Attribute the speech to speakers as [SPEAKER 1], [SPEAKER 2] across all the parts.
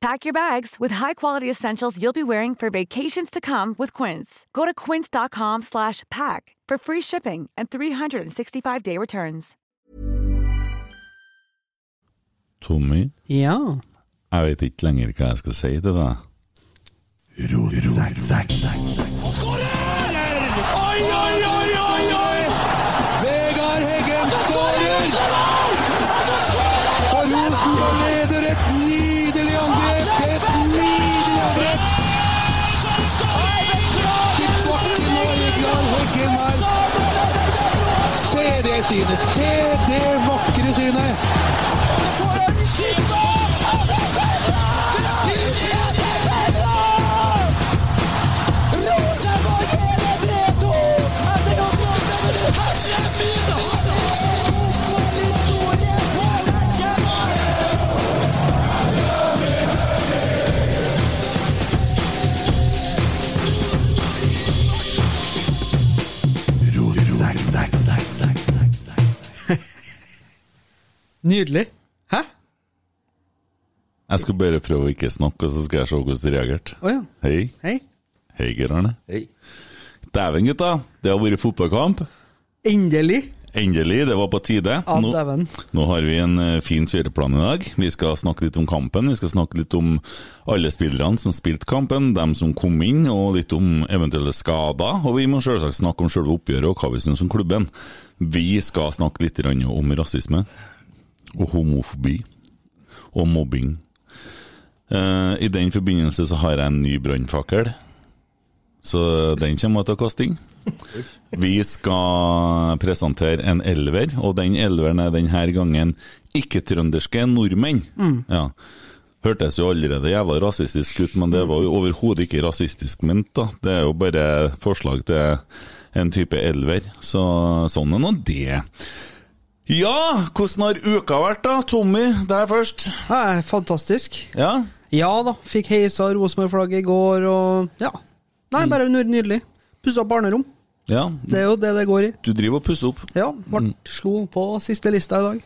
[SPEAKER 1] Pack your bags with high-quality essentials you'll be wearing for vacations to come with Quince. Go to quince.com slash pack for free shipping and 365-day returns.
[SPEAKER 2] Tommy,
[SPEAKER 3] Ja.
[SPEAKER 2] jeg vet ikke lenger hva jeg skal si til deg.
[SPEAKER 4] Oi, oi, oi, oi, oi! Vegard Heggen skårer! Og Rosenborg leder et nydelig angrep! Et nydelig angrep! Tilbake nå, Vegard Heggen her. Se det synet! Se det vakre synet!
[SPEAKER 3] Nydelig. Hæ?
[SPEAKER 2] Jeg skal bare prøve å ikke snakke, og så skal jeg se hvordan du reagerte.
[SPEAKER 3] Å ja.
[SPEAKER 2] Hei.
[SPEAKER 3] Hei.
[SPEAKER 2] Hei, Geir Arne.
[SPEAKER 5] Hei.
[SPEAKER 2] Dæven, gutta. Det har vært fotballkamp.
[SPEAKER 3] Endelig.
[SPEAKER 2] Endelig. Det var på tide.
[SPEAKER 3] Ja,
[SPEAKER 2] Nå-
[SPEAKER 3] dæven.
[SPEAKER 2] Nå har vi en eh, fin kjøreplan i dag. Vi skal snakke litt om kampen, vi skal snakke litt om alle spillerne som spilte kampen, dem som kom inn, og litt om eventuelle skader. Og vi må selvsagt snakke om selve oppgjøret og hva vi syns om klubben. Vi skal snakke litt grann om rasisme og homofobi og mobbing. Eh, I den forbindelse så har jeg en ny brannfakkel, så den kommer jeg til å kaste inn. Vi skal presentere en elver, og den elveren er denne gangen ikke-trønderske nordmenn. Ja. Hørtes jo allerede jævla rasistisk ut, men det var jo overhodet ikke rasistisk ment. da. Det er jo bare forslag til en type elver, så sånn er nå det. Ja, hvordan har uka vært da, Tommy? Deg først.
[SPEAKER 3] Hæ, fantastisk.
[SPEAKER 2] Ja,
[SPEAKER 3] Ja da, fikk heisa Rosenborg-flagget i går, og ja. Nei, bare ny- nydelig. Pussa opp barnerom.
[SPEAKER 2] ja.
[SPEAKER 3] Det er jo det det går i.
[SPEAKER 2] Du driver og pusser opp.
[SPEAKER 3] Ja, ble
[SPEAKER 2] Mm.
[SPEAKER 3] slo på siste lista i dag.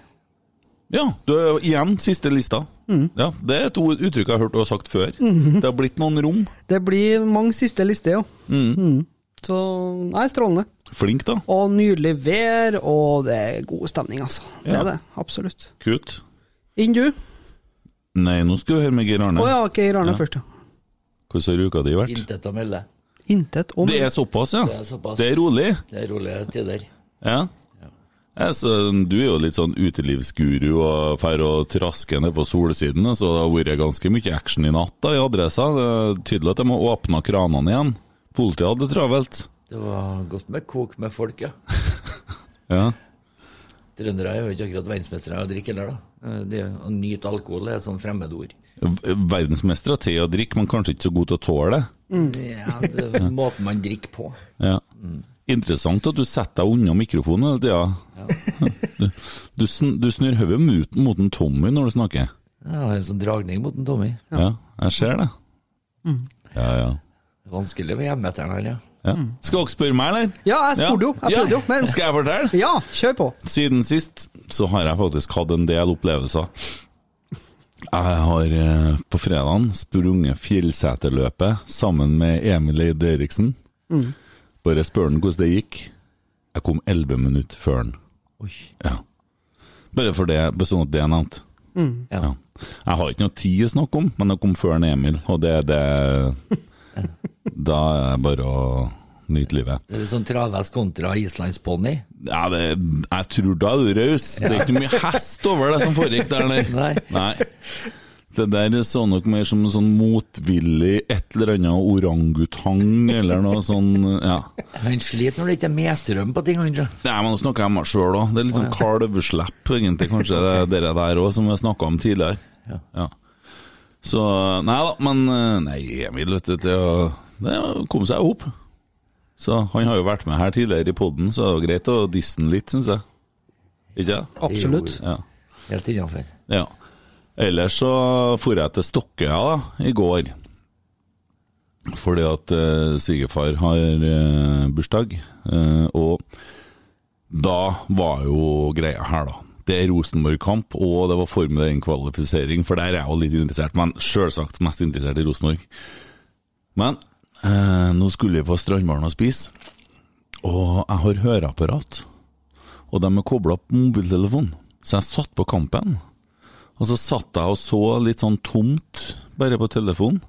[SPEAKER 2] Ja, du er igjen siste lista. Ja, Det er et ord- uttrykk jeg har hørt du har sagt før. Det har blitt noen rom.
[SPEAKER 3] Det blir mange siste lister, ja. Mm. Så nei, strålende.
[SPEAKER 2] Flink, da.
[SPEAKER 3] Og nydelig vær, og det er god stemning, altså. Det
[SPEAKER 2] Ja.
[SPEAKER 3] er det, absolutt.
[SPEAKER 2] Kutt.
[SPEAKER 3] Inn du?
[SPEAKER 2] Nei, nå skal vi høre med Geir Arne.
[SPEAKER 3] Å ja, ok, Arne
[SPEAKER 2] Ja.
[SPEAKER 3] først, ja.
[SPEAKER 2] Hvordan har uka di vært?
[SPEAKER 5] Intet å melde.
[SPEAKER 3] Intet om
[SPEAKER 2] Det er såpass, ja?
[SPEAKER 5] Det er såpass.
[SPEAKER 2] Det er rolig?
[SPEAKER 5] Det er rolige tider.
[SPEAKER 2] Ja. Altså, du er jo litt sånn utelivsguru og drar og trasker ned på solsiden, så det har vært ganske mye action i natt da, i Adressa. Det er tydelig at de har åpna kranene igjen. Politiet hadde det travelt.
[SPEAKER 5] Det var godt med kok med folk, ja.
[SPEAKER 2] Ja.
[SPEAKER 5] Trøndere er jo ikke akkurat verdensmestere i å drikke heller, da. Eh, Det å nyte alkohol er et sånt fremmedord.
[SPEAKER 2] V- Verdensmestere til å drikke, men kanskje ikke så god til å tåle det.
[SPEAKER 5] Ja, det er eh, måten man drikker på.
[SPEAKER 2] Ja.
[SPEAKER 3] Mm.
[SPEAKER 2] Interessant at du setter deg unna mikrofonen hele tida. Du, du, sn- du snur hodet mot, mot en Tommy når du snakker.
[SPEAKER 5] Jeg har en sånn dragning mot en Tommy.
[SPEAKER 3] Mm.
[SPEAKER 2] Ja, jeg ser det. Ja, ja.
[SPEAKER 5] Vanskelig med hjemmeteren her, ja.
[SPEAKER 2] Ja. Skal dere spørre meg, eller?
[SPEAKER 3] Mm. Ja, jeg spurte jo. Jeg
[SPEAKER 2] Ja.
[SPEAKER 3] prøvde jo. Men
[SPEAKER 2] Skal jeg fortelle?
[SPEAKER 3] ja, kjør på.
[SPEAKER 2] Siden sist så har jeg faktisk hatt en del opplevelser. Jeg har eh, på fredagen sprunget Fjellseterløpet sammen med Emil Eid Eriksen.
[SPEAKER 3] Mm.
[SPEAKER 2] Bare spør han hvordan det gikk. Jeg kom elleve minutter før han.
[SPEAKER 5] Oi.
[SPEAKER 2] Ja. Bare for det, bare sånn at det er nevnt.
[SPEAKER 5] Ja.
[SPEAKER 2] Ja. Jeg har ikke noe tid å snakke om, men jeg kom før han Emil, og det er det Da er det bare å nyte livet.
[SPEAKER 5] Det er litt sånn travhest kontra islandsponni.
[SPEAKER 2] Ja, det, jeg tror da er du raus. Det er ikke mye hest over det som foregikk der.
[SPEAKER 5] Nei.
[SPEAKER 2] Det der så nok mer som en sånn motvillig et eller annet orangutang eller noe sånn ja.
[SPEAKER 5] Han sliter når det ikke er medstrøm på ting. Han, tror jeg.
[SPEAKER 2] Det er man snakker om meg sjøl òg. Det er litt sånn kalveslepp, egentlig, kanskje det er dere der òg, som vi snakka om tidligere.
[SPEAKER 5] Ja.
[SPEAKER 2] Så nei da, men eh, Nei, Emil, vet du, det, å- det kom seg opp. Så han har jo vært med her tidligere i poden, så det var greit å disse han litt, syns jeg. Ikke det?
[SPEAKER 3] Absolutt.
[SPEAKER 2] Ja.
[SPEAKER 5] Helt innafor.
[SPEAKER 2] Ja. Ellers så for jeg til Stokkøya da, i går. Fordi at eh, svigerfar har eh, bursdag. Eh, og da var jo greia her, da. Det er Rosenborg-kamp, og det var formel 1-kvalifisering, for der er jeg jo litt interessert. Men sjølsagt mest interessert i Rosenborg. Men eh, nå skulle vi på Strandbaren og spise, og jeg har høreapparat. Og de er kobla opp mobiltelefon, så jeg satt på kampen. Og så satt jeg og så litt sånn tomt, bare på telefonen.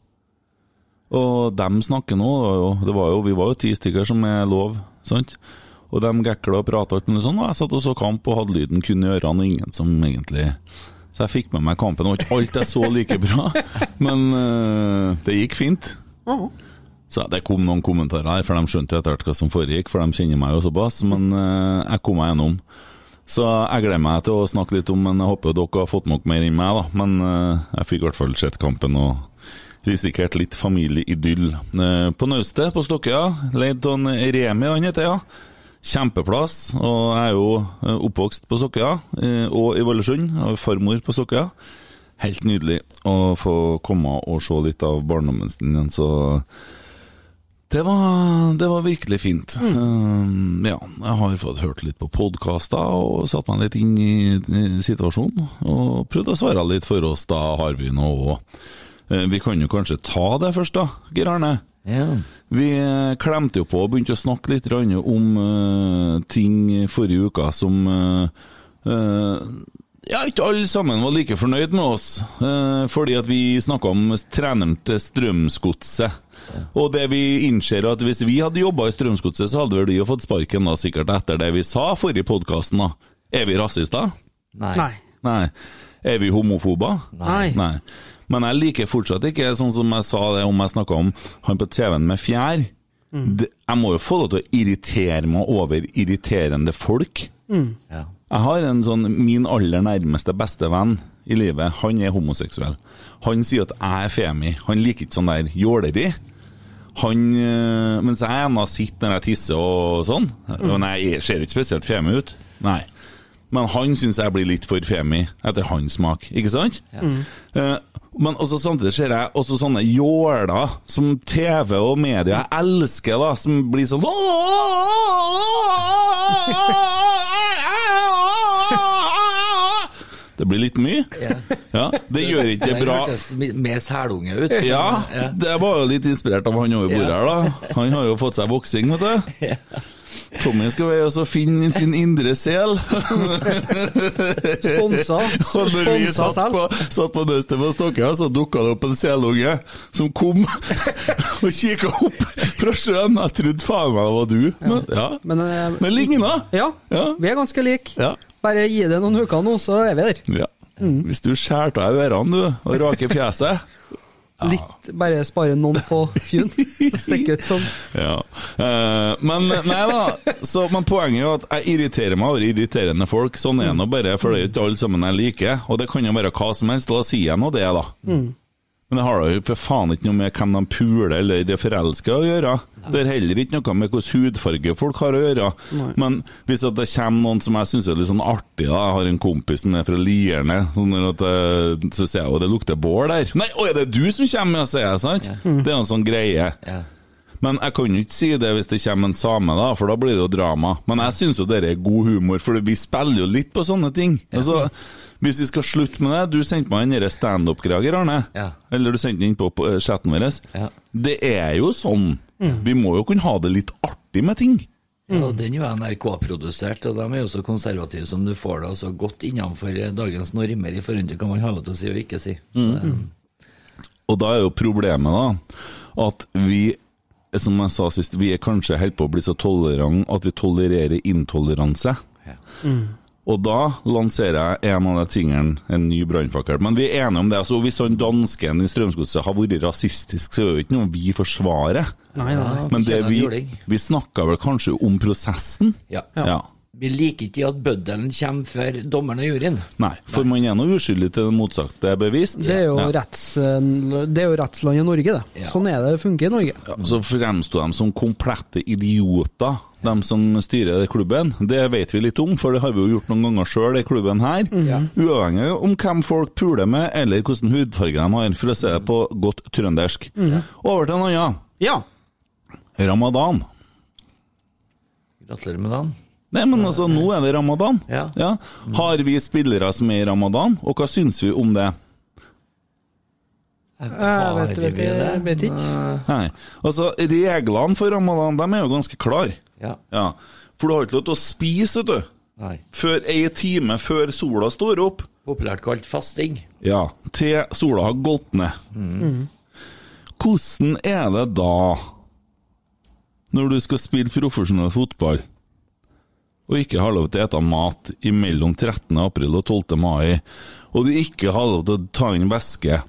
[SPEAKER 2] Og dem snakker nå, og det var jo, vi var jo ti stykker som er lov, sant? Og dem gekla og prata alt mulig sånn, og jeg satt og så kamp og hadde lyden kun i ørene, og ingen som egentlig Så jeg fikk med meg kampen, og ikke alt jeg så like bra, men eh, det gikk fint. Så det kom noen kommentarer her, for de skjønte jo etter hvert hva som foregikk, for de kjenner meg jo såpass, men eh, jeg kom meg gjennom. Så jeg gleder meg til å snakke litt om, men jeg håper dere har fått nok mer enn meg, da. Men eh, jeg fikk i hvert fall sett kampen og risikert litt familieidyll. Eh, på naustet, på Stokkøya, leid av en Remi, han heter, ja. Kjempeplass. Og jeg er jo eh, oppvokst på Stokkøya, eh, og i Valdresund. Har farmor på Stokkøya. Helt nydelig å få komme og se litt av barndommen sin igjen, så det var, det var virkelig fint. Um, ja, jeg har fått hørt litt på podkaster og satt meg litt inn i, i situasjonen. Og prøvd å svare litt for oss, da, har vi nå òg. Vi kan jo kanskje ta det først, da, Geir Arne.
[SPEAKER 5] Ja.
[SPEAKER 2] Vi eh, klemte jo på og begynte å snakke litt grann om eh, ting forrige uka som eh, eh, Ja, ikke alle sammen var like fornøyd med oss, eh, fordi at vi snakka om treneren til Strømsgodset. Og det vi innser at hvis vi hadde jobba i Strømsgodset, så hadde vel de jo fått sparken da, sikkert etter det vi sa forrige podkasten, da. Er vi rasister?
[SPEAKER 5] Nei.
[SPEAKER 3] Nei.
[SPEAKER 2] Nei. Er vi homofober?
[SPEAKER 3] Nei.
[SPEAKER 2] Nei. Men jeg liker fortsatt ikke, sånn som jeg sa det om jeg snakka om han på TV-en med fjær. Det, jeg må jo få lov til å irritere meg over irriterende folk.
[SPEAKER 5] Ja.
[SPEAKER 2] Jeg har en sånn min aller nærmeste bestevenn i livet, han er homoseksuell. Han sier at jeg er femi. Han liker ikke sånn der jåleri. Han, øh, mens jeg ennå sitter når jeg tisser og sånn, men jeg ser ikke spesielt femi ut. Nei. Men han syns jeg blir litt for femi, etter hans smak, ikke sant? Eh, men også samtidig ser jeg også sånne jåler som TV og media jeg elsker, da, som blir sånn Det blir litt mye. Ja, det gjør ikke
[SPEAKER 5] Den
[SPEAKER 2] bra.
[SPEAKER 5] hørtes mi- mer selunge ut.
[SPEAKER 2] Ja, det var jo litt inspirert av han over bordet her, da. Han har jo fått seg voksing, vet du. Tommy skal være og så finne sin indre sel.
[SPEAKER 3] Sponsa.
[SPEAKER 2] Og når vi
[SPEAKER 3] Sponsa
[SPEAKER 2] satt
[SPEAKER 3] selv.
[SPEAKER 2] på, satt på nøstet på Stokkøya, så dukka det opp en selunge som kom og kikka opp fra sjøen. Jeg trodde faen meg det var du, men ja.
[SPEAKER 3] Men, eh,
[SPEAKER 2] Men ligna!
[SPEAKER 3] ja,
[SPEAKER 2] Ja.
[SPEAKER 3] vi er ganske like.
[SPEAKER 2] Ja.
[SPEAKER 3] Bare gi det noen uker nå, så er vi der.
[SPEAKER 2] ja.
[SPEAKER 3] Mm.
[SPEAKER 2] Hvis du skjærer av deg ørene, du, og raker fjeset
[SPEAKER 3] Litt, bare spare noen på fjun. Stikke ut sånn.
[SPEAKER 2] Ja. Eh, men nei da. Så, men poenget er jo at jeg irriterer meg over irriterende folk. Sånn er det nå bare, for det er jo ikke alle sammen jeg liker. Og det kan jo være hva som helst. Da sier jeg nå det, da. Men det har da jo for faen ikke noe med hvem de puler eller er forelska å gjøre. Det har heller ikke noe med hvilken hudfarge folk har å gjøre. Men hvis at det kommer noen som jeg syns er litt sånn artig, da. Jeg har en kompis som er fra Lierne, sånn at, eh, så sier jeg jo det lukter bål der. Nei, å, er det du som kommer, ja, sier jeg, sant? Det er jo en sånn greie.
[SPEAKER 5] Ja.
[SPEAKER 2] Men jeg kan jo ikke si det hvis det kommer en same, da, for da blir det jo drama. Men jeg syns jo dette er god humor, for vi spiller jo litt på sånne ting. Altså, hvis vi skal slutte med det Du sendte meg den derre standup-greia, Arne.
[SPEAKER 5] Ja.
[SPEAKER 2] Eller du sendte den inn på, på eh, chatten vår.
[SPEAKER 5] Ja. Mm.
[SPEAKER 2] Det er jo sånn. Vi må jo kunne ha det litt artig med ting.
[SPEAKER 5] Ja, den er jo NRK-produsert, og de er jo så konservative som du får det, og så godt innenfor eh, dagens normer i forhold til hva man har lov til å si og ikke si. Så det-
[SPEAKER 2] Og da er jo problemet da at vi, som jeg sa sist, vi er kanskje helt på å bli så tolerant at vi tolererer intoleranse.
[SPEAKER 5] Ja.
[SPEAKER 3] Mm.
[SPEAKER 2] Og da lanserer jeg en av de tingene, en ny brannfakkel. Men vi er enige om det. altså Hvis han dansken i Strømsgodset har vært rasistisk, så er det jo ikke noe vi forsvarer.
[SPEAKER 3] Nei, nei.
[SPEAKER 5] Ja,
[SPEAKER 2] Men det
[SPEAKER 5] fortjener en
[SPEAKER 2] vi,
[SPEAKER 5] juling.
[SPEAKER 2] vi snakka vel kanskje om prosessen?
[SPEAKER 5] Ja.
[SPEAKER 2] ja.
[SPEAKER 5] Vi liker ikke at bøddelen kommer før dommeren og juryen.
[SPEAKER 2] Nei, for man er nå uskyldig til det motsatte er bevist.
[SPEAKER 3] Det er jo,
[SPEAKER 2] Ja.
[SPEAKER 3] retts, eh, det er jo rettslandet Norge, det.
[SPEAKER 5] Ja.
[SPEAKER 3] Sånn er det, det funker i Norge.
[SPEAKER 2] Ja, så fremsto de som komplette idioter, de som styrer det klubben. Det vet vi litt om, for det har vi jo gjort noen ganger sjøl i klubben her. Uavhengig om hvem folk puler med, eller hvordan hudfarge de har, for å si det på godt trøndersk. Over til en annen.
[SPEAKER 3] Ja.
[SPEAKER 2] Ramadan.
[SPEAKER 5] Gratulerer med dagen.
[SPEAKER 2] Nei, men altså, nå er det ramadan.
[SPEAKER 5] Ja.
[SPEAKER 2] Har vi spillere som er i ramadan, og hva syns vi om det?
[SPEAKER 3] Jeg eh,
[SPEAKER 5] Har
[SPEAKER 3] vet,
[SPEAKER 5] vi
[SPEAKER 3] vet, jeg
[SPEAKER 5] det?
[SPEAKER 3] vet ikke.
[SPEAKER 2] Nei. Altså, reglene for ramadan, de er jo ganske klare.
[SPEAKER 5] Ja.
[SPEAKER 2] Ja. For du har ikke lov til å spise, vet du.
[SPEAKER 5] Nei.
[SPEAKER 2] Før ei time før sola står opp.
[SPEAKER 5] Populært kalt fasting.
[SPEAKER 2] Ja, til sola har gått ned. Hvordan er det da, når du skal spille profesjonell fotball, og ikke har lov til å ete mat imellom 13. april og 12. mai, og du ikke har lov til å ta inn væske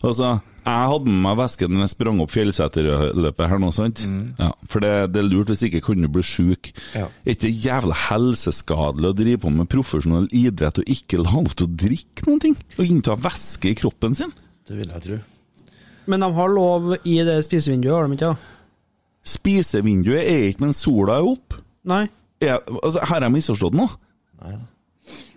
[SPEAKER 2] Altså, jeg hadde med meg væske når jeg sprang opp Fjellseterløpet her nå, sant? Ja, for det, det er lurt, hvis ikke kunne du bli sjuk.
[SPEAKER 5] Ja.
[SPEAKER 2] Er ikke det jævla helseskadelig å drive på med profesjonell idrett og ikke la lov til å drikke noen ting? Og innta væske i kroppen sin?
[SPEAKER 5] Det vil jeg tro.
[SPEAKER 3] Men de har lov i det spisevinduet, har de ikke? da?
[SPEAKER 2] Spisevinduet er ikke mens sola er opp.
[SPEAKER 3] Nei.
[SPEAKER 2] Er, altså, her har jeg misforstått noe.
[SPEAKER 3] Ja,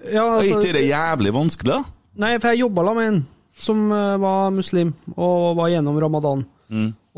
[SPEAKER 2] Er
[SPEAKER 3] altså,
[SPEAKER 2] ikke det jævlig vanskelig, da?
[SPEAKER 3] Nei, for jeg jobba med en som eh, var muslim og var gjennom ramadan.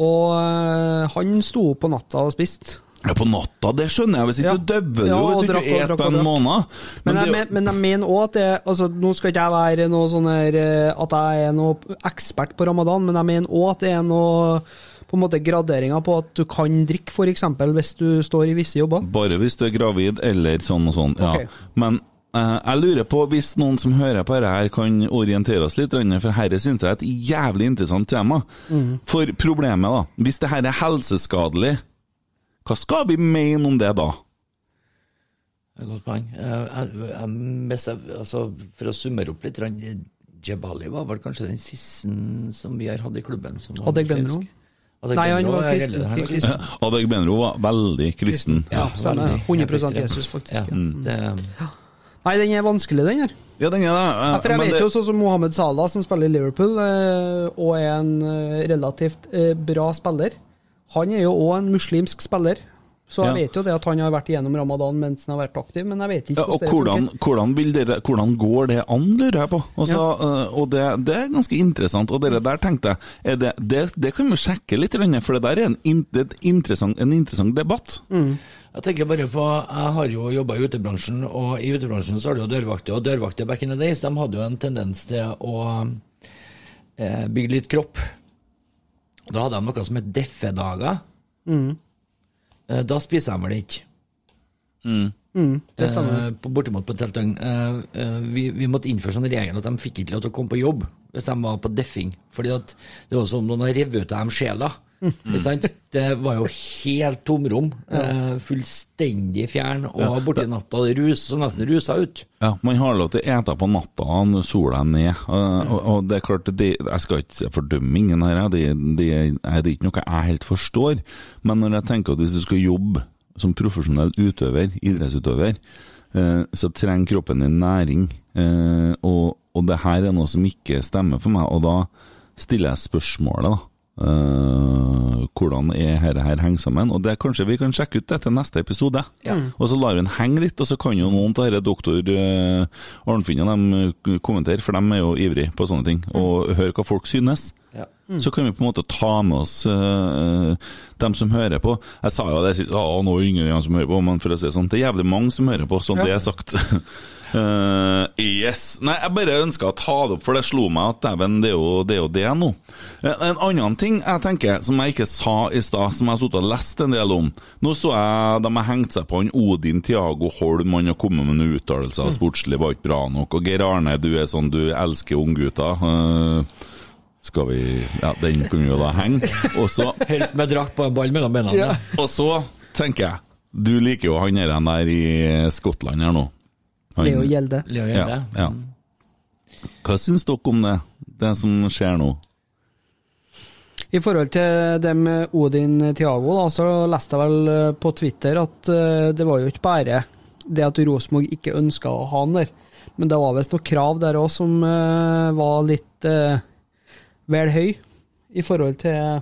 [SPEAKER 3] Og eh, han sto opp på natta og spiste.
[SPEAKER 2] Ja, på natta, det skjønner jeg. Hvis ikke
[SPEAKER 3] Ja.
[SPEAKER 2] så døver du
[SPEAKER 3] Ja,
[SPEAKER 2] jo hvis
[SPEAKER 3] og
[SPEAKER 2] ikke
[SPEAKER 3] drakk,
[SPEAKER 2] du
[SPEAKER 3] og
[SPEAKER 2] spiser
[SPEAKER 3] drakk,
[SPEAKER 2] på
[SPEAKER 3] og
[SPEAKER 2] en
[SPEAKER 3] drakk.
[SPEAKER 2] måned.
[SPEAKER 3] Men,
[SPEAKER 2] det-
[SPEAKER 3] jeg, men- men jeg mener òg at jeg, altså, Nå skal ikke jeg være noe sånn her eh, at jeg er noe ekspert på ramadan, men jeg mener òg at det er noe på en måte graderinger på at du kan drikke, f.eks. hvis du står i visse jobber.
[SPEAKER 2] Bare hvis du er gravid eller sånn og sånn, ja.
[SPEAKER 3] Ok.
[SPEAKER 2] Men eh, jeg lurer på, hvis noen som hører på dette her kan orientere oss litt, Rønne, for herre synes jeg er et jævlig interessant tema.
[SPEAKER 3] Mhm.
[SPEAKER 2] For problemet da, hvis dette er helseskadelig, hva skal vi mene om det da?
[SPEAKER 5] Det er et Godt poeng. Eh, Jeg, jeg, jeg, mest, altså, for å summere opp litt grann, Jebali var vel kanskje den siste som vi har hatt i klubben. Som var
[SPEAKER 3] Hadde jeg glemt
[SPEAKER 5] muslimsk.
[SPEAKER 3] noe?
[SPEAKER 5] Hadde
[SPEAKER 3] Nei, han
[SPEAKER 5] Glenro,
[SPEAKER 3] var
[SPEAKER 5] ja,
[SPEAKER 3] kristen.
[SPEAKER 5] eller- han var
[SPEAKER 3] kristen.
[SPEAKER 2] Adeg Benro var veldig kristen.
[SPEAKER 3] Ja, stemmer.
[SPEAKER 5] veldig.
[SPEAKER 3] 100
[SPEAKER 5] Ja,
[SPEAKER 3] Jesus, faktisk.
[SPEAKER 5] Ja,
[SPEAKER 3] Ja.
[SPEAKER 2] Mm.
[SPEAKER 5] det,
[SPEAKER 3] Nei, den er vanskelig, den her.
[SPEAKER 2] Ja, den er det. eh,
[SPEAKER 3] Ja, for jeg
[SPEAKER 2] men
[SPEAKER 3] vet
[SPEAKER 2] det-
[SPEAKER 3] jo sånn som Mohammed Salah, som spiller i Liverpool, eh, og er en eh, relativt eh, bra spiller. Han er jo òg en muslimsk spiller, så
[SPEAKER 2] Ja.
[SPEAKER 3] jeg vet jo det at han har vært igjennom ramadan mens han har vært aktiv, men jeg vet
[SPEAKER 2] Ja,
[SPEAKER 3] ikke
[SPEAKER 2] og
[SPEAKER 3] hvordan
[SPEAKER 2] hvordan,
[SPEAKER 3] det funker.
[SPEAKER 2] hvordan, vil dere, hvordan går det an, lurer jeg på. Altså, eh, og det, det er ganske interessant. Og dere der tenkte jeg er det, det, det kan vi sjekke litt, Rønne, for det der er en, in, det er et interessant, en interessant debatt.
[SPEAKER 5] Jeg tenker bare på, jeg har jo jobba i utebransjen, og i utebransjen så har du jo dørvakter. Og dørvakter back in the days, de hadde jo en tendens til å eh, bygge litt kropp. Og Da hadde de noe som het deffedager. Eh, da spiser de vel ikke. Eh, på, bortimot på et helt døgn. Eh, eh, vi, vi måtte innføre sånn regel at de fikk ikke lov til å komme på jobb hvis de var på deffing. Fordi at det var som om noen hadde revet ut av dem sjela.
[SPEAKER 2] Mhm.
[SPEAKER 5] Ikke sant? Det var jo helt tomrom. Eh, fullstendig fjern. Og borti natta det rus, så nesten rusa ut.
[SPEAKER 2] Ja, Man har lov til å ete på natta når sola er ned. Og, og, og det er klart, det, jeg skal ikke fordømme ingen her, jeg. det, det, er- det er ikke noe jeg helt forstår. Men når jeg tenker at hvis du skal jobbe som profesjonell utøver, idrettsutøver, eh, så trenger kroppen din næring. Eh, og, og det her er noe som ikke stemmer for meg, og da stiller jeg spørsmålet, da. eh, hvordan er her, her henger sammen. Og det kanskje vi kan sjekke ut det til neste episode. Og så lar vi den henge litt, og så kan jo noen av disse doktor eh, Arnfinn og dem eh, kommentere, for de er jo ivrige på sånne ting. Og høre hva folk synes.
[SPEAKER 5] Ja.
[SPEAKER 2] Så kan vi på en måte ta med oss eh, dem som hører på. Jeg sa jo det sist, «Å, nå er det ingen av dem som hører på, men for å si det sånn, det er jævlig mange som hører på, sånn det er sagt. Eh, yes. Nei, jeg bare ønska å ta det opp, for det slo meg at dæven, det er jo det, er jo det nå. En, en annen ting jeg tenker, som jeg ikke sa i stad, som jeg har sittet og lest en del om Nå så jeg de har hengt seg på han Odin Tiago Holm, han har kommet med noen uttalelser, sportslig var ikke bra nok, og Geir Arne, du er sånn, du elsker unggutter. Uh, skal vi Ja, den kunne vi jo da henge. Og så,
[SPEAKER 5] Helst med drakt på en ball mellom bena.
[SPEAKER 3] Ja.
[SPEAKER 2] og så tenker jeg Du liker jo han her, han der i eh, Skottland her nå. Han-
[SPEAKER 3] Leo Gjelde.
[SPEAKER 5] Leo gjør
[SPEAKER 2] Ja,
[SPEAKER 5] det.
[SPEAKER 2] ja. Hva syns dere om det? Det som skjer nå?
[SPEAKER 3] I forhold til det med Odin Tiago, da, så leste jeg vel eh, på Twitter at eh, det var jo ikke bare det at Rosenborg ikke ønska å ha han der, men det var visst noen krav der òg som eh, var litt eh, vel høy i forhold til,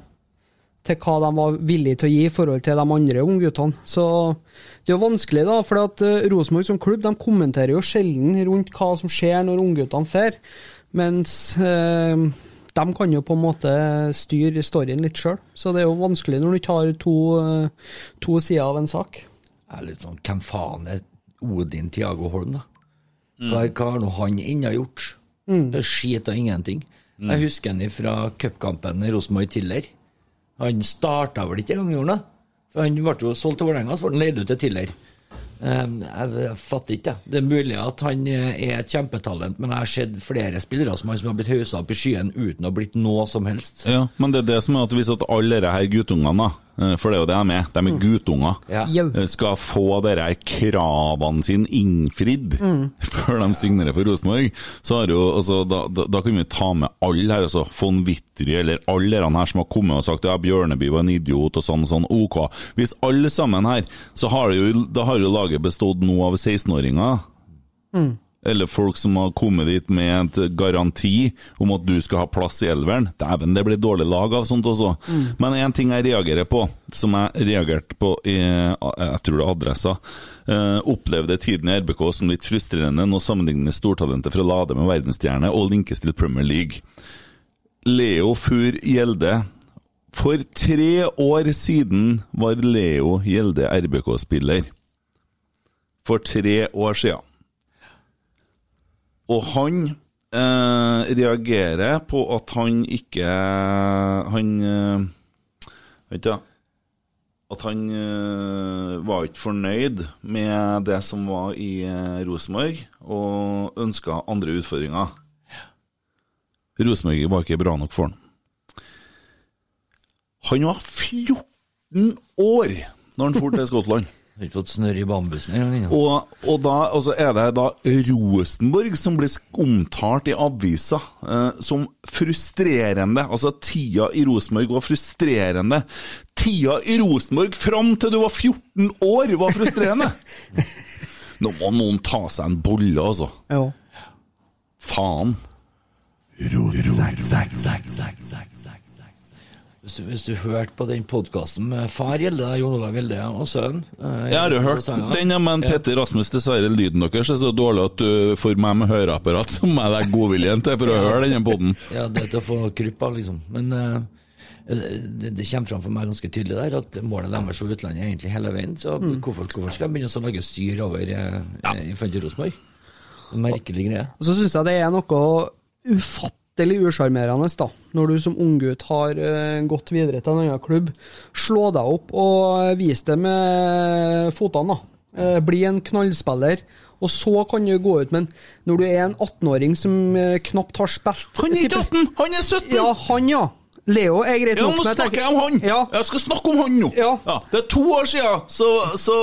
[SPEAKER 3] til hva de var villige til å gi i forhold til de andre ungguttene. Så det er jo vanskelig, da, for at eh, Rosenborg som klubb de kommenterer jo sjelden rundt hva som skjer når ungguttene drar, mens eh, de kan jo på en måte styre storyen litt sjøl. Så det er jo vanskelig når du ikke har to, eh, to sider av en sak.
[SPEAKER 5] Jeg er litt sånn, Hvem faen er Odin Tiago Holm, da? Hva, hva har nå han ennå gjort?
[SPEAKER 3] Mm.
[SPEAKER 5] Det er Skit og ingenting. Jeg husker han fra cupkampen i Rosenborg Tiller. Han starta vel ikke engang, gjorde han? det? For han ble jo solgt til Vålerenga, så ble han leid ut til Tiller. Eh, Jeg jeg fatter ikke, jeg. Det er mulig at han eh, er et kjempetalent, men jeg har sett flere spillere som han som har blitt hausa opp i skyen uten å ha blitt noe som helst.
[SPEAKER 2] Ja, men det er det som er at hvis at alle disse her guttungene, da, eh, for det er jo det de er, de er guttunger,
[SPEAKER 5] Ja.
[SPEAKER 2] eh, skal få dere her kravene sine innfridd før de signerer for Rosenborg, så har jo, altså, da, da, da kan vi ta med alle her, altså von Wittry eller alle de her som har kommet og sagt ja, Bjørneby var en idiot og sånn og sånn, ok. Hvis alle sammen her, så har det jo, da har jo laget bestått nå av 16-åringer, eller folk som har kommet dit med et garanti om at du skal ha plass i elveren. Dæven, det blir dårlig lag av sånt også. Men én ting jeg reagerer på, som jeg reagerte på i jeg tror det er adressa eh, Opplevde tiden i RBK som litt frustrerende når sammenligner stortalentet fra Lade med verdensstjerne og linkes til Premier League. Leo Fur Gjelde. For tre år siden var Leo Gjelde RBK-spiller. For tre år siden. Og han eh, reagerer på at han ikke Han eh, Vet du At han eh, var ikke fornøyd med det som var i eh, Rosenborg, og ønska andre utfordringer. Rosenborg var ikke bra nok for han. Han var 14 år når han dro til Skottland.
[SPEAKER 5] Har ikke fått snørr i bambusen engang. ennå.
[SPEAKER 2] Og, og, da, og så er det da Rosenborg som blir sk- omtalt i avisa eh, som frustrerende. Altså, tida i Rosenborg var frustrerende. Tida i Rosenborg fram til du var 14 år, var frustrerende! Nå må noen ta seg en bolle, altså.
[SPEAKER 3] Ja.
[SPEAKER 2] Faen.
[SPEAKER 5] Hvis du, hvis du hørte på den podkasten med far Gjelde, da, Jon Olav Gjelde og sønnen eh,
[SPEAKER 2] Jeg har jo
[SPEAKER 5] Gjelde
[SPEAKER 2] hørt
[SPEAKER 5] sanger.
[SPEAKER 2] den, ja, men Petter Rasmus, dessverre, lyden deres er så dårlig at du for meg med høreapparat så må jeg legge godviljen til for å høre denne poden.
[SPEAKER 5] Ja, det er til å få krypa, liksom. Men eh, det, det kommer fram for meg ganske tydelig der at målet deres for utlandet er egentlig hele veien. Så hvorfor, hvorfor skal de begynne å lage styr over eh, i forhold til Rosenborg? En Merkelig greie.
[SPEAKER 3] Og så syns jeg det er noe ufattelig usjarmerende, da, når du som unggutt har eh, gått videre til en annen klubb. Slå deg opp og vis det med fotene, da. Eh, bli en knallspiller. Og så kan du gå ut, men når du er en 18-åring som eh, knapt har spilt
[SPEAKER 2] Han er ikke 18, han er 17!
[SPEAKER 3] Ja, han, ja. Leo er greit
[SPEAKER 2] Ja,
[SPEAKER 3] nok.
[SPEAKER 2] nå
[SPEAKER 3] men jeg
[SPEAKER 2] snakker
[SPEAKER 3] tenker-
[SPEAKER 2] jeg om han!
[SPEAKER 3] Ja.
[SPEAKER 2] Jeg skal snakke om han nå!
[SPEAKER 3] Ja.
[SPEAKER 2] Det er to år siden så, så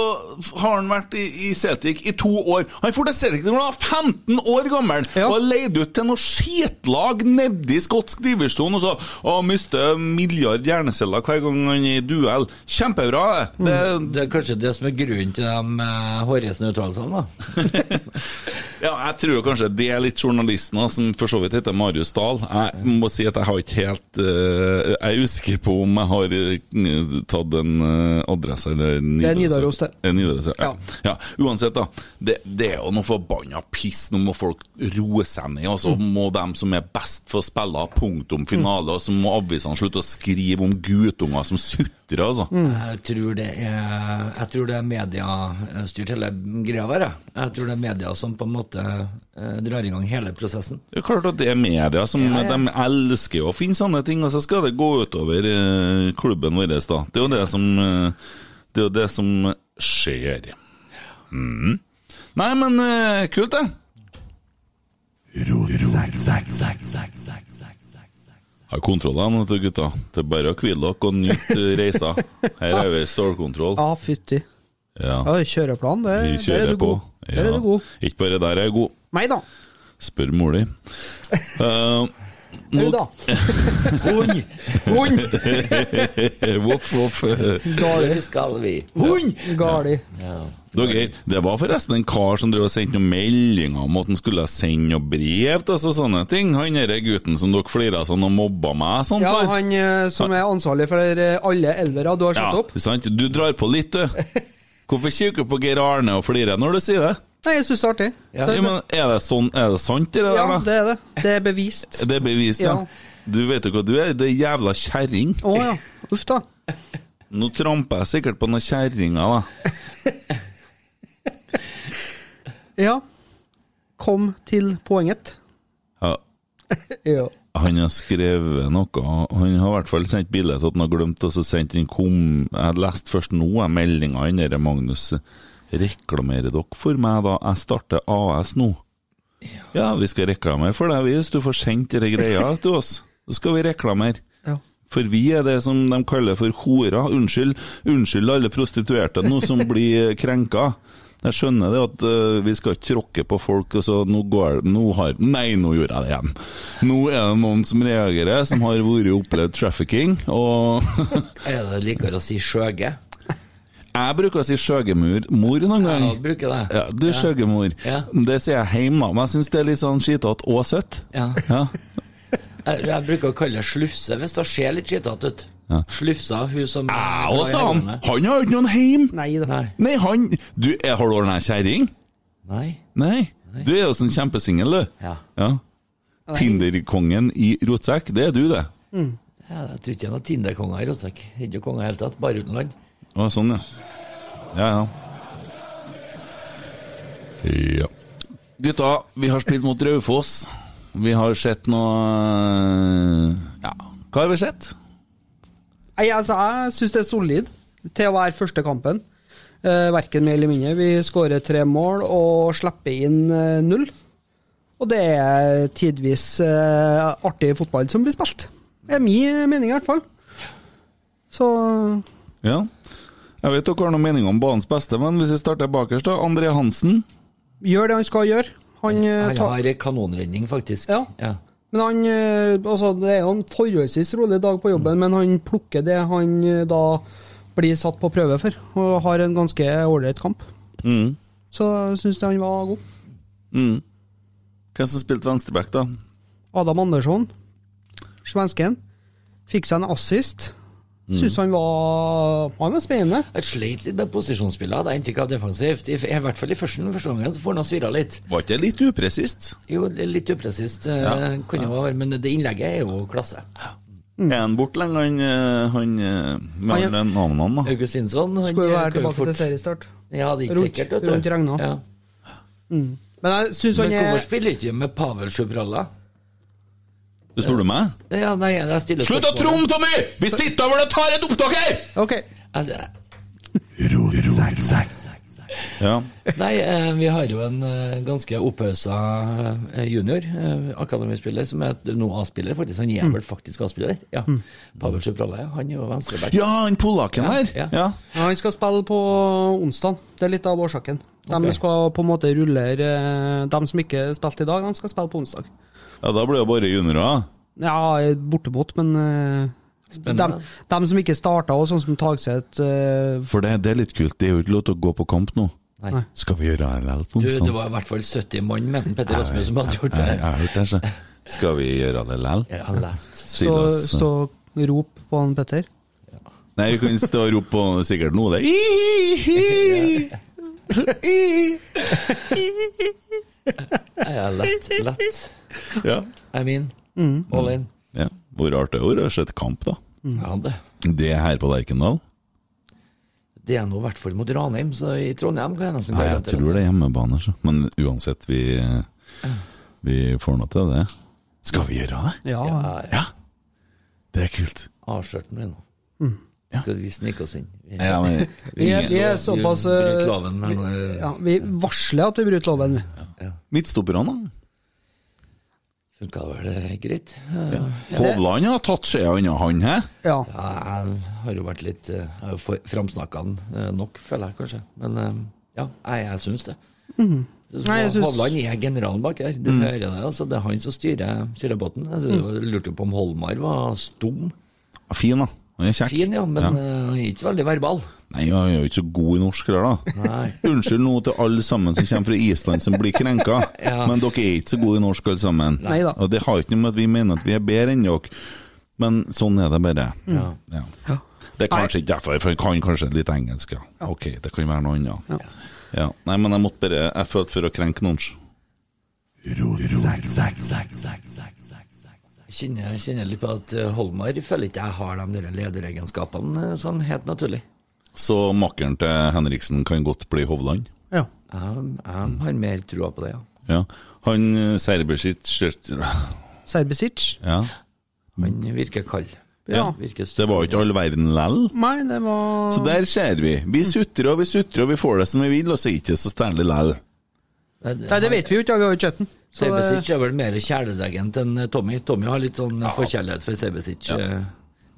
[SPEAKER 2] har han vært i, i Celtic i to år. Han dro til Celtic da han var 15 år gammel
[SPEAKER 3] Ja.
[SPEAKER 2] og er leid ut til noe skitlag nedi skotsk divisjon og så og mister milliard hjerneceller hver gang han er i duell. Kjempebra, det. det
[SPEAKER 5] Det er kanskje det som er grunnen til de eh, hårreisende uttalelsene, da.
[SPEAKER 2] Ja, jeg tror jo kanskje det er litt journalisten da, som for så vidt heter Marius Dahl. Jeg må si at jeg har ikke helt eh, Jeg er usikker på om jeg har eh, tatt en eh, adresse eller
[SPEAKER 3] Det er Nidaros, det.
[SPEAKER 2] Eh, Nidaros, ja.
[SPEAKER 3] Ja.
[SPEAKER 2] ja. Uansett, da. Det, det er jo noe forbanna piss. Nå må folk roe seg ned. Og så
[SPEAKER 3] Mm.
[SPEAKER 2] må dem som er best, få spille punktum finale. Og så må avisene slutte å skrive om guttunger som sutrer, altså.
[SPEAKER 3] Mm.
[SPEAKER 5] Jeg tror det er, jeg tror det er mediestyrt hele greia der. Jeg. jeg tror det er media som på en måte eh, drar i gang hele prosessen.
[SPEAKER 2] Det er klart at det er media som De elsker å finne sånne ting, og så skal det gå utover eh, klubben vår, da. Det er jo det som eh, Det er jo det som skjer. Mm. Nei, men eh, kult, det. Har kontroll, da, vet du, gutta. Det er bare å hvile dere og nyte eh, reisa. Her er vi i stålkontroll.
[SPEAKER 3] Ja, fytti.
[SPEAKER 2] Ja,
[SPEAKER 3] Ja, kjøreplan, det,
[SPEAKER 2] vi
[SPEAKER 3] der er
[SPEAKER 2] kjører
[SPEAKER 3] du
[SPEAKER 2] på.
[SPEAKER 3] god. Der
[SPEAKER 2] Ja.
[SPEAKER 3] er du god.
[SPEAKER 2] Ikke bare der er jeg god.
[SPEAKER 3] Nei da.
[SPEAKER 2] Spør mor di. Eh,
[SPEAKER 3] Du, da.
[SPEAKER 5] Hund!
[SPEAKER 3] Hund!
[SPEAKER 2] voff, voff.
[SPEAKER 5] Hvor skal vi?
[SPEAKER 3] Hund! Gali.
[SPEAKER 2] Dere, eh, det var forresten en kar som drev og sendte noen meldinger om at han skulle sende noen brev til oss og sånne ting. Han derre gutten som dere flira sånn og mobba meg sånn
[SPEAKER 3] Ja,
[SPEAKER 2] for.
[SPEAKER 3] han eh, som er ansvarlig for eh, alle elvere du har
[SPEAKER 2] Ja,
[SPEAKER 3] slått opp.
[SPEAKER 2] sant? Du drar på litt, du. Hvorfor kikker du på Geir Arne og flirer når du sier det?
[SPEAKER 3] Nei, jeg syns det er artig.
[SPEAKER 5] Ja.
[SPEAKER 3] Så-
[SPEAKER 2] Ja, men er det, sånn, er det sant, det
[SPEAKER 3] ja,
[SPEAKER 2] der? da?
[SPEAKER 3] det er det. Det er bevist.
[SPEAKER 2] Det er bevist, ja.
[SPEAKER 3] Ja.
[SPEAKER 2] Du vet jo hva du er, det er jævla kjerring.
[SPEAKER 3] Å ja. Uff da.
[SPEAKER 2] Nå tramper jeg sikkert på noen kjerringer, da.
[SPEAKER 3] Ja. Kom til poenget.
[SPEAKER 2] Ja,
[SPEAKER 3] Ja.
[SPEAKER 2] han har skrevet noe Han har i hvert fall sendt bilde til at han har glemt og så sendt inn kom... Jeg leste først nå jeg meldinga han derre Magnus Reklamerer dere for meg da? Jeg starter AS nå. Ja, vi skal reklamere for deg hvis du får sendt dere greia til oss. Så skal vi reklamere.
[SPEAKER 3] Ja.
[SPEAKER 2] For vi er det som de kaller for horer. Unnskyld, unnskyld alle prostituerte nå som blir eh, krenka. Jeg skjønner det at eh, vi skal ikke tråkke på folk, og så nå går nå har, Nei, nå gjorde jeg det igjen! Nå er det noen som reagerer, som har vært og opplevd trafficking, og
[SPEAKER 5] Er det likere å si skjøge?
[SPEAKER 2] Jeg bruker å si skjøgemor mor noen gang.
[SPEAKER 5] Ja, bruker det.
[SPEAKER 2] Ja, du skjøgemor.
[SPEAKER 5] Ja.
[SPEAKER 2] Det sier jeg hjemme, da, men jeg syns det er litt sånn skitete og søtt.
[SPEAKER 5] Ja.
[SPEAKER 2] Ja.
[SPEAKER 5] Jeg, jeg bruker å kalle det slufse hvis det ser litt skittete ut. Slufsa, hun som
[SPEAKER 2] Jeg òg, sa han. Han har jo ikke noen heim!
[SPEAKER 3] Nei da.
[SPEAKER 5] Nei.
[SPEAKER 2] Nei, han Du, er- har du ordna ei kjerring?
[SPEAKER 5] Nei.
[SPEAKER 2] Nei. Du er jo sånn kjempesingel, du.
[SPEAKER 5] Ja.
[SPEAKER 2] Tinder-kongen i rotsekk, det er du, det.
[SPEAKER 5] Ja, Jeg tror ikke det er noen Tinder-konger i Rosenborg. Ikke konger i det hele tatt, bare utenland.
[SPEAKER 2] Å, sånn, ja. Ja, ja. Ja. Gutta, vi har spilt mot Raufoss. Vi har sett noe Ja, hva har vi sett?
[SPEAKER 3] Nei, altså, jeg syns det er solid til å være første kampen. Eh, verken mer eller mindre. Vi skårer tre mål og slipper inn eh, null. Og det er tidvis eh, artig fotball som blir spilt. Det er min mening, i hvert fall. Så
[SPEAKER 2] Ja. Jeg vet dere har noen meninger om banens beste, men hvis vi starter bakerst, da. André Hansen.
[SPEAKER 3] gjør det han skal gjøre. Han, eh,
[SPEAKER 5] Han
[SPEAKER 3] tar-
[SPEAKER 5] har en kanonredning, faktisk.
[SPEAKER 3] Ja. Men han eh, Altså, det er jo en forholdsvis rolig dag på jobben, men han plukker det han eh, da blir satt på prøve for, og har en ganske ålreit kamp.
[SPEAKER 2] Mm.
[SPEAKER 3] Så syns jeg han var god.
[SPEAKER 2] Mm. Hvem som spilte venstreback, da?
[SPEAKER 3] Adam Andersson, svensken, fikk seg en assist. Syns han var Han var spennende.
[SPEAKER 5] Jeg sleit litt med posisjonsspillet, hadde jeg inntrykk av defensivt. I, I hvert fall i første første gangen, så får han svirra litt.
[SPEAKER 2] Var ikke det litt upresist?
[SPEAKER 5] Jo, det er litt upresist, eh, kunne jo være, men det innlegget er jo klasse.
[SPEAKER 2] Er han borte lenge, han, eh, Mm. han eh, Hva
[SPEAKER 3] Han-
[SPEAKER 2] er navnet hans, da?
[SPEAKER 5] Augustinsson han
[SPEAKER 3] Skulle jo
[SPEAKER 5] eh,
[SPEAKER 3] være
[SPEAKER 5] kan jo
[SPEAKER 3] tilbake til
[SPEAKER 5] fort-
[SPEAKER 3] seriestart.
[SPEAKER 5] Ja, det er ikke
[SPEAKER 3] Rundt-
[SPEAKER 5] sikkert, vet du.
[SPEAKER 3] rundt regna.
[SPEAKER 5] Ja.
[SPEAKER 3] Men eh, jeg syns han
[SPEAKER 5] Men hvorfor
[SPEAKER 3] er
[SPEAKER 5] spiller ikke med Pavel Sjubralla?
[SPEAKER 2] Du spør du meg?
[SPEAKER 5] Ja, nei, jeg stiller
[SPEAKER 2] Slutt å tromme, Tommy! Vi sitter over og tar et opptak her!
[SPEAKER 3] OK.
[SPEAKER 5] Altså,
[SPEAKER 2] Ja.
[SPEAKER 5] Nei, eh, vi har jo en eh, ganske opphausa eh, junior, eh, akademispiller, som er et- nå A-spiller, faktisk. Han er vel faktisk A-spiller? Ja. Pavel Sjubralla, ja. Han er jo venstreback.
[SPEAKER 2] ja, han polakken der.
[SPEAKER 5] ja.
[SPEAKER 2] Ja.
[SPEAKER 3] Ja, han skal spille på onsdag. Det er litt av årsaken. De
[SPEAKER 5] Ok.
[SPEAKER 3] skal på en måte rullere eh, De som ikke spilte i dag, de skal spille på onsdag.
[SPEAKER 2] ja, da blir det bare juniorer.
[SPEAKER 3] Ja, bortimot, men eh,
[SPEAKER 5] Spennende.
[SPEAKER 3] dem- dem som ikke starta, og sånn som Tagseth eh,
[SPEAKER 2] For det, det er litt kult. Det er jo ikke lov til å gå på kamp nå.
[SPEAKER 5] Nei.
[SPEAKER 2] Skal vi gjøre RLL på
[SPEAKER 5] Du,
[SPEAKER 2] onsdag?
[SPEAKER 5] det var i hvert fall 70 mann, mente Petter Rasmus, som hadde gjort
[SPEAKER 2] Jeg, jeg, jeg
[SPEAKER 5] det.
[SPEAKER 2] har hørt det, så. Skal vi gjøre det lell?
[SPEAKER 5] Jeg har lest.
[SPEAKER 3] Stå, stå og rop på han Petter.
[SPEAKER 2] Nei, vi kan stå og rope på sikkert nå, det. Ihihi!
[SPEAKER 5] Jeg har lett, lett.
[SPEAKER 2] Ja.
[SPEAKER 5] I'm in. All in.
[SPEAKER 2] ja. Hvor rart det er å se et kamp, da.
[SPEAKER 5] Ja, det.
[SPEAKER 2] Det er her på Lerkendal.
[SPEAKER 5] det er nå i hvert fall mot Ranheim, så i Trondheim kan jeg nesten
[SPEAKER 2] Nei, jeg
[SPEAKER 5] garantere
[SPEAKER 2] tror det er hjemmebane, så. Men uansett, vi, vi får nå til det. Skal vi gjøre det?
[SPEAKER 3] Ja,
[SPEAKER 5] Ja, ja.
[SPEAKER 2] Ja. Det er kult.
[SPEAKER 5] Avslørt nå. nå. Skal vi snike oss inn? Vi-
[SPEAKER 2] Ja, men,
[SPEAKER 3] Vi er, vi er såpass
[SPEAKER 5] Vi
[SPEAKER 3] eh,
[SPEAKER 5] bryter loven her nå.
[SPEAKER 3] ja, Vi varsler at vi bryter loven. vi.
[SPEAKER 2] Midtstopperne, da?
[SPEAKER 5] Funka vel eh, greit?
[SPEAKER 2] Hovland har tatt skjea unna han, hæ?
[SPEAKER 3] Ja.
[SPEAKER 5] Ja, jeg har jo vært litt eh, Jeg har jo framsnakka den eh, nok, føler jeg kanskje. Men eh, ja, jeg, jeg syns det. Så
[SPEAKER 3] Nei, jeg syns-
[SPEAKER 5] Hovland er generalen bak her. Du hører det, altså. Det er han som styrer, styrer båten. Jeg synes- jeg lurte jo på om Holmar var stum.
[SPEAKER 2] Fin, da. Han er kjekk.
[SPEAKER 5] Fin, ja, men eh, han er ikke så veldig verbal.
[SPEAKER 2] Nei, han er jo ikke så god i norsk, der, da.
[SPEAKER 5] Nei.
[SPEAKER 2] Unnskyld nå til alle sammen som kommer fra Island som blir krenka,
[SPEAKER 5] Ja.
[SPEAKER 2] men dere er ikke så gode i norsk alle sammen.
[SPEAKER 3] Neida.
[SPEAKER 2] Og det har ikke noe med at vi mener at vi er bedre enn dere, men sånn er det bare.
[SPEAKER 5] Mm. Ja.
[SPEAKER 2] Ja. Det er kanskje ikke derfor, for han kan kanskje litt engelsk, ja. Ok, det kan være noe annet. Ja. Nei, men jeg måtte bare Jeg følte for å krenke noen.
[SPEAKER 5] Jeg kjenner, jeg kjenner litt på at eh, Holmar føler ikke jeg har de der lederegenskapene eh, sånn helt naturlig.
[SPEAKER 2] Så makkeren til Henriksen kan godt bli Hovland.
[SPEAKER 3] ja.
[SPEAKER 5] Jeg, jeg har mer trua på det, ja.
[SPEAKER 2] Ja. Han eh, Serbisic skjørt-
[SPEAKER 3] Serbisic.
[SPEAKER 2] Ja.
[SPEAKER 5] Han virker kald.
[SPEAKER 2] Ja.
[SPEAKER 5] Virker
[SPEAKER 2] Det var jo ikke all verden lell.
[SPEAKER 3] Nei, det var
[SPEAKER 2] Så der ser vi. Vi sutrer og vi sutrer, og vi får det som vi vil, og så er det ikke så stærlig lell.
[SPEAKER 3] Nei, det vet vi jo ikke, ja, vi har jo ikke sett den. Så det-
[SPEAKER 5] Sebesic er vel mer kjæledegent enn eh, Tommy. Tommy har litt sånn forkjærlighet for Sebesic. eh,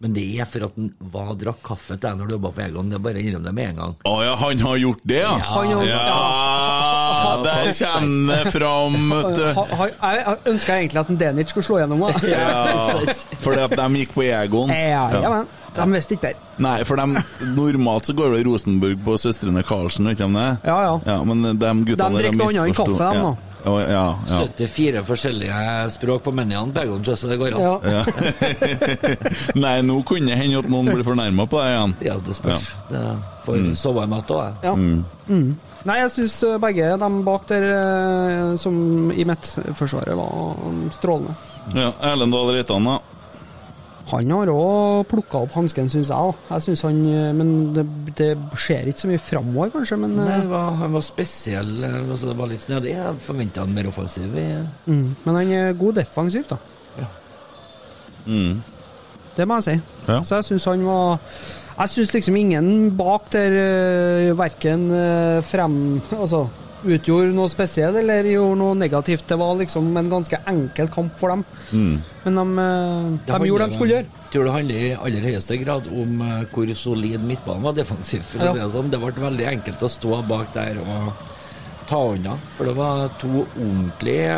[SPEAKER 5] Men det er for at han var drakk kaffe til deg når du jobba på Egon. Det er bare å innrømme det med en gang.
[SPEAKER 2] Å ja, han har gjort det, ja?
[SPEAKER 3] Han har-
[SPEAKER 2] Ja, der kommer det fram, vet
[SPEAKER 3] Ha-
[SPEAKER 2] du.
[SPEAKER 3] eh, ha- Jeg jeg ønsker egentlig at en Denic skulle slå gjennom. da.
[SPEAKER 2] Ja, fordi at de gikk på Egon.
[SPEAKER 3] Ja, ja, men de visste ikke bedre.
[SPEAKER 2] Nei, for de, normalt så går det Rosenborg på søstrene Karlsen, vet du om det?
[SPEAKER 3] Ja, ja.
[SPEAKER 2] Men de gutta
[SPEAKER 3] De drikker noe annet enn kaffe, de,
[SPEAKER 2] ja.
[SPEAKER 3] nå.
[SPEAKER 2] Å, ja, ja.
[SPEAKER 5] 74 forskjellige språk på menyene på Egon, så det går an.
[SPEAKER 3] Ja.
[SPEAKER 5] Ja,
[SPEAKER 2] Nei, nå kunne det hende at noen blir fornærma på deg igjen.
[SPEAKER 5] det spørs. Det får sove i natt òg, jeg.
[SPEAKER 3] Ja. Nei, jeg syns begge de bak der eh, som i midtforsvaret var mm, strålende.
[SPEAKER 2] Ja, Erlend Dahl Reitan, da.
[SPEAKER 3] Han har òg plukka opp hansken, syns jeg. da. Jeg synes han, eh, Men det, det skjer ikke så mye framover, kanskje. Men eh,
[SPEAKER 5] Nei, det var, han var spesiell. eh, Altså, det var litt snedig. Jeg forventa han mer offensiv. i- eh.
[SPEAKER 3] Mm, Men han er god defensivt, da.
[SPEAKER 5] Ja.
[SPEAKER 3] Det må jeg si.
[SPEAKER 2] Ja.
[SPEAKER 3] Så jeg syns han var Jeg syns liksom ingen bak der øh, verken øh, frem Altså utgjorde noe spesielt eller gjorde noe negativt. Det var liksom en ganske enkel kamp for dem. Men de, øh,
[SPEAKER 5] Det handler
[SPEAKER 3] de gjorde det de skulle
[SPEAKER 5] om-
[SPEAKER 3] gjøre.
[SPEAKER 5] Tror det handler i aller høyeste grad om eh, hvor solid midtbanen var defensiv. For
[SPEAKER 3] Ja.
[SPEAKER 5] å si det sånn. Det ble veldig enkelt å stå bak der og ta unna. For det var to ordentlige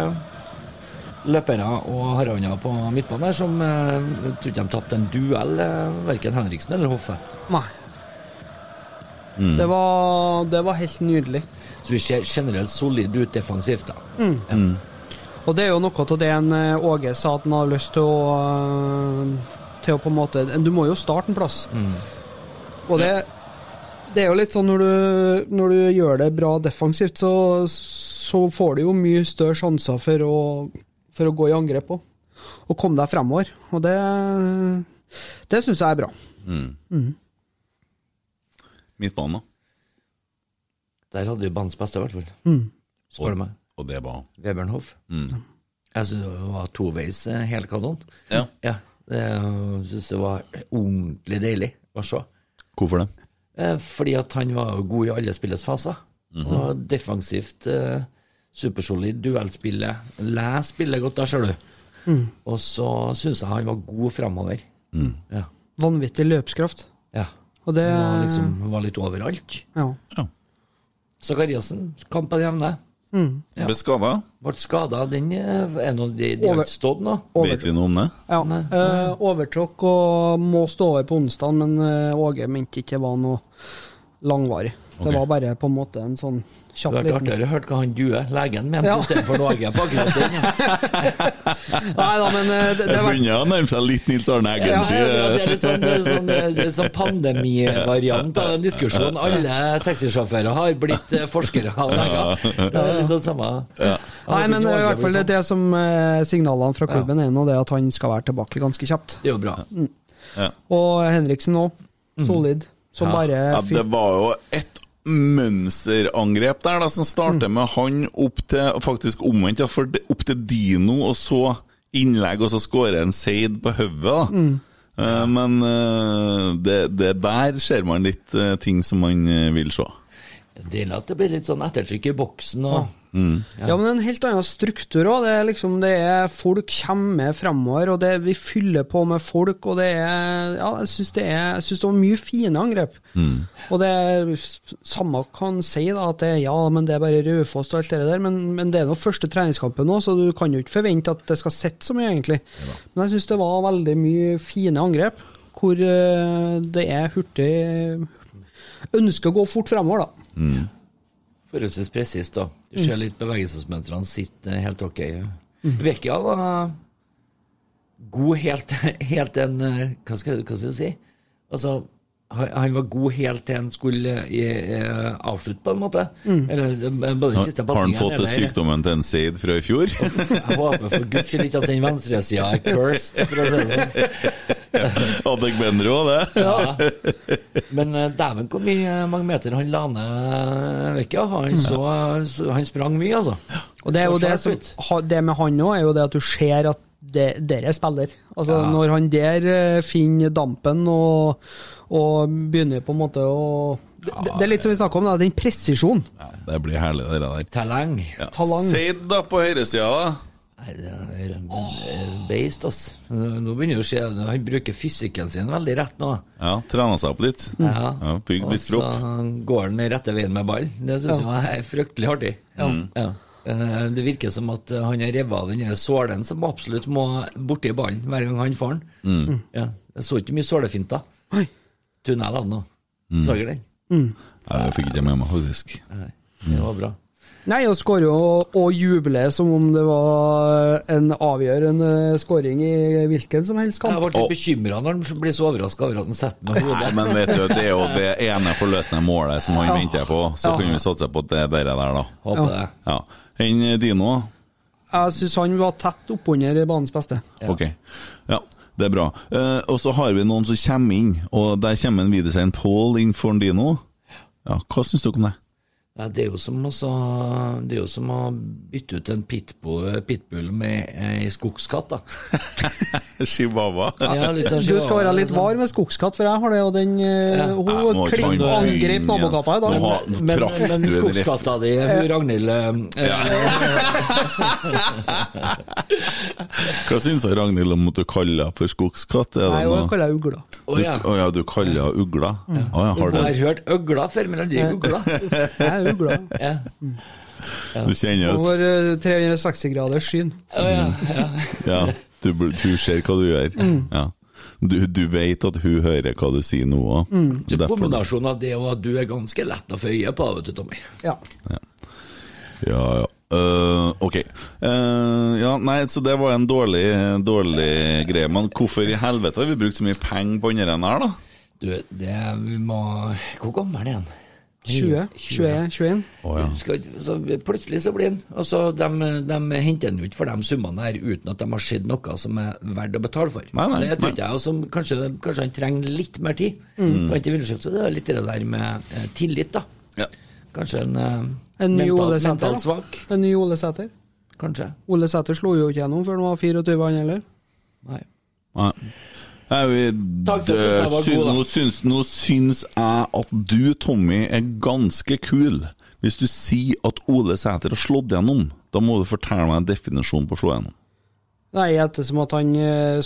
[SPEAKER 5] løpere og harander på midtbanen her som eh, jeg tror ikke de tapte en duell, eh, verken Henriksen eller Hoffe.
[SPEAKER 3] Nei. Det, var, det var helt nydelig.
[SPEAKER 5] Så vi ser generelt solid ut defensivt, da.
[SPEAKER 3] Mm. Og det er jo noe av det en eh, Åge sa at han har lyst til å eh, Til å på en måte Du må jo starte en plass.
[SPEAKER 5] Mm.
[SPEAKER 3] Og det Det er jo litt sånn når du, når du gjør det bra defensivt, så, så får du jo mye større sjanser for å, for å gå i angrep òg. Og komme deg fremover. Og det Det syns jeg er bra.
[SPEAKER 2] Midtbanen, da.
[SPEAKER 5] Der hadde vi banens beste, i hvert fall.
[SPEAKER 3] Mm.
[SPEAKER 5] Spør du meg.
[SPEAKER 2] Og det var
[SPEAKER 5] Webern Hoff. Jeg syns det var toveis eh, hel kanon.
[SPEAKER 2] Ja.
[SPEAKER 5] Ja, det, jeg synes det var ordentlig deilig å se.
[SPEAKER 2] Hvorfor det?
[SPEAKER 5] Eh, Fordi at han var jo god i alle spillets faser. Og defensivt, eh, supersolid, duellspillet. Les spillet godt, da, ser du.
[SPEAKER 3] Mm.
[SPEAKER 5] Og så syns jeg han var god framover. Ja.
[SPEAKER 3] Vanvittig løpskraft.
[SPEAKER 5] ja.
[SPEAKER 3] Og det
[SPEAKER 5] Han var, liksom, var litt overalt.
[SPEAKER 3] Ja.
[SPEAKER 5] Zakariassen, kamp på det jevne. Ja.
[SPEAKER 2] Ble skada?
[SPEAKER 5] Ble skada, den eh, er nå De, de har
[SPEAKER 3] Over-
[SPEAKER 5] ikke stått nå.
[SPEAKER 3] Over,
[SPEAKER 2] Vet vi noe om det?
[SPEAKER 3] Ja, eh, overtråkk og må stå over på onsdag, men eh, Åge mente ikke det var noe langvarig.
[SPEAKER 2] Ok.
[SPEAKER 3] Det var bare på en måte en sånn
[SPEAKER 5] Det
[SPEAKER 3] kjapp
[SPEAKER 5] hadde vært artigere å høre hva han Due, legen, mente
[SPEAKER 3] Ja.
[SPEAKER 5] istedenfor Norge på akkurat den.
[SPEAKER 3] Nei da, men eh, det, det
[SPEAKER 2] Det
[SPEAKER 3] var
[SPEAKER 2] begynner å nærme seg litt Nils Arne Eggen.
[SPEAKER 5] Ja, ja,
[SPEAKER 2] De,
[SPEAKER 5] det er litt sånn, det er sånn, det er sånn pandemivariant av den diskusjonen. Alle taxisjåfører har blitt eh, forskere og leger. Ja, Det er litt sånn samme.
[SPEAKER 3] Nei, men eh, i hvert fall det, det som eh, signalene fra klubben er nå, det er at han skal være tilbake ganske kjapt.
[SPEAKER 5] sånn. Det er jo bra.
[SPEAKER 3] Og Henriksen òg. Solid. Som
[SPEAKER 2] Mhm. ja,
[SPEAKER 3] bare
[SPEAKER 2] det
[SPEAKER 3] fikk
[SPEAKER 2] var jo et mønsterangrep der, da, som starter med han opp til Faktisk omvendt, ja, for det- opp til Dino, og så innlegg, og så skårer en Seid på hodet, da. Eh, Men eh, det, det der ser man litt eh, ting som man eh, vil se.
[SPEAKER 5] Deilig at det blir litt sånn ettertrykk i boksen og
[SPEAKER 3] Ja, men en helt annen struktur òg. Det er liksom det er Folk kommer framover, og det, vi fyller på med folk, og det er Ja, jeg syns det, er- jeg synes det var mye fine angrep. Og det er Samme kan si da at det er ja, men det er bare Raufoss og alt det der, men, men det er nå første treningskampen nå, så du kan jo ikke forvente at det skal sitte så mye, egentlig. Men jeg syns det var veldig mye fine angrep, hvor eh, det er hurtig Ønsker å gå fort fremover, da.
[SPEAKER 5] forholdsvis presist. da. Du
[SPEAKER 3] Mm.
[SPEAKER 5] ser litt bevegelsesmønstrene sitt eh, helt ok. Vekia var god helt, helt en eh, Hva skal, hva skal jeg si? Altså, han, han var god helt til han skulle eh, eh, avslutte, på en måte.
[SPEAKER 3] Mm.
[SPEAKER 5] Eller eh, både den siste
[SPEAKER 2] Har han
[SPEAKER 5] pasningen
[SPEAKER 2] fått
[SPEAKER 5] eller-
[SPEAKER 2] sykdommen til en Seid fra i fjor?
[SPEAKER 5] Jeg håper for guds skyld ikke at den venstresida er cursed, for å si det sånn.
[SPEAKER 2] Adegbenro, det.
[SPEAKER 5] Ja. Men eh, dæven hvor mye eh, mange meter han la ned vekka. Han, så, så, han sprang mye, altså.
[SPEAKER 3] Mm. Og det er jo
[SPEAKER 5] Så
[SPEAKER 3] det
[SPEAKER 5] sharp
[SPEAKER 3] som
[SPEAKER 5] ut.
[SPEAKER 3] ha- Det med han òg, er jo det at du ser at det, dere spiller. Altså Når han der eh, finner dampen og, og begynner på en måte å det, det er litt som vi snakka om, da, den presisjonen.
[SPEAKER 2] Ja, det blir herlig, det der.
[SPEAKER 5] Talang.
[SPEAKER 2] Ja.
[SPEAKER 3] Talang.
[SPEAKER 2] Seid, da, på høyresida, da.
[SPEAKER 5] Nei, det er er Beist, ass. Nå begynner det å skje. Han bruker fysikken sin veldig rett nå.
[SPEAKER 2] Ja, trena seg opp litt. Ja, Bygd
[SPEAKER 5] Og
[SPEAKER 2] litt
[SPEAKER 5] så
[SPEAKER 2] kropp.
[SPEAKER 5] går han den rette veien med ball. Det syns jeg er fryktelig artig. Ja. Eh, Det virker som at eh, han har revet av den der sålen som absolutt må borti ballen hver gang han får den.
[SPEAKER 2] Mm.
[SPEAKER 5] Ja. Jeg så ikke mye sålefinter.
[SPEAKER 3] Oi.
[SPEAKER 5] Tunnelene nå.
[SPEAKER 2] Mm.
[SPEAKER 5] Så dere den?
[SPEAKER 2] Nei, det fikk ikke jeg med meg, faktisk.
[SPEAKER 5] Nei, Det var bra.
[SPEAKER 3] Nei, og skårer jo og jubler som om det var eh, en avgjørende skåring i hvilken som helst
[SPEAKER 5] Jeg
[SPEAKER 3] kamp.
[SPEAKER 5] ble litt bekymra når han blir så overraska over at han setter meg
[SPEAKER 2] Nei,
[SPEAKER 5] hodet.
[SPEAKER 2] men vet du, det er jo det ene forløsende målet som han venter på. Så
[SPEAKER 3] Ja.
[SPEAKER 2] kan vi satse på det der, der da.
[SPEAKER 5] Håper det.
[SPEAKER 2] Ja. Enn Dino?
[SPEAKER 3] Jeg syns han var tett oppunder banens beste.
[SPEAKER 2] Ok. Ja, det er bra. Eh, og så har vi noen som kommer inn, og der kommer en Widersein Pål inn for Dino. Ja, hva syns dere om det?
[SPEAKER 5] Ja, det, er jo som å sa- det er jo som å bytte ut en pitbull, pitbull med ei skogskatt, da.
[SPEAKER 2] Chihuahua.
[SPEAKER 5] Ja, litt sånn
[SPEAKER 3] Du skal
[SPEAKER 5] chihuahua,
[SPEAKER 3] være litt altså.
[SPEAKER 5] sånn.
[SPEAKER 3] var med skogskatt, for jeg har det, og den eh,
[SPEAKER 2] Nei,
[SPEAKER 3] Hun
[SPEAKER 2] nå kan
[SPEAKER 3] kling-
[SPEAKER 2] du
[SPEAKER 3] angrep
[SPEAKER 2] begynne.
[SPEAKER 3] nabokappa i dag.
[SPEAKER 2] Nå
[SPEAKER 3] Men-
[SPEAKER 2] har-
[SPEAKER 5] Men,
[SPEAKER 2] Traff du
[SPEAKER 5] men
[SPEAKER 2] en
[SPEAKER 5] skogskatta di, hun Ragnhild eh,
[SPEAKER 2] Hva syns Ragnhild om at du kaller henne for skogskatt? Er det
[SPEAKER 3] Nei, hun
[SPEAKER 2] noe-
[SPEAKER 3] kaller jeg ugla.
[SPEAKER 5] Å
[SPEAKER 2] Du-
[SPEAKER 5] ja.
[SPEAKER 2] Å ja, du kaller henne ugla? Å ja, har
[SPEAKER 5] Jeg
[SPEAKER 2] du,
[SPEAKER 5] har hørt øgla før, men aldri ugla.
[SPEAKER 3] Jeg er ugla.
[SPEAKER 5] Ja.
[SPEAKER 2] du kjenner
[SPEAKER 3] Over 360 grader skyn.
[SPEAKER 5] Å ja. ja.
[SPEAKER 2] Ja, du, bur- du ser hva du gjør. Ja. Du, du vet at hun hører hva du sier nå òg.
[SPEAKER 5] Så kombinasjonen av det og at du er ganske lett å få øye på, vet du, Tommy.
[SPEAKER 3] Ja.
[SPEAKER 2] Ja, ja. Eh, ok. Eh, ja, nei, så det var en dårlig, dårlig greie. Men hvorfor i helvete har vi brukt så mye penger på andre enn her, da?
[SPEAKER 5] Du, det vi må Hvor gammel er han?
[SPEAKER 3] 20, 21, 21.
[SPEAKER 2] Å ja.
[SPEAKER 5] Skal, så plutselig så blir han Og så de, de henter han jo ikke for de summene her uten at de har sett noe som er verdt å betale for.
[SPEAKER 2] Nei, nei,
[SPEAKER 5] det tror
[SPEAKER 2] nei. Mm.
[SPEAKER 5] ikke jeg, og som kanskje, kanskje han trenger litt mer tid. For han ikke ville skjøpt seg. Det er litt det der med eh, tillit, da.
[SPEAKER 2] ja.
[SPEAKER 5] Kanskje en, eh,
[SPEAKER 3] En ny Ole
[SPEAKER 5] mentalt,
[SPEAKER 3] Sæter.
[SPEAKER 5] mentalt
[SPEAKER 3] da.
[SPEAKER 5] svak.
[SPEAKER 3] En ny Ole Sæter.
[SPEAKER 5] Kanskje.
[SPEAKER 3] Ole Sæter slo jo ikke gjennom før han var 24, han heller.
[SPEAKER 5] Nei.
[SPEAKER 2] Nei. Nei, vi,
[SPEAKER 5] Takk, jeg synes jeg var
[SPEAKER 2] syn-
[SPEAKER 5] god, da.
[SPEAKER 2] nå, syns, nå syns jeg at du, Tommy, er ganske kul. Hvis du sier at Ole Sæter har slått gjennom, da må du fortelle meg en definisjon på å slå gjennom.
[SPEAKER 3] Nei, ettersom at han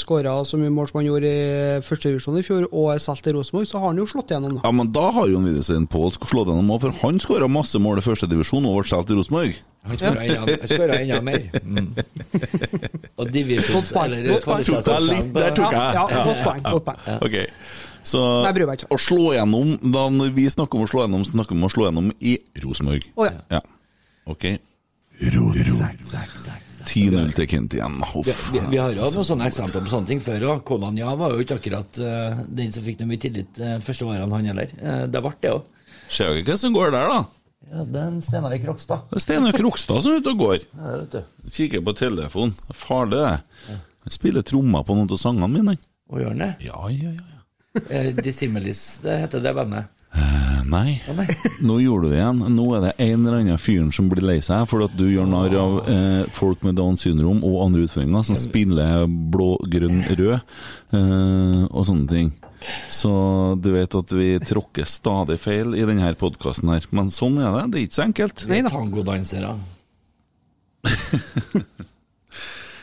[SPEAKER 3] skåra så mye mål som han gjorde i eh, første divisjon i fjor, og er solgt til Rosenborg, så har han jo slått gjennom, da.
[SPEAKER 2] Ja, men da har jo en Widersen Pål slått gjennom òg, for han skåra masse mål i første divisjon og ble solgt til Rosenborg.
[SPEAKER 5] Han skåra enda, han skårer enda mer. Mm. Og divisjons...
[SPEAKER 3] Godt poeng,
[SPEAKER 5] eller
[SPEAKER 3] godt poeng.
[SPEAKER 2] Tok deg litt, der tok jeg.
[SPEAKER 3] Ja, ja, godt poeng, godt poeng.
[SPEAKER 2] Ok. Så
[SPEAKER 3] Jeg bryr meg ikke.
[SPEAKER 2] å slå gjennom Da når vi snakker om å slå gjennom, så snakker vi om å slå gjennom i Rosenborg.
[SPEAKER 3] Å ja.
[SPEAKER 2] Ja. Ok. 10-0 til Kent igjen.
[SPEAKER 5] Vi,
[SPEAKER 2] Huff.
[SPEAKER 5] vi, vi har jo noen sånne eksempler på sånne ting før òg. Konanja var jo ikke akkurat eh, den som fikk noe mye tillit eh, første årene, han heller. Eh, det ble det òg.
[SPEAKER 2] Ser dere hva som går der, da?
[SPEAKER 5] Ja, det er en Steinar Krokstad.
[SPEAKER 2] Det er Steinar Krokstad som er ute og går.
[SPEAKER 5] Ja, det vet du.
[SPEAKER 2] Kikker på telefonen. Det er Farlig, det. Han spiller trommer på noen av sangene mine.
[SPEAKER 5] Og gjør han det?
[SPEAKER 2] Ja, ja, ja.
[SPEAKER 5] Eh, Dissimilis, det heter det bandet.
[SPEAKER 2] Eh, Nei.
[SPEAKER 5] Å nei.
[SPEAKER 2] Nå gjorde du det igjen. Nå er det en eller annen fyren som blir lei seg fordi at du gjør narr av eh, folk med Downs syndrom og andre utfordringer som spiller blå, grønn, rød eh, og sånne ting. Så du vet at vi tråkker stadig feil i denne podkasten her. Men sånn er det. Det er ikke så enkelt.
[SPEAKER 5] Vi er Tangodansere.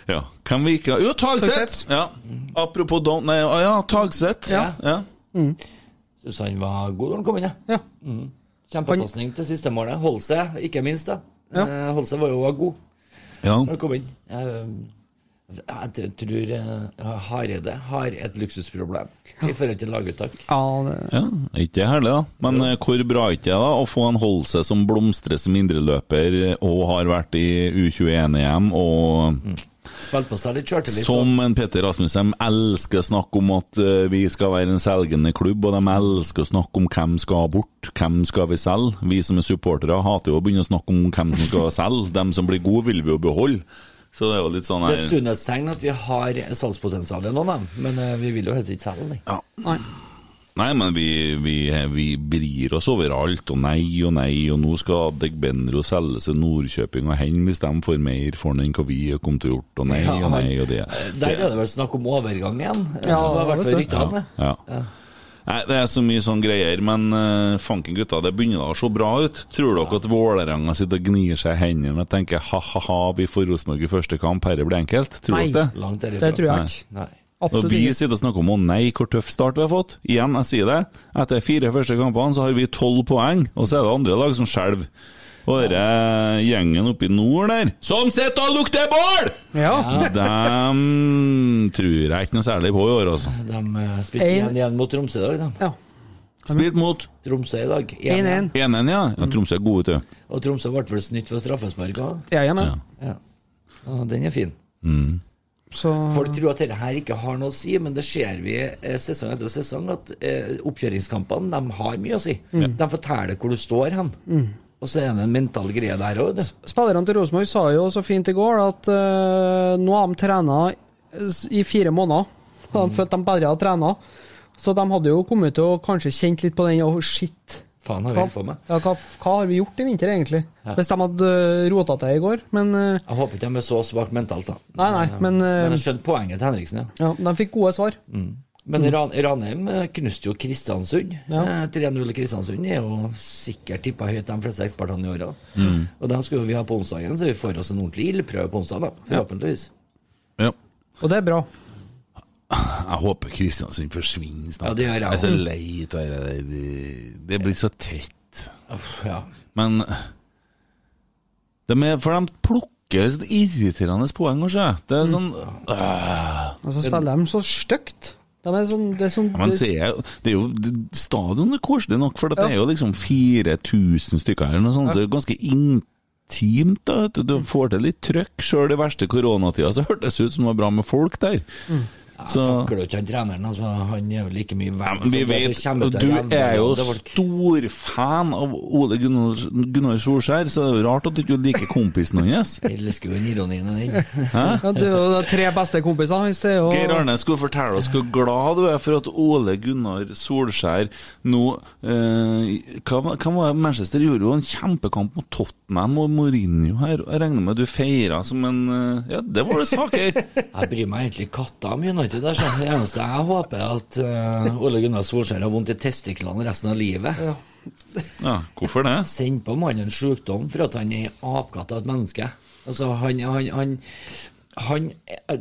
[SPEAKER 2] Ja. Hvem vi ikke har Jo, Tagseth!
[SPEAKER 3] Tagseth.
[SPEAKER 2] Ja. Apropos Down... Nei, ah, ja, Tagseth.
[SPEAKER 5] Ja.
[SPEAKER 2] Ja.
[SPEAKER 5] Syns han var god da han kom inn, ja. Mm.
[SPEAKER 3] Ja.
[SPEAKER 5] Kjempepasning til siste målet. Hold seg, ikke minst. da.
[SPEAKER 3] Ja.
[SPEAKER 5] Eh, Hold seg var jo også god.
[SPEAKER 2] ja.
[SPEAKER 5] Når han kom inn. Eh, Jeg t- tror eh, Hareide har et luksusproblem i forhold til laguttak.
[SPEAKER 3] ja det,
[SPEAKER 2] Ja, er ikke det herlig, da? Men eh, hvor bra er ikke det da å få en Holse som blomstrer som indreløper eh, og har vært i U21-EM, og
[SPEAKER 5] Spilte på seg Mm. litt sånn. sjøltillit.
[SPEAKER 2] som en Petter Rasmussen elsker å snakke om at eh, vi skal være en selgende klubb, og de elsker å snakke om hvem skal bort, hvem skal vi selge? Vi som er supportere hater jo å begynne å snakke om hvem som skal selge, dem som blir gode vil vi jo beholde. Så det er jo litt sånn her
[SPEAKER 5] Det er et sunnhetstegn at vi har salgspotensial i noen av dem, men eh, vi vil jo helst ikke selge dem.
[SPEAKER 3] nei.
[SPEAKER 2] Nei, men vi, vi, vi brir oss over alt, og nei og nei, og nå skal Degbenro selge seg Nordkjøping og hen hvis de får mer for den enn hva vi kom til å gjort, og nei og nei og det.
[SPEAKER 5] Der er det vel snakk om overgang igjen. Eh,
[SPEAKER 3] Ja,
[SPEAKER 5] det var i hvert fall
[SPEAKER 3] det
[SPEAKER 5] rykter om det.
[SPEAKER 2] Ja. Nei, det er så mye sånn greier, men eh, fanken gutta, det begynner da å se bra ut. Tror dere at Vålerenga sitter og gnir seg i hendene og tenker ha-ha-ha, vi får Rosenborg i første kamp, herre blir enkelt? Tror
[SPEAKER 3] Nei.
[SPEAKER 2] dere det?
[SPEAKER 5] Langt derifra.
[SPEAKER 3] det tror
[SPEAKER 2] Nei.
[SPEAKER 3] jeg ikke.
[SPEAKER 5] Nei.
[SPEAKER 2] Når
[SPEAKER 3] Absolutt
[SPEAKER 2] vi
[SPEAKER 3] ikke.
[SPEAKER 2] sitter og snakker om å nei, hvor tøff start vi har fått Igjen, jeg sier det. Etter fire første kampene så har vi tolv poeng, og så er det andre lag som skjelver. Og denne gjengen oppe i nord der, som sitter og lukter bål!
[SPEAKER 3] Ja.
[SPEAKER 2] Dem tror jeg ikke noe særlig på i år, altså.
[SPEAKER 5] De eh, spilte
[SPEAKER 3] En-
[SPEAKER 5] igjen, igjen mot Tromsø i dag, da.
[SPEAKER 3] ja.
[SPEAKER 2] Spilt mot
[SPEAKER 5] Tromsø i dag.
[SPEAKER 3] 1-1.
[SPEAKER 2] 1-1, ja. ja. Tromsø er gode, vet du.
[SPEAKER 5] Og Tromsø ble vel snytt for straffespark også.
[SPEAKER 3] Jeg er med.
[SPEAKER 5] Ja. Og den er fin.
[SPEAKER 3] Så
[SPEAKER 5] Folk tror at dette her ikke har noe å si, men det ser vi eh, sesong etter sesong at eh, oppkjøringskampene de har mye å si. De forteller hvor du står hen.
[SPEAKER 3] Mm.
[SPEAKER 5] Og så er det en mental greie der òg.
[SPEAKER 3] Spillerne til Rosenborg sa jo så fint i går at eh, nå har de trena i fire måneder. Da
[SPEAKER 5] Mm.
[SPEAKER 3] De følte de bare hadde trena. Så de hadde jo kommet til å kanskje kjent litt på den Åh, shit.
[SPEAKER 5] Faen har vi
[SPEAKER 3] Hva,
[SPEAKER 5] holdt på med.
[SPEAKER 3] ja, hva, hva har vi gjort i vinter, egentlig? Hvis de hadde rota til i går. Men eh,
[SPEAKER 5] Jeg håper ikke de er så svake mentalt, da.
[SPEAKER 3] Nei, nei, men, eh, Mm.
[SPEAKER 5] Men jeg skjønte poenget til Henriksen, ja.
[SPEAKER 3] ja, de fikk gode svar.
[SPEAKER 5] Mm. Men Ran Ranheim eh, knuste jo Kristiansund.
[SPEAKER 3] Ja.
[SPEAKER 5] Eh, 3-0 i Kristiansund er jo sikkert tippa høyt, de fleste ekspertene i åra.
[SPEAKER 2] Mm.
[SPEAKER 5] Og dem skal jo vi ha på onsdagen, så vi får oss en ordentlig ildprøve på onsdag, da. Forhåpentligvis.
[SPEAKER 2] Ja.
[SPEAKER 3] Og det er bra.
[SPEAKER 2] Jeg håper Kristiansund forsvinner snart.
[SPEAKER 5] Ja, det gjør jeg
[SPEAKER 2] er så
[SPEAKER 5] også.
[SPEAKER 2] lei av det der. Det- Det blir så tett.
[SPEAKER 5] Uff, ja.
[SPEAKER 2] Men de er, For de plukker sånn irriterende poeng, kanskje. Det er sånn øh.
[SPEAKER 3] Og så Altså, spiller de så stygt. De er sånn, det er sånn
[SPEAKER 2] Ja, Men se, det er jo Stadion er koselig nok, for at det er jo liksom 4000 stykker her, eller noe sånt, så det er ganske intimt. da, vet du. Du får til litt trøkk. Sjøl i verste koronatida så hørtes det ut som det var bra med folk der. Så
[SPEAKER 5] Takler jo ikke han treneren, altså. Han er jo like mye
[SPEAKER 2] ja,
[SPEAKER 5] verdt
[SPEAKER 2] men vi vet, og Du er jo stor fan av Ole Gunnar, Gunnar Solskjær, så det er jo rart at du ikke liker kompisen hans.
[SPEAKER 5] Elsker jo den ironien i den.
[SPEAKER 3] Ja, det er jo de tre beste kompisene hans. det er jo-
[SPEAKER 2] Geir Arne skulle fortelle oss hvor glad du er for at Ole Gunnar Solskjær nå eh, hva, var- hva var det Manchester gjorde jo en kjempekamp mot Tottenham og Mourinho her. og Jeg regner med du feira som en eh, Ja, det var det saker!
[SPEAKER 5] Jeg bryr meg egentlig katta om United. Der, så. Det eneste jeg håper, er at eh, Ole Gunnar Solskjær har vondt i testiklene resten av livet.
[SPEAKER 2] Ja, hvorfor det?
[SPEAKER 5] Send på mannen sykdom for at han er apekatt av et menneske. Altså, han, han, han, han,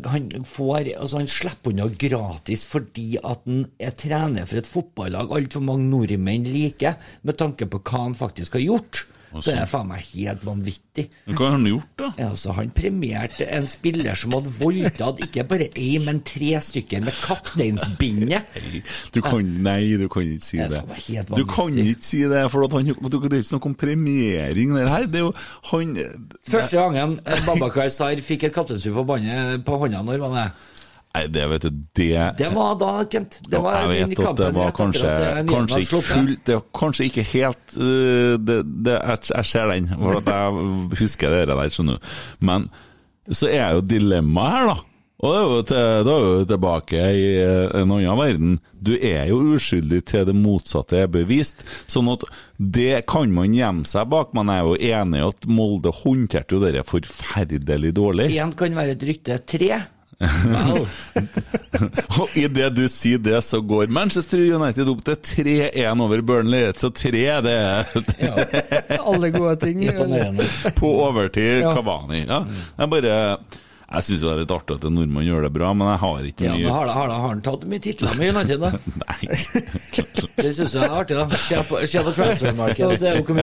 [SPEAKER 5] han får Altså, han slipper unna gratis fordi at han er trener for et fotballag altfor mange nordmenn liker, med tanke på hva han faktisk har gjort. Så det er faen meg helt vanvittig.
[SPEAKER 2] Men hva har han gjort, da?
[SPEAKER 5] Ja, altså, han premierte en spiller som hadde voldtatt ikke bare én, men tre stykker med kapteinsbindet.
[SPEAKER 2] Du kan, nei, du kan ikke si
[SPEAKER 5] Det er
[SPEAKER 2] det.
[SPEAKER 5] faen meg helt
[SPEAKER 2] Du kan
[SPEAKER 5] vanvittig.
[SPEAKER 2] ikke si det, for at han, det er ikke snakk om premiering der her. Det er jo han eh,
[SPEAKER 5] Første gangen eh, Babakar Sar fikk et kapteinsbue på, båndet- på hånda, når var det?
[SPEAKER 2] Nei, det vet du, det
[SPEAKER 5] Det var da, Kent. Det var
[SPEAKER 2] Ja, jeg
[SPEAKER 5] den
[SPEAKER 2] vet at det
[SPEAKER 5] kampen
[SPEAKER 2] var
[SPEAKER 5] rett etter
[SPEAKER 2] kanskje,
[SPEAKER 5] at, eh, Nyland
[SPEAKER 2] kanskje
[SPEAKER 5] hadde
[SPEAKER 2] ikke
[SPEAKER 5] slått, ja.
[SPEAKER 2] full Det var kanskje ikke helt øh, det, det, jeg, jeg ser den, for at jeg husker det der, skjønner du. Men så er jo dilemmaet her, da. Og det er jo til, da er vi jo tilbake i eh, en annen verden. Du er jo uskyldig til det motsatte er bevist. Sånn at det kan man gjemme seg bak. Man er jo enig i at Molde håndterte jo dette forferdelig dårlig.
[SPEAKER 5] Én kan være et rykte. Tre Wow.
[SPEAKER 2] Og idet du sier det, så går Manchester United opp til 3-1 over Burnley. Så 3 det er
[SPEAKER 3] Alle gode ting.
[SPEAKER 5] Imponerende.
[SPEAKER 2] på overtid
[SPEAKER 3] Ja.
[SPEAKER 2] Kavani. Ja. Jeg bare Jeg syns det er litt artig at en nordmann gjør det bra, men jeg har ikke
[SPEAKER 5] Ja, men
[SPEAKER 2] mye
[SPEAKER 5] har, da- har, da- har han tatt mye titler med United, da?
[SPEAKER 2] Nei.
[SPEAKER 5] Det syns jeg er artig, da. Se på, se på transfermarkedet. Det er jo hvor mye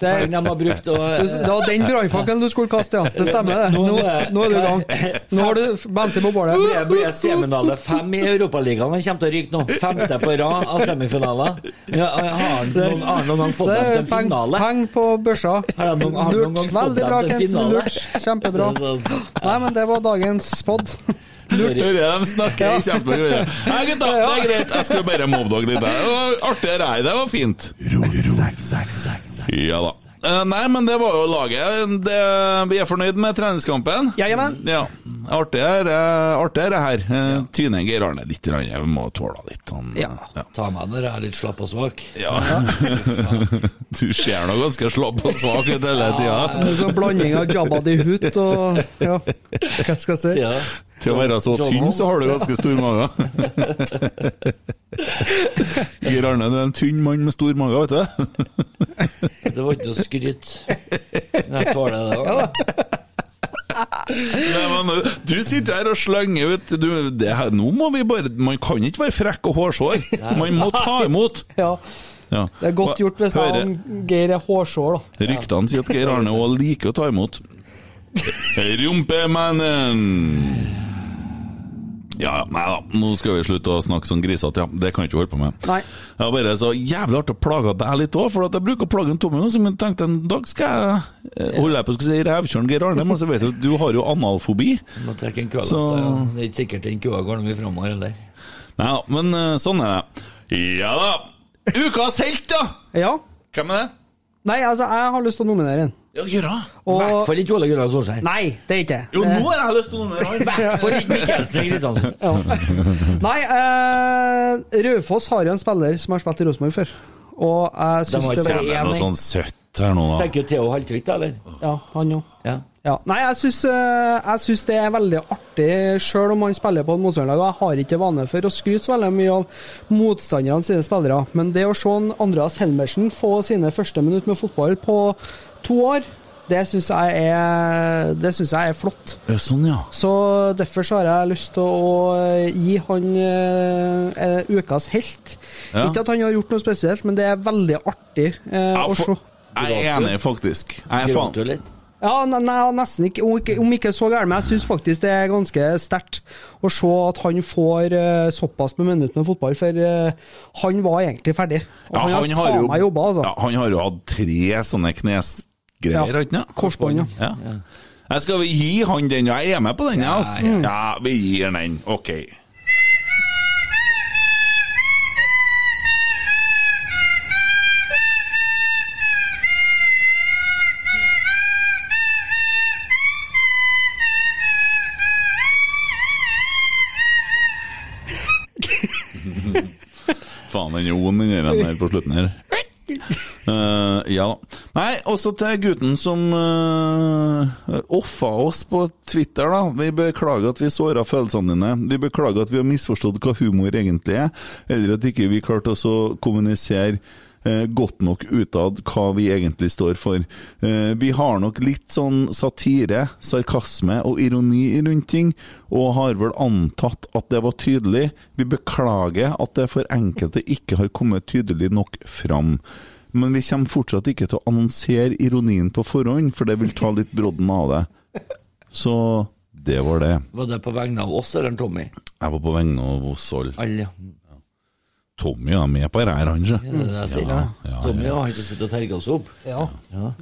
[SPEAKER 3] Det,
[SPEAKER 5] penger de har brukt. Og,
[SPEAKER 3] du- det var den brannfakkelen du skulle kaste, ja. Det stemmer, det. Nå, nå er du i gang. Nå har du bensin på bålet.
[SPEAKER 5] Blir blir semifinale fem i Europaligaen. Han kommer til å ryke nå. Femte på rad av semifinaler. Ja, har han noen, har han noen gang fått
[SPEAKER 3] Det
[SPEAKER 5] dem
[SPEAKER 3] er
[SPEAKER 5] til
[SPEAKER 3] peng,
[SPEAKER 5] finale?
[SPEAKER 3] peng på børsa.
[SPEAKER 5] Har han noen, har han noen
[SPEAKER 3] Lurt.
[SPEAKER 5] gang fått
[SPEAKER 3] Veldig
[SPEAKER 5] dem
[SPEAKER 3] bra,
[SPEAKER 5] til
[SPEAKER 3] Kent.
[SPEAKER 5] finale?
[SPEAKER 3] Lurt. Kjempebra. Nei, men det var dagens pod.
[SPEAKER 2] Hører jeg dem snakke, jeg kommer til å gjøre det. Nei, gutta, det er greit, jeg skulle bare mobdogge litt der. Det var Artig rei, det var fint. Ja da. Eh, Nei, men det var jo laget. Det, vi er fornøyd med treningskampen.
[SPEAKER 3] Ja, jamen.
[SPEAKER 2] Ja. Artig er eh, artig er det her. Eh, Tyne Geir Arne litt, grann, jeg må tåle litt. Han,
[SPEAKER 3] Ja.
[SPEAKER 5] Ta meg når jeg er litt slapp og svak.
[SPEAKER 2] Ja. Du ser nå ganske slapp og svak ut hele tida.
[SPEAKER 3] Så sånn blanding av Jabba de Hutt og ja, hva skal jeg si?
[SPEAKER 5] Ja.
[SPEAKER 2] Til å være så
[SPEAKER 5] John
[SPEAKER 2] tynn,
[SPEAKER 5] Holmes.
[SPEAKER 2] så har du ganske stor mage. Geir Arne, du er en tynn mann med stor mage, vet du.
[SPEAKER 5] Det var ikke noe skryt. Jeg tåler det. da.
[SPEAKER 2] Nei, men, du sitter her og slenger ut du, det her, Nå må vi bare Man kan ikke være frekk og hårsår. Man må ta imot.
[SPEAKER 3] Ja,
[SPEAKER 2] Ja.
[SPEAKER 3] det er godt gjort hvis jeg
[SPEAKER 2] Hører-
[SPEAKER 3] og Geir er hårsår, da.
[SPEAKER 2] Ryktene sier at Geir Arne òg liker å ta imot. Rumpemannen! Ja, ja, nei da, nå skal vi slutte å snakke sånn grisete, ja. Det kan jeg ikke holde på med.
[SPEAKER 3] Nei.
[SPEAKER 2] Jeg har bare så jævlig artig å plage deg litt òg, for at jeg bruker å plage en Tommy nå, så jeg tenkte en dag skal jeg eh, holde jeg på å skulle si revkjøren Geir Arne, men så vet du at du har jo analfobi.
[SPEAKER 5] Må trekke en kø
[SPEAKER 2] Så-
[SPEAKER 5] ja. Det er ikke sikkert den køa går noe mye framover heller.
[SPEAKER 2] Nei da, men eh, sånn er det. Ja da! Ukas helt, da!
[SPEAKER 3] Ja.
[SPEAKER 2] Hvem er det?
[SPEAKER 3] Nei, altså, jeg har lyst til å nominere en.
[SPEAKER 2] Ja, Gjøra.
[SPEAKER 5] I
[SPEAKER 3] Og
[SPEAKER 5] hvert fall ikke Ole Gunnar Solskjær.
[SPEAKER 3] Nei, det er ikke jeg.
[SPEAKER 2] Jo, nå har jeg lyst til å nominere han.
[SPEAKER 5] I hvert fall ikke Mikkelsen Kristiansen.
[SPEAKER 3] Nei, eh, Raufoss har jo en spiller som har spilt i Rosenborg før. Og jeg syns
[SPEAKER 5] De
[SPEAKER 3] det
[SPEAKER 5] har
[SPEAKER 3] var
[SPEAKER 5] ikke sett
[SPEAKER 2] Det er noe
[SPEAKER 3] én
[SPEAKER 2] sånn søtt her nå, da.
[SPEAKER 5] Tenker jo Theo Haltvik, da, eller?
[SPEAKER 3] Ja, han òg.
[SPEAKER 5] Ja.
[SPEAKER 3] Ja. Nei, jeg syns, eh, jeg syns det er veldig artig, sjøl om man spiller på et motstanderlag. og Jeg har ikke vane for å skryte så veldig mye av motstanderne sine spillere, men det å se en Andreas Helmersen få sine første minutt med fotball på to år, det syns jeg, er- det synes jeg er flott.
[SPEAKER 2] Ja, Sånn, ja.
[SPEAKER 3] Så derfor så har jeg lyst til å eh, gi han eh, eh, ukas helt.
[SPEAKER 2] Ja.
[SPEAKER 3] Ikke at han har gjort noe spesielt, men det er veldig artig eh, å se.
[SPEAKER 2] Jeg er enig, faktisk. Jeg er
[SPEAKER 5] Gråt
[SPEAKER 2] faen
[SPEAKER 5] du litt?
[SPEAKER 3] Ja, ne- nei, ja, nesten ikke. Om ikke, om ikke så gærent, men jeg syns faktisk det er ganske sterkt å se at han får eh, såpass med minutt med fotball, for eh, han var egentlig ferdig. Og
[SPEAKER 2] Ja,
[SPEAKER 3] han,
[SPEAKER 2] han
[SPEAKER 3] har
[SPEAKER 2] har jo-
[SPEAKER 3] faen meg jobba, altså.
[SPEAKER 2] ja, Han har jo hatt tre sånne knesgreier, har han ikke?
[SPEAKER 3] Korsbånd, ja.
[SPEAKER 2] Ja. Jeg skal vi gi han den? Ja, jeg er med på den, jeg, altså.
[SPEAKER 5] Ja,
[SPEAKER 2] Ja,
[SPEAKER 5] ja.
[SPEAKER 2] vi gir den. Ok. Faen, den roen den gjør han her på slutten her. Eh, ja da. Nei, også til gutten som uh, offa oss på Twitter, da. Vi beklager at vi såra følelsene dine. Vi beklager at vi har misforstått hva humor egentlig er, eller at ikke vi klarte oss å kommunisere eh, godt nok utad hva vi egentlig står for. Eh, vi har nok litt sånn satire, sarkasme og ironi rundt ting, og har vel antatt at det var tydelig. Vi beklager at det for enkelte ikke har kommet tydelig nok fram. Men vi kommer fortsatt ikke til å annonsere ironien på forhånd, for det vil ta litt brodden av det. Så det var det.
[SPEAKER 5] Var det på vegne av oss eller en Tommy?
[SPEAKER 2] Jeg var på vegne av oss alle.
[SPEAKER 5] Alle.
[SPEAKER 2] Tommy er med på dette, han, sjø.
[SPEAKER 5] Ja, det er det jeg sier.
[SPEAKER 2] Ja, ja,
[SPEAKER 5] Tommy har ikke sittet og terga oss opp.
[SPEAKER 3] Ja.
[SPEAKER 5] Ja.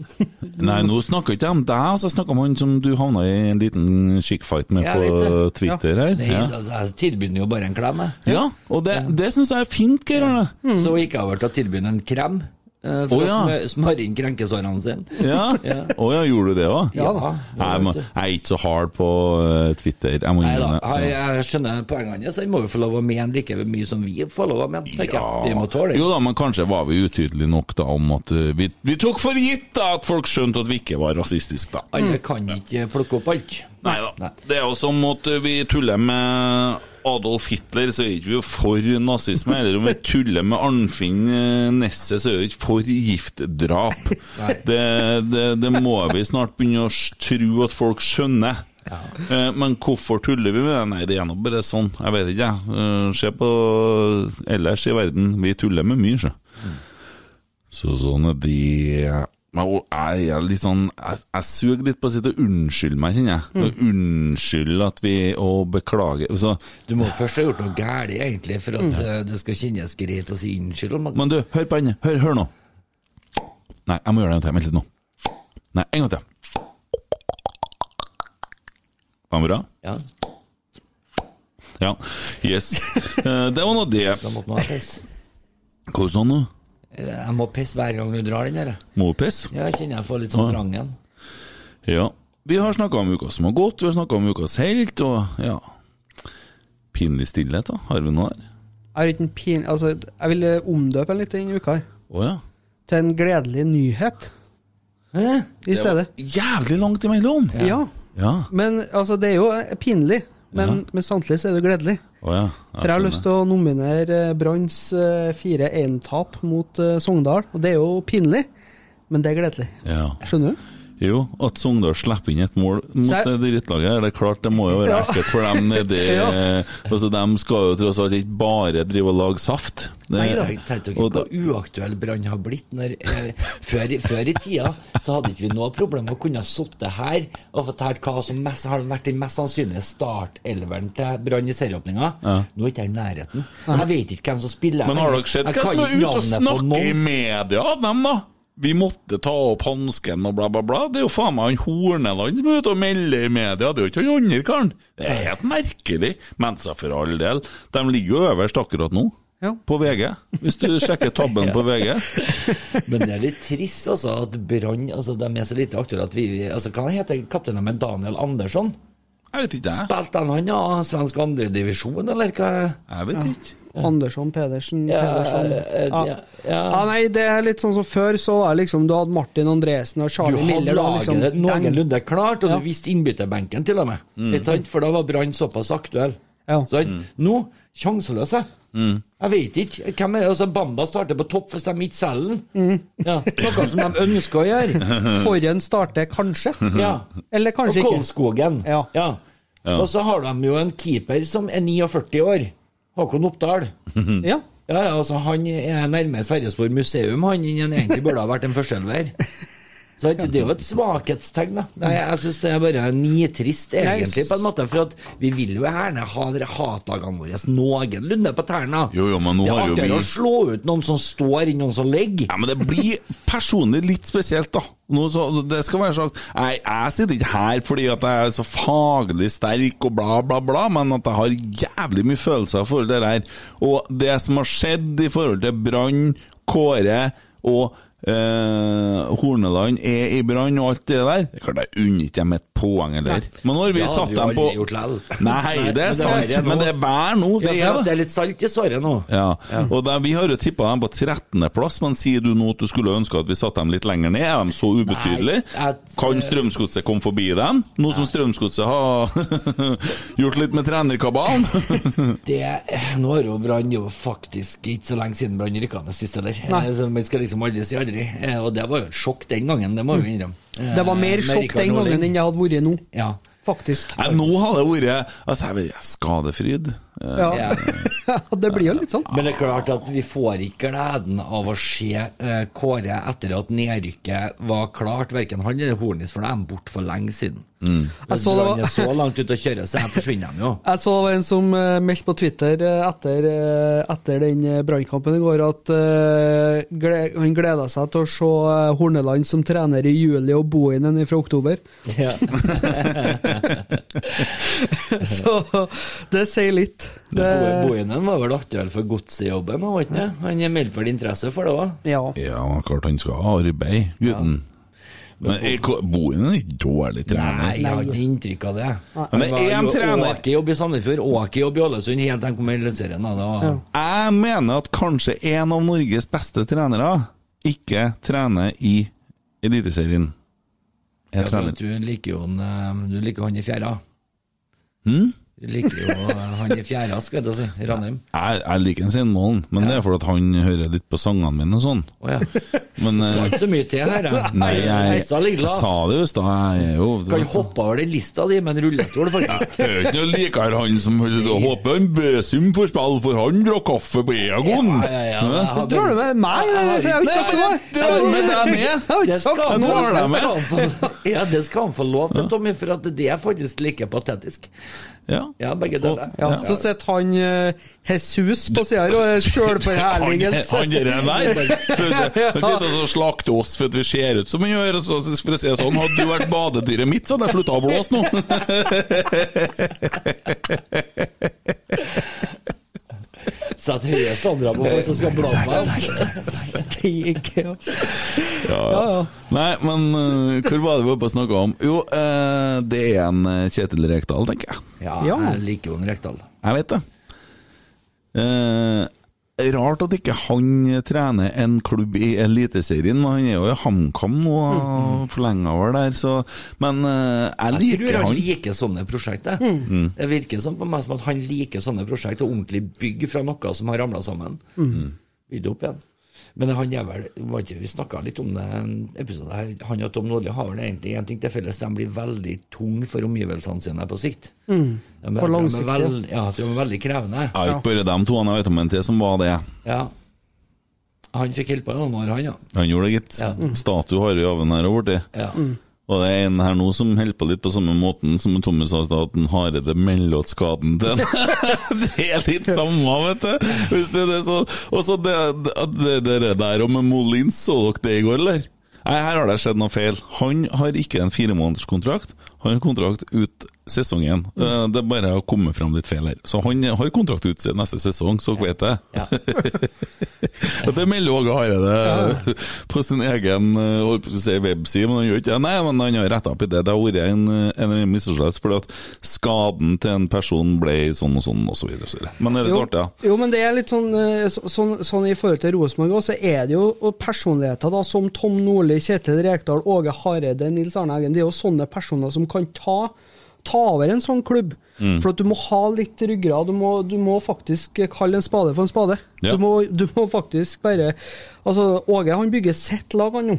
[SPEAKER 2] Nei, nå snakker ikke jeg om deg, altså, jeg snakker om han som du havna i en liten skikkfight med
[SPEAKER 5] Jeg vet
[SPEAKER 2] på
[SPEAKER 5] det.
[SPEAKER 2] Twitter her.
[SPEAKER 5] Det er,
[SPEAKER 2] eh, Ja,
[SPEAKER 5] altså, jeg tilbyr den jo bare en klem, jeg.
[SPEAKER 2] ja og det, det syns jeg er fint, Geir Arne.
[SPEAKER 5] Så gikk jeg over til å tilby den en krem, eh, for
[SPEAKER 2] Å, ja. Mm,
[SPEAKER 5] å smø- smøre inn krenkesårene sine.
[SPEAKER 2] Ja. Å ja, gjorde du det òg?
[SPEAKER 5] Ja da.
[SPEAKER 2] Jeg, må- jeg er ikke så hard på eh, Twitter, jeg må
[SPEAKER 5] Nei da,
[SPEAKER 2] innrømme.
[SPEAKER 5] jeg,
[SPEAKER 2] så-
[SPEAKER 5] jeg skjønner poengene hans. Han må jo få lov å mene like mye som vi får lov å mene. tenker jeg. Vi må tåle
[SPEAKER 2] Jo
[SPEAKER 5] det.
[SPEAKER 2] da, men kanskje var vi utydelige nok da om at eh, vi, vi tok for gitt da at folk skjønte at vi ikke var rasistiske, da.
[SPEAKER 5] Alle kan ikke plukke opp alt.
[SPEAKER 2] Mm. Nei da. Det er jo som at vi tuller med Adolf Hitler, så er ikke vi jo for nazisme. Eller om vi tuller med Arnfinn eh, Nesset, så er vi ikke for giftdrap. Det, det, det må vi snart begynne å s- tro at folk skjønner. Eh, Men hvorfor tuller vi med det? Nei, det er nå bare sånn. Jeg vet ikke, jeg. Eh, Se på ellers i verden. Vi tuller med mye, sjø. Så sånn er de Men jo, jeg er litt sånn Jeg, jeg suger litt på å sitte og unnskylde meg, kjenner jeg. Unnskyld at vi Og beklage. Så,
[SPEAKER 5] Du må først ha gjort noe galt, egentlig, for at eh, det skal kjennes greit å si unnskyld. Om at,
[SPEAKER 2] Mm. men du, hør på henne. Hør, hør nå. Nei, jeg må gjøre det en til. Vent litt nå. Nei, en gang til. Var den bra?
[SPEAKER 5] ja,
[SPEAKER 2] Ja. Yes. Eh, Det var nå det.
[SPEAKER 5] da måtte man ha piss.
[SPEAKER 2] Hva sa han nå?
[SPEAKER 5] Eh, Jeg må pisse hver gang du drar den der.
[SPEAKER 2] Mopiss?
[SPEAKER 5] Ja, jeg kjenner jeg får litt sånn trangen.
[SPEAKER 2] Ja. Vi har snakka om uka som har gått, vi har snakka om ukas helt, og ja Pinlig stillhet, da. Har vi noe der?
[SPEAKER 3] Jeg, har ikke en pin, altså, jeg vil eh, omdøpe den litt denne uka her,
[SPEAKER 2] Å ja.
[SPEAKER 3] til en gledelig nyhet
[SPEAKER 5] Hæ?
[SPEAKER 3] i stedet.
[SPEAKER 2] Jævlig langt imellom!
[SPEAKER 3] Ja.
[SPEAKER 2] Ja.
[SPEAKER 3] Men altså, det er jo eh, pinlig, men, men samtidig så er det gledelig.
[SPEAKER 2] Å ja.
[SPEAKER 3] For jeg har lyst til å nominere eh, Branns eh, 4-1-tap mot eh, Sogndal, og det er jo pinlig, men det er gledelig.
[SPEAKER 2] ja.
[SPEAKER 3] Skjønner du?
[SPEAKER 2] Jo, at Sogndal slipper inn et mål mot
[SPEAKER 3] Så jeg-
[SPEAKER 2] det drittlaget, her, det er klart det må jo være
[SPEAKER 3] Ja.
[SPEAKER 2] ekkelt for dem nedi
[SPEAKER 3] Ja.
[SPEAKER 2] altså, De skal jo tross alt ikke bare drive og lage saft. Det,
[SPEAKER 5] Nei, da, tenkte dere
[SPEAKER 2] og
[SPEAKER 5] på
[SPEAKER 2] da-
[SPEAKER 5] hvor uaktuell Brann har blitt? Når, eh, før, i- før i tida så hadde ikke vi noe problem med å kunne sitte her og fortalt hva som mest, har vært den mest sannsynlige startelveren til Brann i serieåpninga. Nå er ikke jeg i nærheten. Jeg vet ikke hvem som spiller.
[SPEAKER 2] Men har dere sett
[SPEAKER 5] Jeg
[SPEAKER 2] hva
[SPEAKER 5] kan
[SPEAKER 2] som er
[SPEAKER 5] ikke
[SPEAKER 2] ute og
[SPEAKER 5] navnet på
[SPEAKER 2] snakker i
[SPEAKER 5] noen.
[SPEAKER 2] media av dem, da? Vi måtte ta opp hansken og bla, bla, bla. Det er jo faen meg han Horneland som er ute og melder i media, det er jo ikke han andre karen. Det er helt merkelig. Men så for all del, de ligger jo øverst akkurat nå.
[SPEAKER 3] Ja.
[SPEAKER 2] På VG, hvis du sjekker tabben på VG.
[SPEAKER 5] Men det er litt trist, altså, at Brann altså, De er så lite aktuelle at vi altså, Hva heter kapteinen med Daniel Andersson?
[SPEAKER 2] Jeg vet ikke, jeg.
[SPEAKER 5] Spilte han han, ja? Svensk andredivisjon, eller hva?
[SPEAKER 2] Jeg vet ikke.
[SPEAKER 3] Andersson, Pedersen,
[SPEAKER 5] Ja,
[SPEAKER 3] Pedersen.
[SPEAKER 5] eh,
[SPEAKER 3] Ja.
[SPEAKER 5] ja,
[SPEAKER 3] Ja.
[SPEAKER 5] ja.
[SPEAKER 3] Nei, det er litt sånn som før, så var det liksom Du hadde Martin Andresen og
[SPEAKER 5] Du
[SPEAKER 3] Charlie
[SPEAKER 5] hadde
[SPEAKER 3] Miller. da,
[SPEAKER 5] laget
[SPEAKER 3] liksom,
[SPEAKER 5] det noenlunde klart, og
[SPEAKER 3] Ja.
[SPEAKER 5] du visste innbytterbenken til og med. Ikke sant? For da var Brann såpass aktuell. Sant? Nå sjanseløse. Jeg vet ikke. Hvem er det? Altså, Bamba starter på topp hvis de ikke selger
[SPEAKER 3] Mm.
[SPEAKER 5] den. Ja, noe som de ønsker å gjøre.
[SPEAKER 3] Forhen starter kanskje.
[SPEAKER 5] Ja.
[SPEAKER 3] Eller kanskje
[SPEAKER 5] og
[SPEAKER 3] ikke.
[SPEAKER 5] Kolskogen. Ja.
[SPEAKER 2] Ja.
[SPEAKER 5] Og så har de jo en keeper som er 49 år. Håkon Oppdal.
[SPEAKER 3] Ja.
[SPEAKER 5] Ja, ja, altså Han er nærmest Sverresborg museum, han innen han egentlig burde ha vært en førsteelver. Så at Det er jo et svakhetstegn. da. Nei, Jeg syns det er bare nitrist, egentlig, på en måte. For at vi vil jo gjerne ha dere hatlagene våre noenlunde på tærne.
[SPEAKER 2] Jo, jo, men nå
[SPEAKER 5] Det er
[SPEAKER 2] har jo
[SPEAKER 5] artigere
[SPEAKER 2] vi
[SPEAKER 5] å slå ut noen som står, enn noen som ligger.
[SPEAKER 2] Ja, men det blir personlig litt spesielt, da. Nå så, det skal være sagt Jeg, jeg sitter ikke her fordi at jeg er så faglig sterk og bla, bla, bla, men at jeg har jævlig mye følelser for det her. Og det som har skjedd i forhold til Brann, Kåre og eh, Horneland er i brann og alt det der. Det er klart jeg unner ikke dem et poeng eller Men når vi
[SPEAKER 5] Det hadde
[SPEAKER 2] satt
[SPEAKER 5] vi
[SPEAKER 2] dem på
[SPEAKER 5] aldri gjort likevel.
[SPEAKER 2] Nei,
[SPEAKER 5] Nei, men
[SPEAKER 2] det
[SPEAKER 5] det
[SPEAKER 2] er sant,
[SPEAKER 5] er det nå.
[SPEAKER 2] men det er vær nå. Det
[SPEAKER 5] ja,
[SPEAKER 2] er
[SPEAKER 5] for
[SPEAKER 2] det.
[SPEAKER 5] at det er litt salt i svaret nå.
[SPEAKER 2] Ja, og da- vi har jo tippa dem på 13.-plass, men sier du nå at du skulle ønske at vi satte dem litt lenger ned? Er de så ubetydelige?
[SPEAKER 5] Nei, jeg-
[SPEAKER 2] Kan Strømsgodset komme forbi dem, nå som Strømsgodset har gjort litt med trenerkabalen? Hm.
[SPEAKER 5] Det, nå har jo Brann jo faktisk ikke så lenge siden Brann rykka ned sist, eller?
[SPEAKER 3] Nei.
[SPEAKER 5] Eh, Så man skal liksom aldri si aldri. Eh, Og det var jo et sjokk den gangen, det må vi innrømme. Eh,
[SPEAKER 3] Hm. Det var
[SPEAKER 5] med
[SPEAKER 3] mer sjokk
[SPEAKER 5] Rikard
[SPEAKER 3] den
[SPEAKER 5] Norling.
[SPEAKER 3] gangen enn jeg hadde vært nå,
[SPEAKER 5] Ja.
[SPEAKER 3] faktisk.
[SPEAKER 2] Nei, nå har det vært altså, jeg vet, ikke, Skadefryd. Eh,
[SPEAKER 3] Ja.
[SPEAKER 5] Ja.
[SPEAKER 3] det blir jo litt sånn.
[SPEAKER 5] Men det er klart at vi får ikke gleden av å se eh, Kåre etter at nedrykket var klart. Verken han eller Hornis, for de er borte for lenge siden.
[SPEAKER 3] Jeg
[SPEAKER 5] Hvis
[SPEAKER 3] så Altså, det
[SPEAKER 5] Brann
[SPEAKER 3] var
[SPEAKER 5] er så langt ute å kjøre, så her forsvinner de jo.
[SPEAKER 3] Jeg så det var en som eh, meldte på Twitter eh, etter, eh, etter den eh, brannkampen i går, at eh, gle- han gleda seg til å se eh, Horneland som trener i juli og Bohinen fra oktober.
[SPEAKER 5] Ja.
[SPEAKER 3] Så det sier litt. Det,
[SPEAKER 5] Bo- Bohinen var vel aktuell for godsejobben, var han ikke? Han meldte vel interesse for det òg?
[SPEAKER 3] ja.
[SPEAKER 2] Ja, klart han skal ha arbeid, gutten. Men er Ko- Bohinen er ikke dårlig
[SPEAKER 5] Nei,
[SPEAKER 2] trener.
[SPEAKER 5] jeg har ikke inntrykk av det.
[SPEAKER 2] Men det er en trener.
[SPEAKER 5] Åkejobb i Sandefjord, Åkejobb i Ålesund, helt tenk om Eliteserien. da, det var-
[SPEAKER 2] Jeg mener at kanskje en av Norges beste trenere ikke trener i Eliteserien.
[SPEAKER 5] Ja,
[SPEAKER 2] Jeg
[SPEAKER 5] for
[SPEAKER 2] trener
[SPEAKER 5] at Du liker jo han, eh, du liker han i fjæra.
[SPEAKER 2] Hm?
[SPEAKER 5] Du liker jo eh, han i fjæra, skal jeg til å si. Ranheim.
[SPEAKER 2] Jeg, jeg liker Svein Målen, men det er fordi at han hører litt på sangene mine og sånn.
[SPEAKER 5] Å ja.
[SPEAKER 2] Men eh,
[SPEAKER 5] Ikke så mye til her, jeg.
[SPEAKER 2] nei, jeg,
[SPEAKER 5] Lista ligger
[SPEAKER 2] jeg sa
[SPEAKER 5] lavt.
[SPEAKER 2] det jo i stad, jeg er jo
[SPEAKER 5] Kan hoppe over den lista di med en rullestol, faktisk.
[SPEAKER 2] Jeg er ikke noe likere han som Jeg Håper han Besum får spille, for han drakk kaffe på Egon!
[SPEAKER 5] Ja, ja, ja, jeg har
[SPEAKER 3] Drar du
[SPEAKER 5] bare-
[SPEAKER 3] med meg?
[SPEAKER 5] Jeg har
[SPEAKER 3] For jeg har ikke
[SPEAKER 5] ikke-
[SPEAKER 3] sagt
[SPEAKER 2] Nei,
[SPEAKER 3] noe!
[SPEAKER 2] men drar med deg ned.
[SPEAKER 3] Jeg har
[SPEAKER 5] Det
[SPEAKER 3] ikke
[SPEAKER 5] skal,
[SPEAKER 3] sagt
[SPEAKER 5] han,
[SPEAKER 3] noe!
[SPEAKER 2] deg
[SPEAKER 5] det,
[SPEAKER 2] med.
[SPEAKER 5] skal han få, ja, det skal han få lov til, Tommy, for at det er faktisk like patetisk.
[SPEAKER 2] Ja.
[SPEAKER 5] Ja, begge deler.
[SPEAKER 3] Ja, så sitter han eh, Jesus på sida her og er
[SPEAKER 2] Han,
[SPEAKER 3] sjølforherligelse.
[SPEAKER 2] han der Plutselig, Han sitter og så slakter sånn, oss for at vi ser ut som vi gjør. og Så, for å si det sånn, hadde du vært badedyret mitt, så hadde jeg slutta å blåse nå.
[SPEAKER 5] Sett høye standarder på folk som skal blande meg.
[SPEAKER 2] Nei, men eh, hvor var det vi var på å snakke om? Jo, eh, det er en eh, Kjetil Rekdal, tenker jeg.
[SPEAKER 5] Ja,
[SPEAKER 3] Ja.
[SPEAKER 5] jeg liker jo en Rekdal.
[SPEAKER 2] Jeg vet det. Eh, rart at ikke han trener en klubb i Eliteserien, men han er jo i HamKam nå og forlenga over der, så Men eh, jeg
[SPEAKER 5] Jeg tror
[SPEAKER 2] liker
[SPEAKER 5] han
[SPEAKER 2] han.
[SPEAKER 5] liker sånne prosjekter. Det virker som på meg som at han liker sånne prosjekter, og ordentlig bygg fra noe som har ramla sammen. Bygd opp igjen. Men han er vel var ikke- Vi snakka litt om det i en episode her. Han og Tom Nordli har vel egentlig én ting til felles. De blir veldig tunge for omgivelsene sine på sikt. Ja, men
[SPEAKER 3] Og
[SPEAKER 5] jeg tror de er
[SPEAKER 3] langsiktige.
[SPEAKER 5] vel- Ja, jeg tror de er veldig krevende.
[SPEAKER 2] Ja, ikke bare de to, han jeg vet om en til som var det.
[SPEAKER 5] Ja. Han fikk holde på i noen år, han, ja.
[SPEAKER 2] Han gjorde det, gitt.
[SPEAKER 5] Ja.
[SPEAKER 2] Statue har i oven her og borti.
[SPEAKER 5] ja.
[SPEAKER 2] Og det er en her nå som holder på litt på samme måten som Tommy sa i stad, at en Hareide melder at skaden til en. det er litt samme, vet du. Hvis det er det så, og så det, det, det, det der og med Molins, så dere det i går, eller? Nei, her har det skjedd noe feil. Han har ikke en firemånederskontrakt. Han har kontrakt ut sesongen. Eh, Det er bare å komme fram litt feil her. Så han har kontrakt ut se- neste sesong, så vet jeg. Og det melder Åge Hareide på sin egen eh, holdt på å si webside, men han gjør ikke det. Nei, men han har retta opp i det. Det har vært en, en misforståelse, fordi at skaden til en person ble sånn og sånn, og så videre. og så videre. Men det er litt
[SPEAKER 3] Jo,
[SPEAKER 2] artig, ja.
[SPEAKER 3] Jo, men det er litt sånn, eh, så- sånn, sånn i forhold til Rosenborg òg, så er det jo og personligheter da, som Tom Nordli, Kjetil Rekdal, Åge Hareide, Nils Arne Eggen. Det er jo sånne personer som kan ta, ta over en sånn klubb.
[SPEAKER 2] Mm.
[SPEAKER 3] For at du må ha litt ryggrad. Du må, du må faktisk kalle en spade for en spade.
[SPEAKER 2] Ja.
[SPEAKER 3] Du, må, du må faktisk bare Altså, Åge han bygger sitt lag, han nå.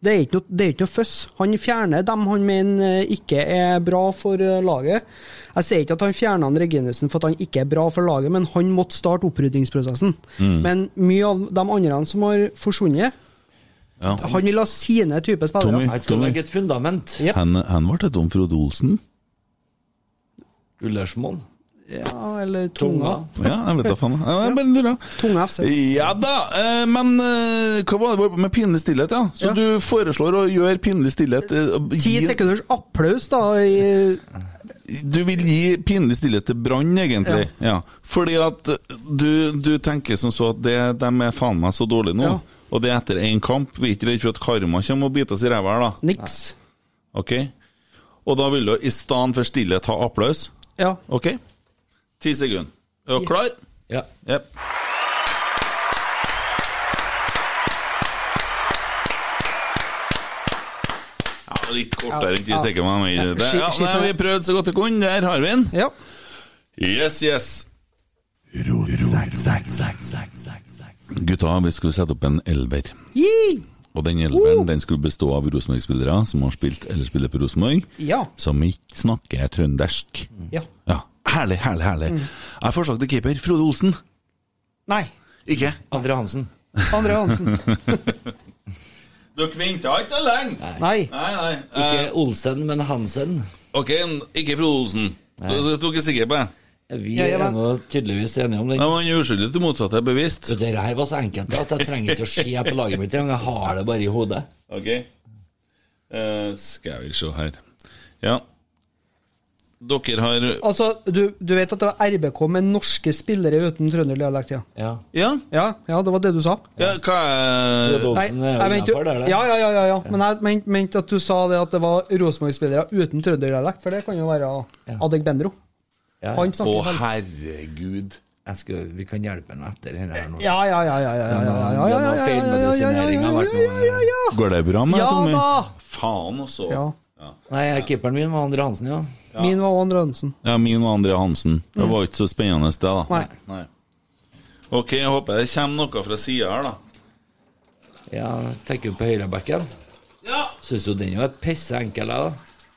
[SPEAKER 3] Det er ikke noe, det er ikke noe føss. Han fjerner dem han mener eh, ikke er bra for eh, laget. Jeg sier ikke at han fjerna han Reginussen for at han ikke er bra for laget, men han måtte starte oppryddingsprosessen.
[SPEAKER 2] Mm.
[SPEAKER 3] Men mye av de andre som har forsvunnet,
[SPEAKER 2] Ja.
[SPEAKER 3] han vil ha sine typer spillere.
[SPEAKER 2] Tommy, Han skal Tommy. legge
[SPEAKER 5] et fundament.
[SPEAKER 2] Han, han ble til Tom Frode Olsen.
[SPEAKER 5] Ullersmoen.
[SPEAKER 3] Ja, eller Tunga.
[SPEAKER 2] Ja, jeg vet da faen. Jeg Jeg bare lurer.
[SPEAKER 3] Tunga FC.
[SPEAKER 2] Ja da, eh, men eh, hva var det vår- med pinlig stillhet, ja? Så du foreslår å gjøre pinlig stillhet eh, og
[SPEAKER 3] Ti
[SPEAKER 2] gi-
[SPEAKER 3] sekunders applaus, da. I, eh,
[SPEAKER 2] Du vil gi pinlig stillhet til Brann, egentlig. Ja. Fordi at du, du tenker som så at det, de er faen meg så dårlige nå, og det er etter én kamp. Vi er ikke redd for at karma kommer og biter oss i ræva her, da.
[SPEAKER 3] Niks.
[SPEAKER 2] Ok? Og da vil du i stedet for stillhet ha applaus?
[SPEAKER 3] Ja.
[SPEAKER 2] Ok? Ti sekunder. Er du klar?
[SPEAKER 5] Ja.
[SPEAKER 2] Yep. Ja, litt kortere enn ti
[SPEAKER 4] Ja.
[SPEAKER 2] sekunder. men
[SPEAKER 4] Ja.
[SPEAKER 2] det- Ja,
[SPEAKER 4] Skitt-
[SPEAKER 2] nei,
[SPEAKER 4] skitt-
[SPEAKER 2] vi prøvde så godt vi kunne. Der har vi den. Yes, yes. Gutta, vi skulle sette opp en elver. Og den elveren den skulle bestå av Rosenborg-spillere som har spilt eller spiller på Rosenborg,
[SPEAKER 3] Ja.
[SPEAKER 2] som ikke snakker trøndersk.
[SPEAKER 3] ja.
[SPEAKER 2] Ja, Herlig, herlig, herlig. Jeg har forslag til keeper. Frode Olsen.
[SPEAKER 3] Nei.
[SPEAKER 2] Ikke?
[SPEAKER 5] Andre Hansen.
[SPEAKER 3] Andre Hansen.
[SPEAKER 2] Dere venta ikke så lenge!
[SPEAKER 3] Nei.
[SPEAKER 2] nei,
[SPEAKER 3] Eh.
[SPEAKER 2] Eh,
[SPEAKER 5] Ikke Olsen, men Hansen.
[SPEAKER 2] Ok, ikke Frode Olsen. Det sto ikke sikker på.
[SPEAKER 5] Vi
[SPEAKER 2] Ja, ja,
[SPEAKER 5] er
[SPEAKER 2] men-
[SPEAKER 5] nå tydeligvis enige om den.
[SPEAKER 2] Ja, men Han er uskyldig til motsatt er bevisst.
[SPEAKER 5] Det her var så enkelt at jeg trenger ikke å se på laget mitt engang. Jeg har det bare i hodet.
[SPEAKER 2] Ok. Eh, skal vi se her Ja. Dere har
[SPEAKER 3] Altså, du, du vet at det var RBK med norske spillere uten trønderdialekt, ja.
[SPEAKER 5] Ja.
[SPEAKER 2] Ja?
[SPEAKER 3] ja? det var det du sa.
[SPEAKER 2] Ja, hva er
[SPEAKER 5] sånn
[SPEAKER 3] jeg mente jo- ja, ja, ja, ja, ja. Men jeg men- mente at du sa det at det var Rosenborg-spillere uten trønderdialekt, for det kan jo være Adek Bendro.
[SPEAKER 5] Ja.
[SPEAKER 3] Han snakker sånn. vel-
[SPEAKER 2] herregud.
[SPEAKER 5] Jeg skal, vi kan hjelpe henne etter dette her nå.
[SPEAKER 3] Ja, ja, ja, ja, ja, ja, ja, ja, ja, ja, ja, ja, ja, ja, ja, ja, ja, ja.
[SPEAKER 2] Går det bra med
[SPEAKER 3] Ja
[SPEAKER 2] Tommy?
[SPEAKER 3] da!
[SPEAKER 2] Faen altså. også.
[SPEAKER 3] Ja.
[SPEAKER 5] Nei, keeperen min var Andre Hansen, ja.
[SPEAKER 3] Min var Andre Hansen.
[SPEAKER 2] Ja, min var André Hansen. Det var ikke så spennende, det, da.
[SPEAKER 3] Nei.
[SPEAKER 2] Ok, jeg håper det kommer noe fra sida her, da.
[SPEAKER 5] Ja, tenker jo på høyrebacken.
[SPEAKER 2] Ja.
[SPEAKER 5] Syns jo den var pisseenkel, jeg, da.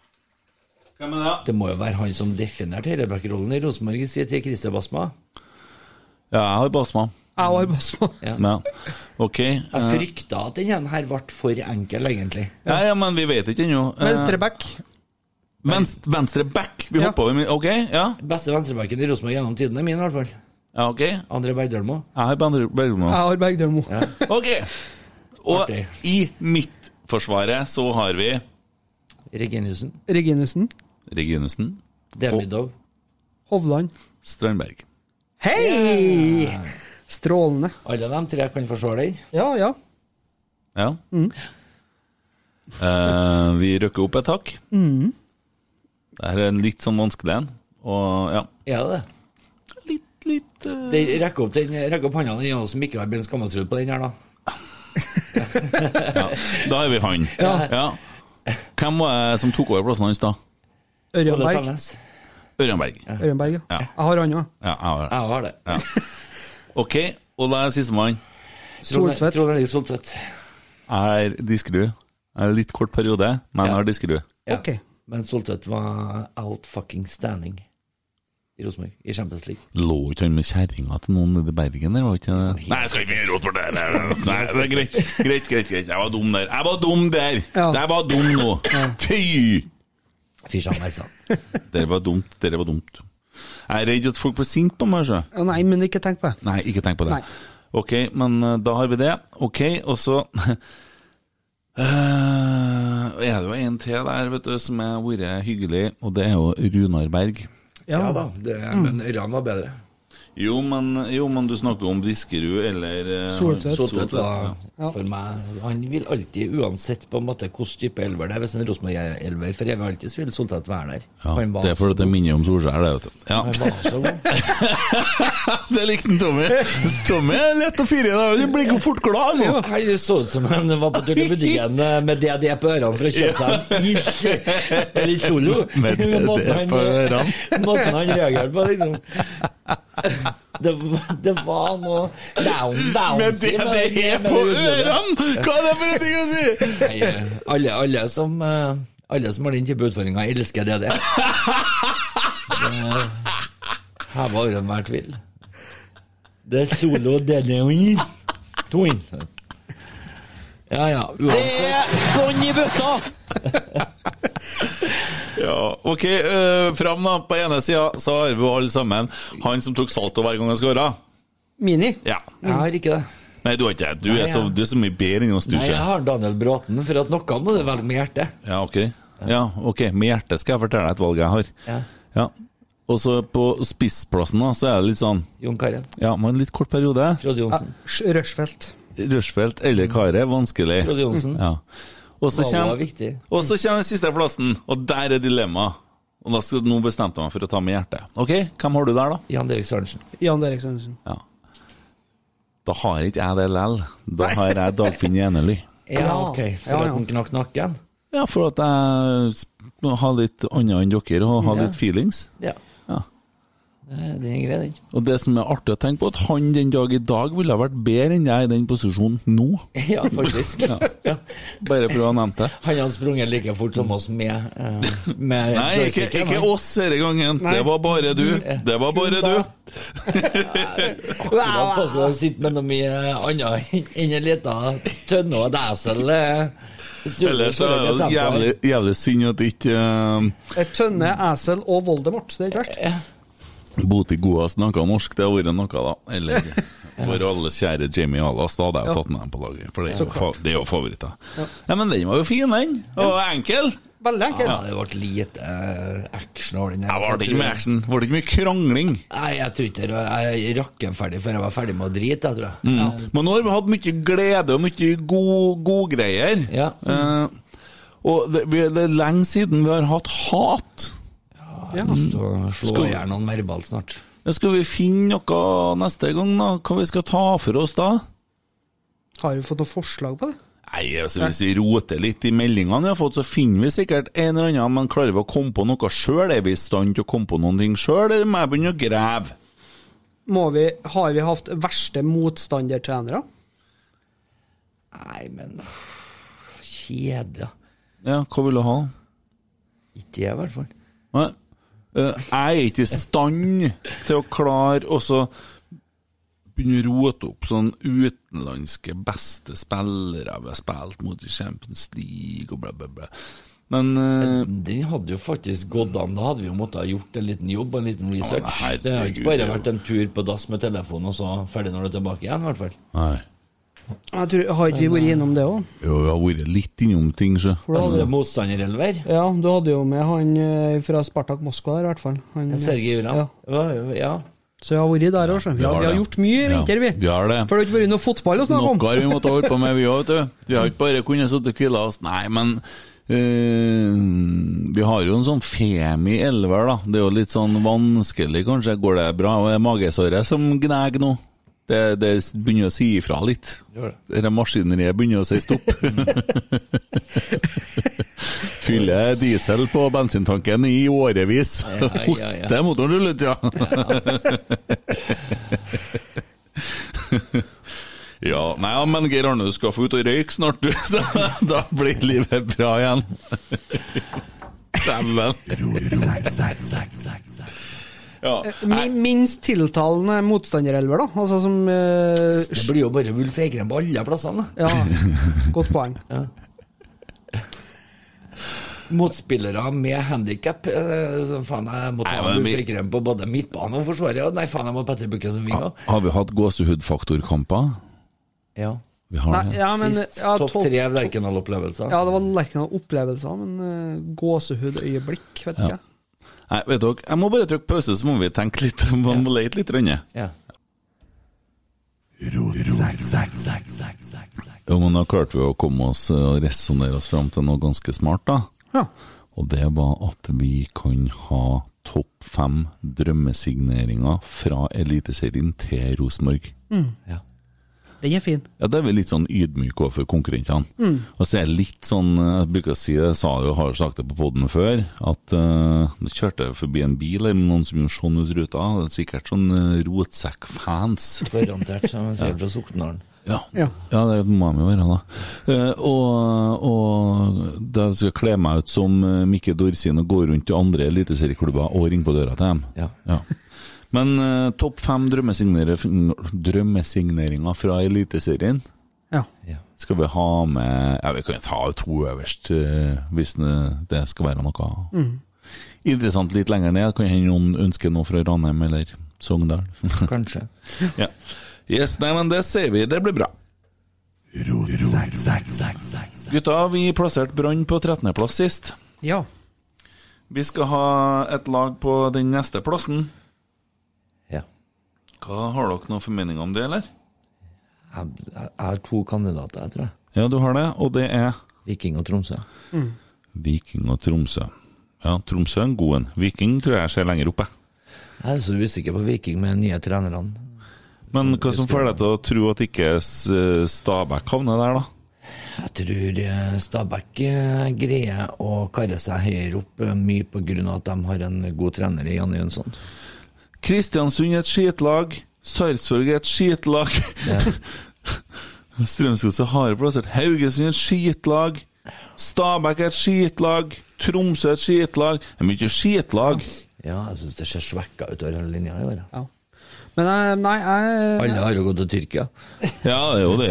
[SPEAKER 2] Hvem er det?
[SPEAKER 5] Det må jo være han som definerte høyrebackrollen i Rosenborg, sier til Christer Basma.
[SPEAKER 2] Ja, jeg har Basma.
[SPEAKER 3] Jeg har Basma.
[SPEAKER 5] Ja.
[SPEAKER 2] Ja. Ok.
[SPEAKER 5] Jeg
[SPEAKER 2] eh,
[SPEAKER 5] frykta at den ene her ble for enkel, egentlig.
[SPEAKER 2] Ja, ja, men vi vet ikke ennå. Eh,
[SPEAKER 3] Venstreback.
[SPEAKER 2] Venst, venstre back! Vi hopper over min Ok, ja.
[SPEAKER 5] Beste venstrebacken i Rosenborg gjennom tidene, min i hvert fall.
[SPEAKER 2] ja ok. Jeg
[SPEAKER 5] André Bergdølmo.
[SPEAKER 2] har Bendre- Bergmo.
[SPEAKER 3] Jeg har Bergdølmo.
[SPEAKER 2] Ok! Og i midtforsvaret så har vi
[SPEAKER 5] Reginiussen.
[SPEAKER 3] Reginussen.
[SPEAKER 2] Reginussen.
[SPEAKER 5] Demidov.
[SPEAKER 3] Hovland.
[SPEAKER 2] Strandberg.
[SPEAKER 3] Hei! Strålende.
[SPEAKER 5] Alle de tre kan forsvare den.
[SPEAKER 3] Ja, ja.
[SPEAKER 2] Ja.
[SPEAKER 3] Mm.
[SPEAKER 2] Eh, vi røkker opp et hakk.
[SPEAKER 3] Mm.
[SPEAKER 2] Det her er en litt sånn vanskelig en. Og ja.
[SPEAKER 5] Er det det?
[SPEAKER 2] Litt, eh,
[SPEAKER 5] Den, rekk, opp den, rekk opp hånda den Jan som ikke har Ben Skammatsrud på den her, da.
[SPEAKER 2] Da er vi han. Ja. Hvem var det som tok over plassen hans da?
[SPEAKER 3] Ørjanberg.
[SPEAKER 2] Ørjanberg. Ja,
[SPEAKER 3] Ørjanberg, ja. Jeg har han òg.
[SPEAKER 2] jeg har det.
[SPEAKER 5] Jeg har det.
[SPEAKER 2] Ja. Ok, og da er sistemann.
[SPEAKER 5] Trond-
[SPEAKER 3] Soltvedt.
[SPEAKER 5] Trond Erling Soltvedt.
[SPEAKER 2] Jeg er Diskerud. Jeg er litt kort periode, men jeg er Diskerud.
[SPEAKER 5] Ja.
[SPEAKER 3] Ok.
[SPEAKER 5] Men Soltvedt var out fucking standing i Rosenborg, i Champions League.
[SPEAKER 2] Lå ikke han med kjerringa til noen nede i Bergen der, var ikke det? Nei, jeg skal ikke rote for det! Nei, nei, nei, det er greit. greit, greit, greit. Jeg var dum der. Jeg var dum der! Jeg var dum nå! Fy!
[SPEAKER 5] Fysjan, nei sann.
[SPEAKER 2] Dere var dumt, dere var dumt. Jeg er redd at folk blir sinte på meg. Så.
[SPEAKER 3] Ja, Nei, men ikke tenk på det.
[SPEAKER 2] Nei, ikke tenk på det.
[SPEAKER 3] Nei.
[SPEAKER 2] Ok, men eh, da har vi det. Ok, og så Eh, er det jo en til der vet du, som har vært hyggelig, og det er jo Runar Berg.
[SPEAKER 5] Ja, da, det, men Ørjan var bedre.
[SPEAKER 2] Jo men, jo, men du snakker om Briskerud eller eh,
[SPEAKER 5] Soltvedt. Soltvedt
[SPEAKER 2] ja.
[SPEAKER 5] var for meg Han vil alltid, uansett på en måte hvilken type elver det er Hvis en Rosenborg-elver for evig alltid, så vil Soltvedt være der.
[SPEAKER 2] Ja,
[SPEAKER 5] Han var
[SPEAKER 2] det er fordi det minner om Solskjær, det, vet du. Ja. det likte han Tommy. Tommy er lett å fyre i, da. Du blir fort glad nå.
[SPEAKER 5] Nei, Det så ut som han var på tur til butikken eh, med DD på ørene for å kjøpe seg en Eller ikke solo.
[SPEAKER 2] Med DD
[SPEAKER 5] Måten han-
[SPEAKER 2] på ørene.
[SPEAKER 5] Måten han reagerte på, liksom. Det, var- det var noe down, down
[SPEAKER 2] Med DD på ørene! Hva er det for en ting å
[SPEAKER 5] Nei,
[SPEAKER 2] si?!
[SPEAKER 5] eh, alle, alle, som, eh, alle som har den type utfordringer, elsker DD. Det Heva over enhver tvil. Det er solo DD og inn. To inn. Ja, ja. Uansett.
[SPEAKER 6] Bånn i bøtta!
[SPEAKER 2] Ja, ok, eh, fram da. På ene sida så har vi jo alle sammen han som tok salto hver gang han skåra.
[SPEAKER 3] Mini.
[SPEAKER 2] Ja.
[SPEAKER 5] Jeg har ikke det.
[SPEAKER 2] Nei, du har ikke det. Du, er
[SPEAKER 5] Nei,
[SPEAKER 2] så-
[SPEAKER 5] jeg-
[SPEAKER 2] du er så mye bedre enn oss, du
[SPEAKER 5] Nei, jeg
[SPEAKER 2] ikke.
[SPEAKER 5] har Daniel Bråten, for at noe må du velge med hjertet.
[SPEAKER 2] Ja, ok. Ja, ok. Med hjertet skal jeg fortelle deg et valg jeg har.
[SPEAKER 5] Ja.
[SPEAKER 2] Ja. Og så på spissplassen da, så er det litt sånn
[SPEAKER 5] Jon Carew.
[SPEAKER 2] Ja, men en litt kort periode.
[SPEAKER 5] Frode Johnsen.
[SPEAKER 3] Rushfeldt.
[SPEAKER 2] Rushfeldt eller Kare, vanskelig.
[SPEAKER 5] Frode Johnsen.
[SPEAKER 2] Ja. Og så
[SPEAKER 5] Valget Mm. var
[SPEAKER 2] kommer,
[SPEAKER 5] viktig.
[SPEAKER 2] og så kommer den siste plassen, og der er dilemmaet. Og da skal, nå bestemte jeg meg for å ta med hjertet. Ok, hvem har du der, da?
[SPEAKER 5] Jan Erik Sørensen.
[SPEAKER 3] Jan Erik Sørensen.
[SPEAKER 2] Ja. Da har ikke jeg det lell. Da har jeg Dagfinn Jenely.
[SPEAKER 5] Ja, ok. For
[SPEAKER 2] Ja, ja.
[SPEAKER 5] at han knakk nakken.
[SPEAKER 2] Ja, for at jeg sp- har litt annet enn dere, og har
[SPEAKER 5] Ja.
[SPEAKER 2] litt feelings.
[SPEAKER 5] Ja.
[SPEAKER 2] Ja.
[SPEAKER 5] Eh, Det er grei, den.
[SPEAKER 2] Og det som er artig å tenke på, at han den dag i dag ville ha vært bedre enn jeg i den posisjonen nå.
[SPEAKER 5] Ja, faktisk.
[SPEAKER 2] Ja. Bare for å ha nevnt det.
[SPEAKER 5] Han hadde sprunget like fort som oss med, eh, med
[SPEAKER 2] Nei, Mm. ikke, ikke
[SPEAKER 5] joysticken, han.
[SPEAKER 2] oss denne gangen.
[SPEAKER 5] Nei.
[SPEAKER 2] Det var bare du. Det var bare du.
[SPEAKER 5] Akkurat altså, jeg sitter mellom mye annet enn en liten tønne og desel. eh, sur-
[SPEAKER 2] Ellers så er det
[SPEAKER 5] tempo.
[SPEAKER 2] jævlig, jævlig synd at ikke uh,
[SPEAKER 3] Eh, Tønne, Æsel og Voldemort. Det er ikke verst.
[SPEAKER 2] Boti Goa snakka norsk. Det hadde vært noe, da. Eller eh, vår alles kjære Jamie Alas. Da hadde jeg jo tatt med dem på laget, for det er
[SPEAKER 5] Så
[SPEAKER 2] jo, fa det er jo favoritter. Ja, men den var jo fin, den. Og enkel.
[SPEAKER 3] Veldig
[SPEAKER 5] Ja, det ble lite eh, action over den. her,
[SPEAKER 2] Det
[SPEAKER 5] så
[SPEAKER 2] var det
[SPEAKER 5] tror-
[SPEAKER 2] ikke mye action. Var det ikke mye krangling?
[SPEAKER 5] Nei, jeg tror ikke det. Jeg rakk den ferdig før jeg var ferdig med å drite, jeg tror jeg.
[SPEAKER 2] Mm. Men nå har vi hatt mye glede og mye god- godgreier. God
[SPEAKER 5] ja.
[SPEAKER 2] og det, vi, det er lenge siden vi har hatt hat.
[SPEAKER 5] Ja. Så slår
[SPEAKER 2] Skal-
[SPEAKER 5] jeg noen verbalt snart.
[SPEAKER 2] Men Skal vi finne noe neste gang, da? Hva vi skal ta for oss da?
[SPEAKER 3] Har vi fått noe forslag på det?
[SPEAKER 2] Nei, altså Hvis vi roter litt i meldingene vi har fått, så finner vi sikkert en eller annen, men klarer vi å komme på noe sjøl? Er vi i stand til å komme på noen ting sjøl, eller må jeg begynne å grave?
[SPEAKER 3] Må vi, har vi hatt verste motstandertrenere?
[SPEAKER 5] Nei, men Kjedelig.
[SPEAKER 2] Ja, hva vil du ha?
[SPEAKER 5] Ikke jeg, i hvert fall.
[SPEAKER 2] Nei. Eh, Jeg er ikke i stand til å klare å så begynne å rote opp sånn utenlandske beste spillere vi har spilt mot i Champions League og bla, bla, bla. Men eh,
[SPEAKER 5] Den hadde jo faktisk gått an. Da hadde vi jo måttet ha gjort en liten jobb og en liten research.
[SPEAKER 2] herregud,
[SPEAKER 5] det har ikke
[SPEAKER 2] det
[SPEAKER 5] bare
[SPEAKER 2] er jo-
[SPEAKER 5] vært en tur på dass med telefonen, og så ferdig når du er tilbake igjen, i hvert fall.
[SPEAKER 2] Nei.
[SPEAKER 3] Jeg tror, har ikke vi vært innom det òg?
[SPEAKER 2] Jo, vi har vært litt innom ting, så.
[SPEAKER 3] da hadde-
[SPEAKER 5] Altså, motstanderelver.
[SPEAKER 3] Ja, du hadde jo med han eh, fra Spartak Moskva der, i hvert fall. Han,
[SPEAKER 5] Sergej Uran.
[SPEAKER 3] Ja.
[SPEAKER 5] Ja. ja.
[SPEAKER 3] Så jeg har vært der òg, skjønner du. Vi, har- vi har gjort mye i vinter, vi.
[SPEAKER 2] Vi har det.
[SPEAKER 3] For det har ikke vært noe fotball å snakke
[SPEAKER 2] Noe
[SPEAKER 3] om.
[SPEAKER 2] har vi måttet holde på med, vi òg, vet du. Vi har ikke bare kunnet sitte og hvile oss. Nei, men eh, vi har jo en sånn femi elver, da. Det er jo litt sånn vanskelig, kanskje. Går det bra? Og det er magesåret som gnager nå. Det, det begynner å si ifra litt.
[SPEAKER 5] Gjør
[SPEAKER 2] Dette maskineriet begynner å si stopp. Fyller diesel på bensintanken i årevis.
[SPEAKER 5] Ja, ja, ja.
[SPEAKER 2] Hoster motoren du litt, ja. Ja, nei, ja, men Geir Arne, du skal få ut og røyke snart, du. Så da blir livet bra igjen. Dæven. Ja.
[SPEAKER 3] Mi- Minst tiltalende motstanderelver, da. Altså som eh,
[SPEAKER 5] Det blir jo bare Ulf Eikrem på alle plassene. da.
[SPEAKER 3] Ja, godt poeng.
[SPEAKER 5] Motspillere med handikap. Faen, jeg må ta
[SPEAKER 2] Nei, men
[SPEAKER 5] Ulf
[SPEAKER 2] vi-
[SPEAKER 5] Eikrem på både midtbane og forsvaret. og Nei, faen, jeg må ha Petter Bukke som vinger.
[SPEAKER 2] Har vi hatt gåsehudfaktorkamper?
[SPEAKER 5] Ja.
[SPEAKER 2] Vi har
[SPEAKER 3] Nei, ja, men-
[SPEAKER 5] Sist
[SPEAKER 3] ja,
[SPEAKER 5] topp
[SPEAKER 3] topp-
[SPEAKER 5] tre Lerkendal-opplevelser.
[SPEAKER 3] Ja, det var Lerkendal-opplevelser, men eh, gåsehudøyeblikk, vet
[SPEAKER 2] Ja.
[SPEAKER 3] ikke jeg.
[SPEAKER 2] Nei, vet dere, jeg må bare trykke pause, så må vi tenke litt. Vi må lete litt. Rønne.
[SPEAKER 5] Ja.
[SPEAKER 2] Jo, men da klarte vi å komme oss eh, og resonnere oss fram til noe ganske smart, da.
[SPEAKER 3] Ja.
[SPEAKER 2] Og det var at vi kan ha topp fem drømmesigneringer fra Eliteserien til Rosenborg.
[SPEAKER 3] Mm.
[SPEAKER 5] Ja.
[SPEAKER 3] Den er fin.
[SPEAKER 2] Ja, det er vi litt sånn ydmyke overfor konkurrentene.
[SPEAKER 3] Mm.
[SPEAKER 2] Og så er jeg litt sånn eh, Jeg bruker å si det, jeg sa det og har sagt det på poden før, at eh, det kjørte jeg forbi en bil her med noen som gjorde sånn ut ruta. Det er sikkert sånn eh, rotsekkfans.
[SPEAKER 5] Garantert, som jeg sier
[SPEAKER 2] Ja.
[SPEAKER 5] fra Soknaren.
[SPEAKER 2] Ja. Ja. det må de jo være, da. Eh, og, og da skal jeg kle meg ut som eh, Mikke Dorsin og gå rundt til andre eliteserieklubber og ringe på døra til dem.
[SPEAKER 5] Ja.
[SPEAKER 2] Men eh, topp fem drømmesignere- drømmesigneringer fra Eliteserien?
[SPEAKER 3] Ja.
[SPEAKER 2] Skal vi ha med Ja, vi kan jo ta to øverst, eh, hvis det det skal være noe
[SPEAKER 3] Mm.
[SPEAKER 2] interessant litt lenger ned. Kan hende noen ønsker noe fra Ranheim eller Sogndal.
[SPEAKER 5] Kanskje.
[SPEAKER 2] ja. Yes, nei, men det ser vi. Det blir bra. Gutta, vi plasserte Brann på 13.-plass sist.
[SPEAKER 3] Ja.
[SPEAKER 2] Vi skal ha et lag på den neste plassen.
[SPEAKER 5] Ja.
[SPEAKER 2] Hva Har dere noen formening om det, eller?
[SPEAKER 5] Jeg, jeg, jeg har to kandidater, jeg tror jeg.
[SPEAKER 2] Ja, du har det, og det er
[SPEAKER 5] Viking og Tromsø.
[SPEAKER 2] Viking og Tromsø. Ja, Tromsø er en god en. Viking tror jeg ser lenger oppe.
[SPEAKER 5] Jeg er så usikker på Viking med de nye trenerne.
[SPEAKER 2] Men hva som får deg til å tro at ikke S- Stabæk havner der, da?
[SPEAKER 5] Jeg tror eh, Stabæk eh, greier å karre seg høyere opp, eh, mye på grunn av at de har en god trener i Janne Jønsson.
[SPEAKER 2] Kristiansund er et skitlag. Sarpsborg er et skitlag. Strømsgodset har plassert Haugesund er et skitlag. Stabæk er et skitlag. Tromsø er et skitlag. Det er mye skitlag.
[SPEAKER 5] Ja, jeg syns det ser svekka ut over hele linja i år. ja.
[SPEAKER 3] Men jeg, nei, jeg
[SPEAKER 5] Alle har jo gått til Tyrkia.
[SPEAKER 2] Ja, det er jo det.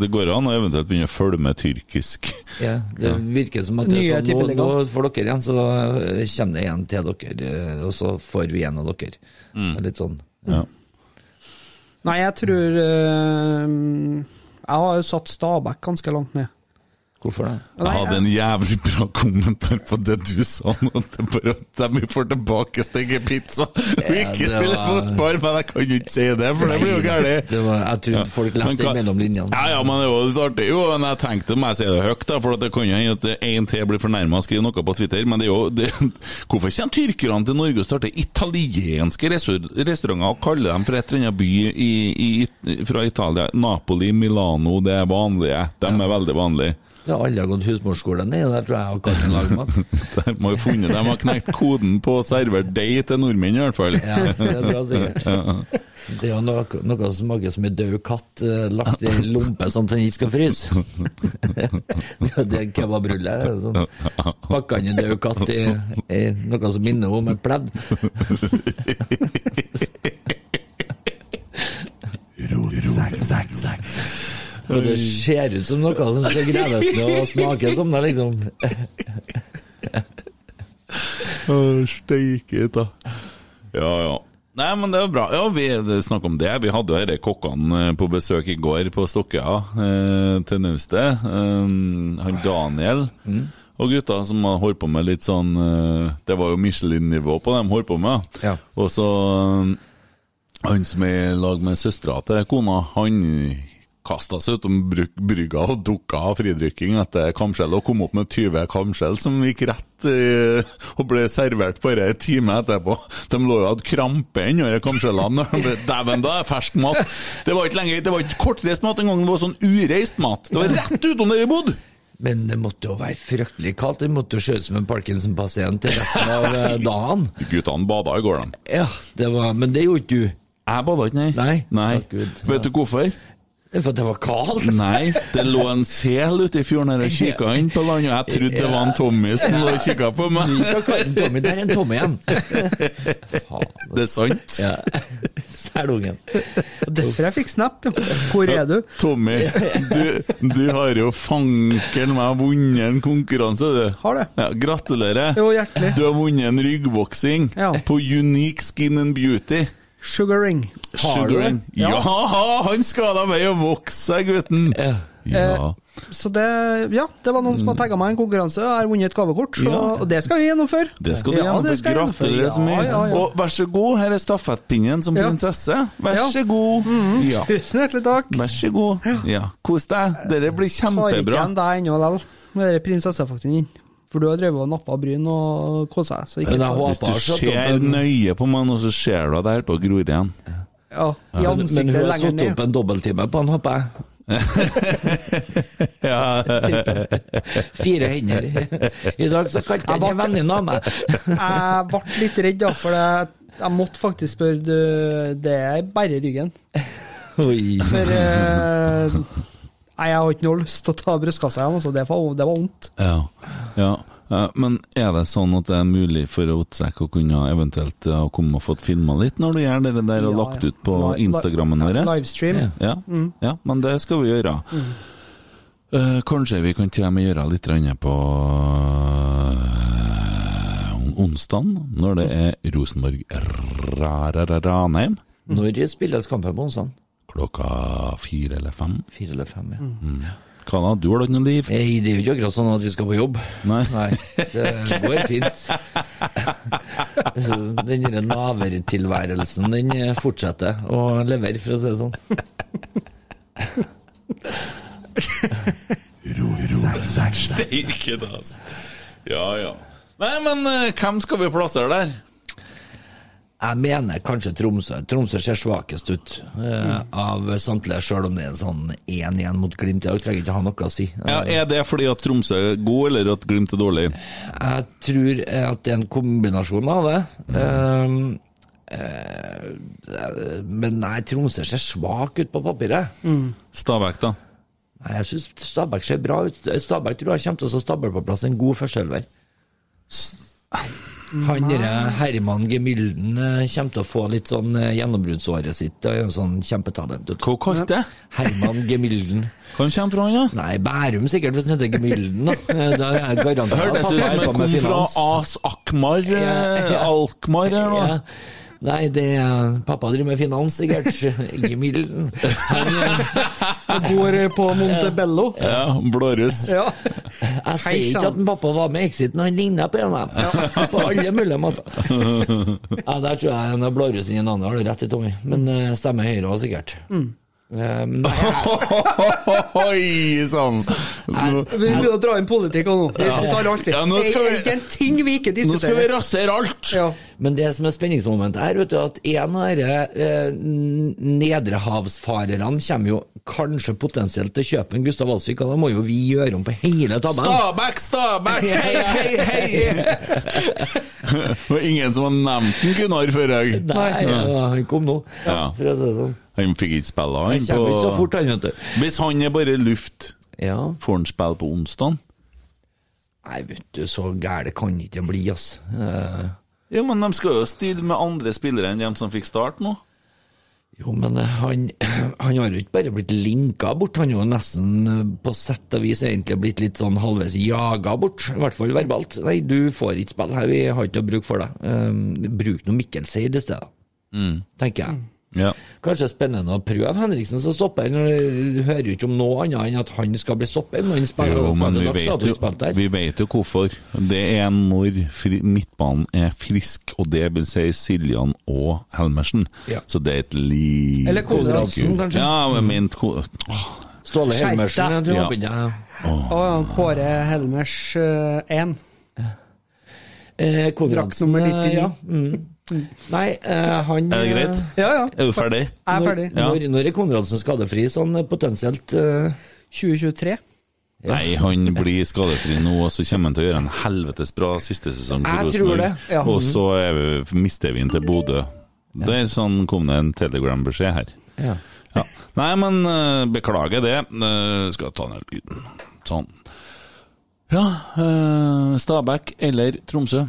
[SPEAKER 2] Det går an å eventuelt begynne å følge med tyrkisk.
[SPEAKER 5] Ja, det
[SPEAKER 2] Ja.
[SPEAKER 5] virker som at det
[SPEAKER 3] Nye
[SPEAKER 5] er sånn, nå,
[SPEAKER 3] tippeliga.
[SPEAKER 5] nå for dere igjen, så eh, kommer det igjen til dere, eh, og så får vi en av dere. Det er litt sånn.
[SPEAKER 2] Ja.
[SPEAKER 3] Nei, jeg tror eh, Jeg har jo satt Stabæk ganske langt ned.
[SPEAKER 5] Hvorfor det?
[SPEAKER 2] Jeg hadde en jævlig bra kommentar på det du sa nå. Det er bare at de får tilbake Stege Pizza og ikke
[SPEAKER 5] det
[SPEAKER 2] spiller
[SPEAKER 5] var-
[SPEAKER 2] fotball! Men jeg kan jo ikke si det, for det blir jo gærent.
[SPEAKER 5] Det var, jeg trodde folk
[SPEAKER 2] Men
[SPEAKER 5] leste
[SPEAKER 2] hva-
[SPEAKER 5] mellom linjene.
[SPEAKER 2] Ja, ja, men det er jo litt artig, jo. Men jeg tenkte, må jeg si det høyt, da, for at det kan jo hende at en til blir fornærma og skriver noe på Twitter. Men det er jo det, Hvorfor kommer tyrkerne til Norge og starter italienske restaur- restauranter og kaller dem for et eller annet by i, i, fra Italia? Napoli, Milano, det er vanlige. De er veldig vanlige.
[SPEAKER 5] Det har alle gått husmorskole ned, der tror jeg og kan lage mat.
[SPEAKER 2] Der må vi funnet, De har knekt koden på å servere deg til nordmenn, i hvert fall.
[SPEAKER 5] Ja, det er bra sikkert. Det er jo noe, noe som smaker som en død katt eh, lagt i en lompe sånn at den ikke skal fryse. det er jo det kebabrulle er. Sånn. Pakka inn en død katt i, i noe som minner om et pledd. Og det ser ut som noe som skal graves ned og smake som det, liksom.
[SPEAKER 2] Å, steike ta. Ja, ja. Nei, men det er bra. Ja, vi snakker om det. Vi hadde jo disse kokkene eh, på besøk i går på Stokkøya, eh, til Naustet. Eh, han Daniel og gutta som har holdt på med litt sånn eh, Det var jo Michelin-nivå på dem, holdt på med.
[SPEAKER 5] Ja.
[SPEAKER 2] Og så eh, Han som er i lag med søstera til kona, han kasta seg utom bryg- brygga og dukka av fridrykking etter kamskjell, og kom opp med 20 kamskjell som gikk rett eh, og ble servert bare en time etterpå. De lå jo og hadde krampe ennå, de kamskjellene. Dæven, da er fersk mat! Det var ikke lenge, det var ikke kortreist mat engang, det var sånn ureist mat. Det var rett utom der vi bodde!
[SPEAKER 5] Men det måtte jo være fryktelig kaldt. Det måtte jo se ut som en Parkinson-pasient til resten av eh, dagen.
[SPEAKER 2] Guttene bada i går, de.
[SPEAKER 5] Ja, det var, men det gjorde ikke du.
[SPEAKER 2] Jeg bada ikke, nei.
[SPEAKER 5] Nei,
[SPEAKER 2] Nei.
[SPEAKER 5] takk Gud.
[SPEAKER 2] Vet du hvorfor?
[SPEAKER 5] Det er For at det var kaldt.
[SPEAKER 2] Nei, det lå en sel ute i fjorden her og kikka inn på landet, og jeg trodde det var en Tommy som lå og kikka på meg.
[SPEAKER 5] Hva kaller den Tommy? Der er en Tommy igjen. Faen. altså.
[SPEAKER 2] Det er sant.
[SPEAKER 5] Ja. Sælungen.
[SPEAKER 3] Derfor jeg fikk snap, ja. Hvor er du?
[SPEAKER 2] Tommy, du, du har jo fanken meg vunnet en konkurranse, du.
[SPEAKER 3] Har det.
[SPEAKER 2] Ja, gratulerer.
[SPEAKER 3] Jo, hjertelig.
[SPEAKER 2] Du har vunnet en ryggvoksing
[SPEAKER 3] Ja.
[SPEAKER 2] på Unique Skin and Beauty.
[SPEAKER 3] Sugaring. Har du det?
[SPEAKER 2] Sugaring. Ja. han skada meg og vokste seg, gutten! Ja.
[SPEAKER 3] Eh, så det Ja, det var noen som har tagga meg i en konkurranse. Jeg har vunnet et gavekort, så,
[SPEAKER 2] Mm. Ja.
[SPEAKER 3] og det skal vi gjennomføre.
[SPEAKER 2] Det skal du
[SPEAKER 3] Ja, det
[SPEAKER 2] gjennomføre.
[SPEAKER 3] skal jeg
[SPEAKER 2] Gratulerer så mye.
[SPEAKER 3] Ja, ja, ja.
[SPEAKER 2] Og vær så god, her er stafettpinnen som
[SPEAKER 3] Ja.
[SPEAKER 2] prinsesse. Vær
[SPEAKER 3] Ja.
[SPEAKER 2] så god.
[SPEAKER 3] Mhm,
[SPEAKER 2] Ja.
[SPEAKER 3] Tusen hjertelig takk.
[SPEAKER 2] Vær så god. Ja. Kos deg. Dette blir
[SPEAKER 3] Tar ikke
[SPEAKER 2] kjempebra.
[SPEAKER 3] igjen deg ennå likevel, med den prinsessefaktoren din. For du har drevet og nappa bryn og kosa deg. Så ikke
[SPEAKER 5] Men jeg
[SPEAKER 3] ta-
[SPEAKER 5] håper-
[SPEAKER 2] Hvis du
[SPEAKER 5] Bare så at
[SPEAKER 2] ser
[SPEAKER 5] dobbelt-
[SPEAKER 2] nøye på meg nå, så ser du at jeg holder på å gro igjen.
[SPEAKER 3] Ja, i
[SPEAKER 5] Men, men hun
[SPEAKER 3] ansiktet
[SPEAKER 5] har
[SPEAKER 3] lenger
[SPEAKER 5] satt opp
[SPEAKER 3] ned.
[SPEAKER 5] en dobbelttime på han, håper jeg.
[SPEAKER 2] Ja.
[SPEAKER 5] Fire hender. I dag så kalte jeg en venninne av meg.
[SPEAKER 3] Jeg ble litt redd, da, for jeg, jeg måtte faktisk spørre du, Det er bare ryggen.
[SPEAKER 5] Oi.
[SPEAKER 3] For eh, Nei, jeg har ikke noe lyst til å ta brystkassa igjen, altså. Det var, det var vondt.
[SPEAKER 2] Ja. ja. Eh, Men er det sånn at det er mulig for Otsek å kunne eventuelt eh, komme og fått filma litt når du gjør det der og
[SPEAKER 3] Ja,
[SPEAKER 2] lagt
[SPEAKER 3] ja.
[SPEAKER 2] ut på
[SPEAKER 3] Li- li-
[SPEAKER 2] Instagrammen vår?
[SPEAKER 3] Livestream.
[SPEAKER 5] Ja.
[SPEAKER 2] Ja. ja, men det skal vi gjøre. Eh, kanskje vi kan til og med gjøre litt grann på uh, onsdag, når det er Rosenborg-Ranheim.
[SPEAKER 5] Når spilles kampen på onsdag?
[SPEAKER 2] Klokka fire eller fem.
[SPEAKER 5] Fire eller fem, ja.
[SPEAKER 2] Hva da, du har da ikke noe liv?
[SPEAKER 5] Nei, det er jo ikke akkurat sånn at vi skal på jobb.
[SPEAKER 2] Nei.
[SPEAKER 5] det går fint. Så Den der navertilværelsen, den eh, fortsetter å levere, for å si det sånn.
[SPEAKER 2] Steike, da, altså. Ja, ja. Nei, men eh, hvem skal vi plassere der?
[SPEAKER 5] Jeg mener kanskje Tromsø. Tromsø ser svakest ut eh, av samtlige, sjøl om det er en sånn 1-1 mot Glimt i dag. Trenger ikke ha noe å si.
[SPEAKER 2] Ja, er det fordi at Tromsø er god, eller at Glimt er dårlig?
[SPEAKER 5] Jeg tror eh, at det er en kombinasjon av det. Ehm, eh, eh, men nei, Tromsø ser svak ut på papiret.
[SPEAKER 2] Stabæk, da?
[SPEAKER 5] Nei, Jeg syns Stabæk ser bra ut. Stabæk tror jeg kommer til å stable på plass en god førsteelver. Han derre Herman Gemylden eh, kommer til å få litt sånn eh, gjennombruddsåret sitt. Det er jo en sånn kjempetalent. vet du.
[SPEAKER 2] Hva kalte det?
[SPEAKER 5] Herman Gemylden.
[SPEAKER 2] Hvor kommer fra han, da?
[SPEAKER 5] Nei, Bærum sikkert, hvis han heter Gemylden, da. Eh, Da er jeg garantert at
[SPEAKER 2] Hørtes ut som
[SPEAKER 5] pappa holder
[SPEAKER 2] jeg
[SPEAKER 5] på med
[SPEAKER 2] kom fra
[SPEAKER 5] finans.
[SPEAKER 2] As Akmar, eh,
[SPEAKER 5] Ja, ja.
[SPEAKER 2] Alkmaar eller noe.
[SPEAKER 5] Ja. Nei, det er Pappa driver med finans, sikkert. Gemylden. Han, eh,
[SPEAKER 3] Går eh, på Montebello.
[SPEAKER 2] Ja, blåruss.
[SPEAKER 3] Ja.
[SPEAKER 5] Jeg
[SPEAKER 3] Hei,
[SPEAKER 5] sier ikke
[SPEAKER 3] sann.
[SPEAKER 5] at en pappa var med i Exit, men han ligner på en av dem. På alle mulige måter. Ja, der tror jeg en av blårussen i navnet har du rett i, Tommy. Men eh, stemmer Høyre også, sikkert.
[SPEAKER 3] Mm.
[SPEAKER 5] Eh, men
[SPEAKER 2] Oi sann! Nå
[SPEAKER 3] Vi begynner å dra inn politikk og nå. Det tar alltid.
[SPEAKER 2] Ja, nå skal
[SPEAKER 3] det
[SPEAKER 2] vi-
[SPEAKER 3] er ikke en ting vi ikke
[SPEAKER 2] nå skal vi
[SPEAKER 3] diskuterer.
[SPEAKER 2] rasere alt!
[SPEAKER 3] Ja.
[SPEAKER 5] Men det som er spenningsmomentet her, vet du, at en av dere eh, nedrehavsfarerne kommer jo kanskje potensielt til å kjøpe en Gustav Alsvik, og da må jo vi gjøre om på hele tabben.
[SPEAKER 2] Stabæk, Stabæk, hei, hei, hei! Det var ingen som har nevnt en Gunnar før jeg.
[SPEAKER 5] Nei, ja, han kom nå,
[SPEAKER 2] Ja.
[SPEAKER 5] for å si det sånn.
[SPEAKER 2] Han fikk ikke spille,
[SPEAKER 5] Han
[SPEAKER 2] han.
[SPEAKER 5] kommer ikke så
[SPEAKER 2] På...
[SPEAKER 5] fort, han, vet du.
[SPEAKER 2] Hvis han er bare luft,
[SPEAKER 5] Ja.
[SPEAKER 2] får han spille på onsdag?
[SPEAKER 5] Nei, vet du, så gære kan ikke det bli, ass. Eh,
[SPEAKER 2] Ja, men de skal jo stille med andre spillere enn dem som fikk start nå.
[SPEAKER 5] Jo, men eh, han, han har jo ikke bare blitt linka bort, han har jo nesten eh, på sett og vis egentlig blitt litt sånn halvveis jaga bort, i hvert fall verbalt. Nei, du får ikke spille her, vi har ikke noe bruk for deg. Um, bruk nå Mikkel Seid i stedet,
[SPEAKER 2] Mm.
[SPEAKER 5] tenker jeg.
[SPEAKER 2] Ja.
[SPEAKER 5] Kanskje spennende å prøve Henriksen som stopper, du hører jo ikke om noe annet enn at han skal bli stopper, men han spiller
[SPEAKER 2] Jo,
[SPEAKER 5] jo
[SPEAKER 2] men
[SPEAKER 5] fram til
[SPEAKER 2] vi
[SPEAKER 5] dags, så
[SPEAKER 2] vet,
[SPEAKER 5] hadde
[SPEAKER 2] jo,
[SPEAKER 5] han spilt der.
[SPEAKER 2] vi vet jo hvorfor. Det er når fri, midtbanen er frisk, og det vil si Siljan og Helmersen.
[SPEAKER 5] Ja.
[SPEAKER 2] Så det er et lite
[SPEAKER 3] Eller Konradsen,
[SPEAKER 2] stikk ut.
[SPEAKER 5] kanskje?
[SPEAKER 2] Ja, men ment ko- Åh,
[SPEAKER 5] Ståle
[SPEAKER 3] Skjerp
[SPEAKER 5] Helmersen,
[SPEAKER 3] deg.
[SPEAKER 5] jeg tror
[SPEAKER 2] Ja.
[SPEAKER 5] han begynner.
[SPEAKER 3] Å, ja, Kåre Helmers 1.
[SPEAKER 5] Eh,
[SPEAKER 3] Drakt
[SPEAKER 5] Konradsen,
[SPEAKER 3] nummer
[SPEAKER 5] eh,
[SPEAKER 3] 99.
[SPEAKER 5] ja. Mm. Nei, eh, han
[SPEAKER 2] Er det greit?
[SPEAKER 3] Ja, ja.
[SPEAKER 2] Er du ferdig?
[SPEAKER 3] Jeg er
[SPEAKER 5] Når-
[SPEAKER 3] ferdig.
[SPEAKER 2] Ja.
[SPEAKER 5] Når, når er Konradsen skadefri, sånn eh, potensielt? eh,
[SPEAKER 3] 2023.
[SPEAKER 2] Nei, han blir skadefri nå, og så kommer han til å gjøre en helvetes bra siste sesong. for
[SPEAKER 5] Jeg tror
[SPEAKER 2] Rosenborg.
[SPEAKER 5] det, ja.
[SPEAKER 2] Og så er vi, mister vi han til Bodø. Der sånn kom det en telegram-beskjed her.
[SPEAKER 5] Ja.
[SPEAKER 2] Ja. Nei, men eh, beklager det. Eh, skal ta ned lyden. Sånn. Ja, eh, Stabæk eller Tromsø?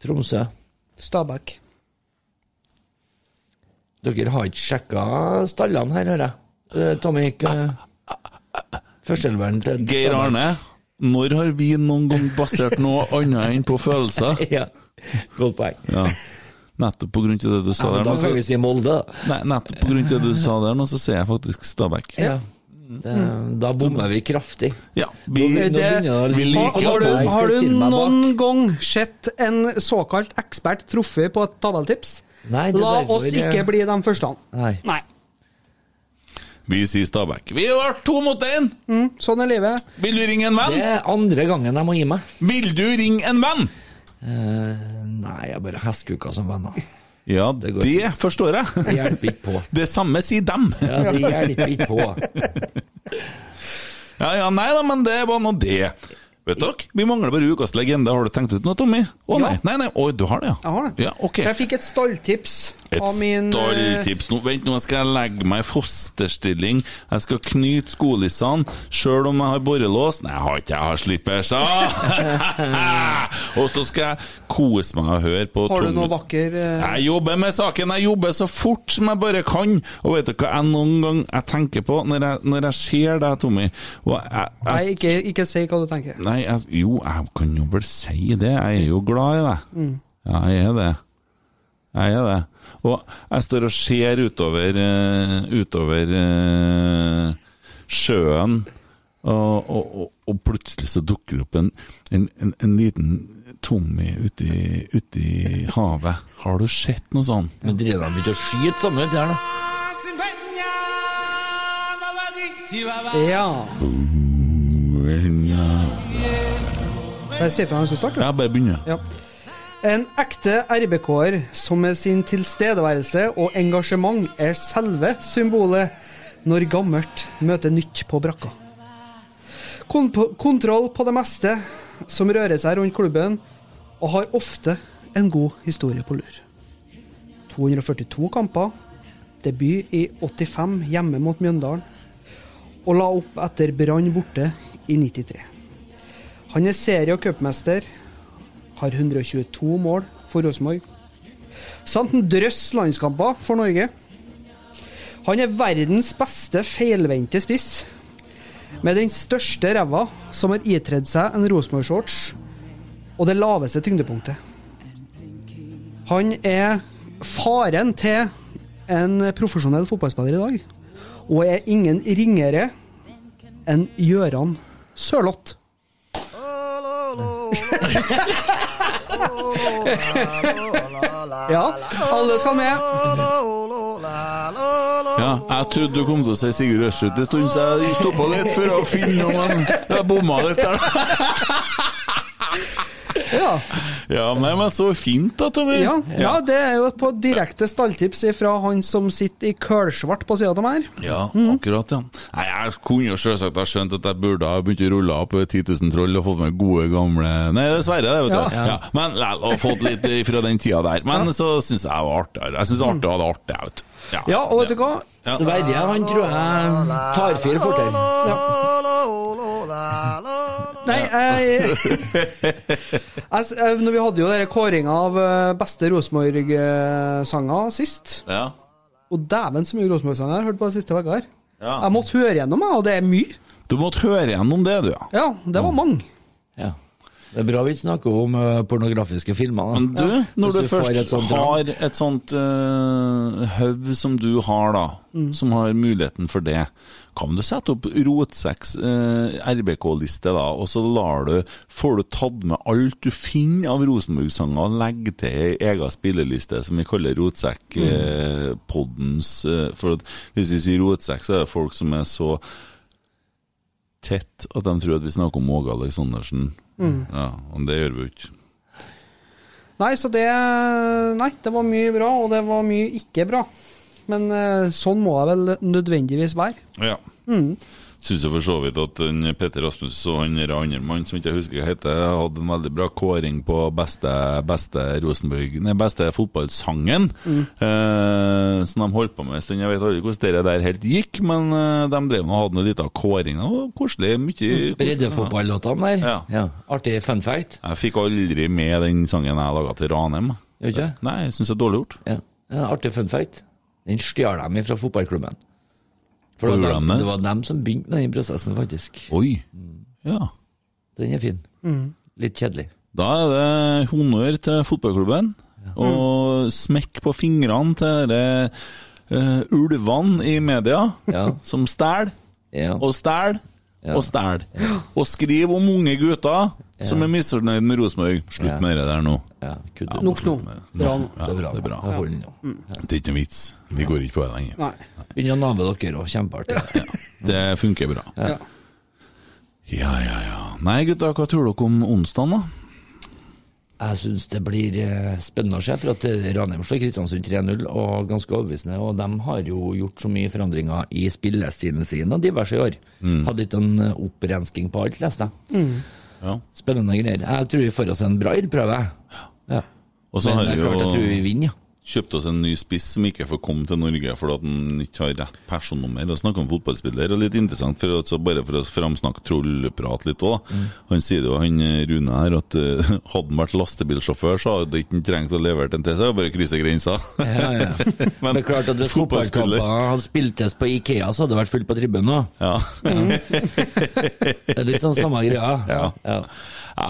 [SPEAKER 5] Tromsø.
[SPEAKER 3] Stabæk.
[SPEAKER 5] Dere har ikke sjekka stallene her, hører jeg. Eh, Tommy gikk
[SPEAKER 2] Ah,
[SPEAKER 5] førsteelveren til
[SPEAKER 2] Geir
[SPEAKER 5] Stabæk.
[SPEAKER 2] Arne, når har vi noen gang basert noe annet enn på følelser?
[SPEAKER 5] Ja. Godt poeng.
[SPEAKER 2] Ja. Nettopp på grunn til det du sa
[SPEAKER 5] Ja, men
[SPEAKER 2] der
[SPEAKER 5] da
[SPEAKER 2] nå,
[SPEAKER 5] kan
[SPEAKER 2] så-
[SPEAKER 5] vi si Molde, da.
[SPEAKER 2] Nei, nettopp på grunn til det du sa der nå, så sier jeg faktisk Stabæk.
[SPEAKER 5] Ja. Det, da bommer vi kraftig.
[SPEAKER 2] Ja, vi,
[SPEAKER 5] Nå- nå
[SPEAKER 3] Det-
[SPEAKER 5] begynner jeg å-
[SPEAKER 2] vi liker
[SPEAKER 3] Har du,
[SPEAKER 5] Jeg skal
[SPEAKER 3] har du
[SPEAKER 5] stille meg bak.
[SPEAKER 3] noen gang sett en såkalt ekspert truffet på et tabelltips?
[SPEAKER 5] Nei, det er
[SPEAKER 3] La
[SPEAKER 5] derfor
[SPEAKER 3] oss
[SPEAKER 5] jeg-
[SPEAKER 3] ikke bli de første.
[SPEAKER 5] Nei.
[SPEAKER 3] Nei.
[SPEAKER 2] Vi sier Stabæk. Vi har vært to mot én!
[SPEAKER 3] Mm, sånn er livet.
[SPEAKER 2] Vil du ringe en venn?
[SPEAKER 5] Det er andre gangen jeg må gi meg.
[SPEAKER 2] Vil du ringe en venn?
[SPEAKER 5] Eh, nei, jeg er bare hestekuka som venner.
[SPEAKER 2] Ja,
[SPEAKER 5] Det
[SPEAKER 2] det,
[SPEAKER 5] går fint.
[SPEAKER 2] forstår jeg.
[SPEAKER 5] Det hjelper ikke på.
[SPEAKER 2] Det samme sier dem.
[SPEAKER 5] Ja, det hjelper ikke på.
[SPEAKER 2] Ja, ja, nei da, men det var nå det. Vet dere, vi mangler bare ukas legende. Har du tenkt ut noe, Tommy? Å nei,
[SPEAKER 3] Ja.
[SPEAKER 2] nei, nei, oi, du har det, ja?
[SPEAKER 3] Jeg har det.
[SPEAKER 2] Ja, ok.
[SPEAKER 3] Jeg fikk et stalltips
[SPEAKER 2] Et
[SPEAKER 3] av min eh,
[SPEAKER 2] stalltips nå, Vent, nå skal jeg legge meg i fosterstilling. Jeg skal knyte skolissene, sjøl om jeg har borrelås. Nei, jeg har ikke, jeg har slippers. Ah! og så skal jeg kose meg og høre på
[SPEAKER 3] Har du
[SPEAKER 2] Tom-
[SPEAKER 3] noe vakker eh,
[SPEAKER 2] Jeg jobber med saken, jeg jobber så fort som jeg bare kan. Og vet du hva jeg noen gang jeg tenker på når jeg, når jeg ser deg, Tommy? Og jeg,
[SPEAKER 3] Nei,
[SPEAKER 2] jeg,
[SPEAKER 3] ikke, ikke si hva du tenker.
[SPEAKER 2] nei jeg, jo, jeg kan jo vel si det. Jeg er jo glad i deg. Ja, jeg er det. Jeg er det. Og jeg står og ser utover, eh, utover eh, sjøen, og, og, og, og plutselig så dukker det opp en, en, en, en liten Tommy ute i, ute i havet. Har du sett noe sånt?
[SPEAKER 5] Men driver de ikke og skyter sammen uti her, da?
[SPEAKER 3] Ja.
[SPEAKER 2] Ja,
[SPEAKER 3] Jeg sier fra når jeg skal starte.
[SPEAKER 2] bare begynne.
[SPEAKER 3] Ja. En ekte RBK-er som med sin tilstedeværelse og engasjement er selve symbolet når gammelt møter nytt på brakka. Kon kontroll på det meste som rører seg rundt klubben, og har ofte en god historie på lur. 242 kamper, debut i 85 hjemme mot Mjøndalen, og la opp etter Brann borte i 93. Han er serie- og cupmester, har 122 mål for Rosenborg, samt en drøss landskamper for Norge. Han er verdens beste feilvendte spiss, med den største ræva som har itredd seg en Rosenborg-shorts, og det laveste tyngdepunktet. Han er faren til en profesjonell fotballspiller i dag, og er ingen ringere enn Gøran Sørloth. Ja, alle skal med.
[SPEAKER 2] Ja, jeg trodde du kom til å si Sigurd Ørset en stund, så jeg stoppa litt for å finne om han jeg bomma litt der.
[SPEAKER 3] Ja.
[SPEAKER 2] Ja, nei, men så fint da, Tommy.
[SPEAKER 3] Ja, ja, det er jo et på direkte stalltips fra han som sitter i kølsvart på sida av dem her.
[SPEAKER 2] Ja,
[SPEAKER 3] Mm.
[SPEAKER 2] akkurat, ja. Nei, jeg kunne jo selvsagt ha skjønt at jeg burde ha begynt å rulle opp 10 000 troll og fått meg gode gamle Nei, dessverre, det, vet du. Ja.
[SPEAKER 5] Ja.
[SPEAKER 2] Men lell, og fått litt fra den tida der. Men så syns jeg det var artig. Jeg syns artig var det artig, jeg, vet du.
[SPEAKER 3] Ja, og vet du hva?
[SPEAKER 2] Ja.
[SPEAKER 5] Sverige, han tror jeg tar fyr fortere.
[SPEAKER 3] Nei, jeg, jeg, s- eh, når Vi hadde jo denne kåringa av eh, beste Rosenborg-sanger sist.
[SPEAKER 2] Ja.
[SPEAKER 3] Og dæven så mye Rosenborg-sanger jeg har hørt på de siste uka her.
[SPEAKER 2] Ja.
[SPEAKER 3] Jeg måtte høre gjennom, jeg, og det er mye.
[SPEAKER 2] Du måtte høre gjennom det, du, ja.
[SPEAKER 3] Ja, det
[SPEAKER 2] Mm.
[SPEAKER 3] var mange.
[SPEAKER 5] Ja. Det er bra vi ikke snakker om ø, pornografiske filmer. da.
[SPEAKER 2] Men du, når
[SPEAKER 5] Hvis
[SPEAKER 2] du,
[SPEAKER 5] du får
[SPEAKER 2] først
[SPEAKER 5] et sånt
[SPEAKER 2] har et sånt uh, høv som du har, da, som har muligheten for det, kan du sette opp eh, Rotseks RBK-liste, da, og så lar du, får du tatt med alt du finner av Rosenborg-sanger, og legge til ei ega spilleliste som vi kaller Rotsekk-poddens eh, For at, hvis vi sier Rotsekk, så er det folk som er så tett at de tror at vi snakker om Åge Aleksandersen. Ja, og det gjør vi jo ikke.
[SPEAKER 3] Nei, så det Nei, det var mye bra, og det var mye ikke bra. Men eh, sånn må jeg vel nødvendigvis være.
[SPEAKER 2] Ja. Syns jeg for så vidt at den Petter Rasmus og han der andre mannen som ikke jeg husker hva heter, hadde en veldig bra kåring på beste, beste Rosenborg Nei, beste fotballsangen, eh, som de holdt på med en stund. Jeg vet aldri hvordan det der helt gikk, men eh, de drev nå og hadde en liten kåring. Det var koselig. Mye koselig.
[SPEAKER 5] Breddefotballåtene der.
[SPEAKER 2] Ja.
[SPEAKER 5] Artig fun fact.
[SPEAKER 2] Jeg fikk aldri med den sangen jeg laga til Ranheim.
[SPEAKER 5] Gjør ikke det?
[SPEAKER 2] Nei, jeg syns det er dårlig gjort.
[SPEAKER 5] Ja. Ja, Artig fun fact. Den stjal de fra fotballklubben. For
[SPEAKER 2] Hva
[SPEAKER 5] det var,
[SPEAKER 2] gjorde de
[SPEAKER 5] dem,
[SPEAKER 2] med?
[SPEAKER 5] det var dem som begynte med den prosessen, faktisk.
[SPEAKER 2] Oi. Ja.
[SPEAKER 5] Mm. Den er fin. Litt kjedelig.
[SPEAKER 2] Da er det honnør til fotballklubben. Og smekk på fingrene til dere eh, ulvene i media, som stjeler og stjeler og stjeler. Og skriv om unge gutter som er misfornøyd med Rosenborg. Slutt med det der nå. Ja,
[SPEAKER 3] Nok nå. Bra nå.
[SPEAKER 2] Ja, det er bra.
[SPEAKER 5] Jeg holder nå.
[SPEAKER 2] Det er ikke noe vits. Vi går ikke på det lenger.
[SPEAKER 5] Begynner å nave dere òg, kjempeartig.
[SPEAKER 2] Det funker bra.
[SPEAKER 5] Ja.
[SPEAKER 2] Ja, ja, ja. Nei, gutta, hva tror dere om onsdagen, da?
[SPEAKER 5] Jeg syns det blir eh, spennende å se, for at eh, Ranheim slår Kristiansund 3-0, og ganske overbevisende. Og de har jo gjort så mye forandringer i spillestilen sin og diverse i år.
[SPEAKER 2] Mm.
[SPEAKER 5] Hadde ikke en eh, opprensking på alt, leste jeg.
[SPEAKER 2] Mm. Ja.
[SPEAKER 5] Spennende greier. Jeg tror vi får oss en bra ildprøve. Ja.
[SPEAKER 2] Og så
[SPEAKER 5] Men
[SPEAKER 2] har
[SPEAKER 5] det er
[SPEAKER 2] vi jo
[SPEAKER 5] klart, jeg tror vi vinner,
[SPEAKER 2] kjøpt oss en ny spiss som ikke får komme til Norge fordi at han ikke har rett personnummer. Og snakke om fotballspiller og litt interessant, for altså bare for å framsnakke trollprat litt òg.
[SPEAKER 5] Mm.
[SPEAKER 2] Han sier det jo, han eh, Rune her, at eh, hadde han vært lastebilsjåfør, så hadde han ikke trengt å levere den til seg, bare krysse grensa.
[SPEAKER 5] Ja, ja. Men det er klart at hvis
[SPEAKER 2] fotballspiller-
[SPEAKER 5] fotballkamper hadde spiltes på Ikea, så hadde det vært fullt på tribunen nå.
[SPEAKER 2] Ja.
[SPEAKER 5] Mm. Det er litt sånn samme greia.
[SPEAKER 2] Ja. ja.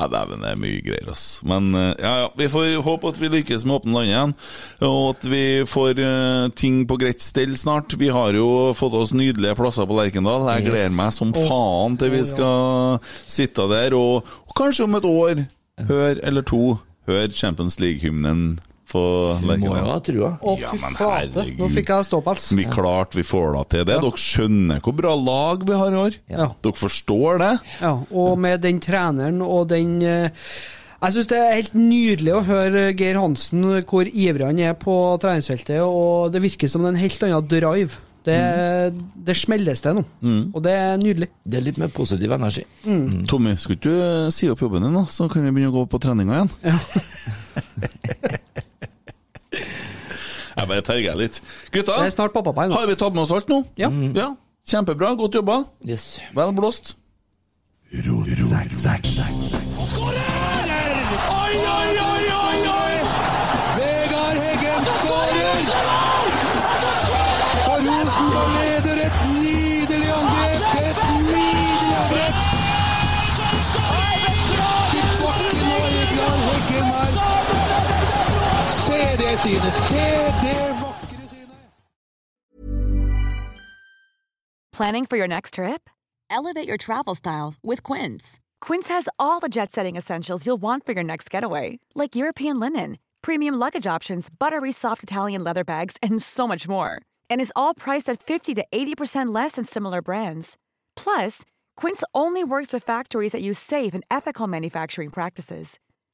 [SPEAKER 2] dæven, det er mye greier, ass. Men eh, ja, ja, vi får håpe at vi lykkes med å åpne landet igjen, og at vi får eh, ting på greit stell snart. Vi har jo fått oss nydelige plasser på Lerkendal. Jeg
[SPEAKER 7] Yes.
[SPEAKER 2] gleder meg som
[SPEAKER 7] Åh.
[SPEAKER 2] faen til vi skal sitte der, og, og kanskje om et år, hør eller to, hør Champions League-hymnen på
[SPEAKER 5] Vi må jo
[SPEAKER 2] Lerkendal.
[SPEAKER 5] ha trua.
[SPEAKER 3] Å, fy flate. Nå fikk jeg ståpels.
[SPEAKER 2] Vi klart vi får da til det. Dere skjønner hvor bra lag vi har i år. Dere forstår det.
[SPEAKER 3] Ja, og med den treneren og den eh, Jeg syns det er helt nydelig å høre Geir Hansen, hvor ivrig han er på treningsfeltet, og det virker som det er en helt annen drive. Det, det smelles til nå, og det er nydelig.
[SPEAKER 5] Det er litt mer positiv energi.
[SPEAKER 2] Tommy, skulle ikke du eh, si opp jobben din, da? Så kan vi begynne å gå på treninga igjen. jeg bare terger litt. Gutta,
[SPEAKER 3] Det er snart pappaperm, da.
[SPEAKER 2] har vi tatt med oss alt nå? Ja. Kjempebra, godt jobba.
[SPEAKER 5] Yes.
[SPEAKER 2] Vel blåst.
[SPEAKER 4] Oi, oi, oi, oi, oi! Vegard Heggen skårer! Og Rosenborg leder et nydelig angrep! Et nydelig angrep! Til bakken og Vegard Heggen her. Se det synet! Se det vakre
[SPEAKER 1] Planning for your next trip? Elevate your travel style with Quince. Quince has all the jet setting essentials you'll want for your next getaway, like European linen, premium luggage options, buttery soft Italian leather bags, and so much more. And is all priced at 50 to 80% less than similar brands. Plus, Quince only works with factories that use safe and ethical manufacturing practices.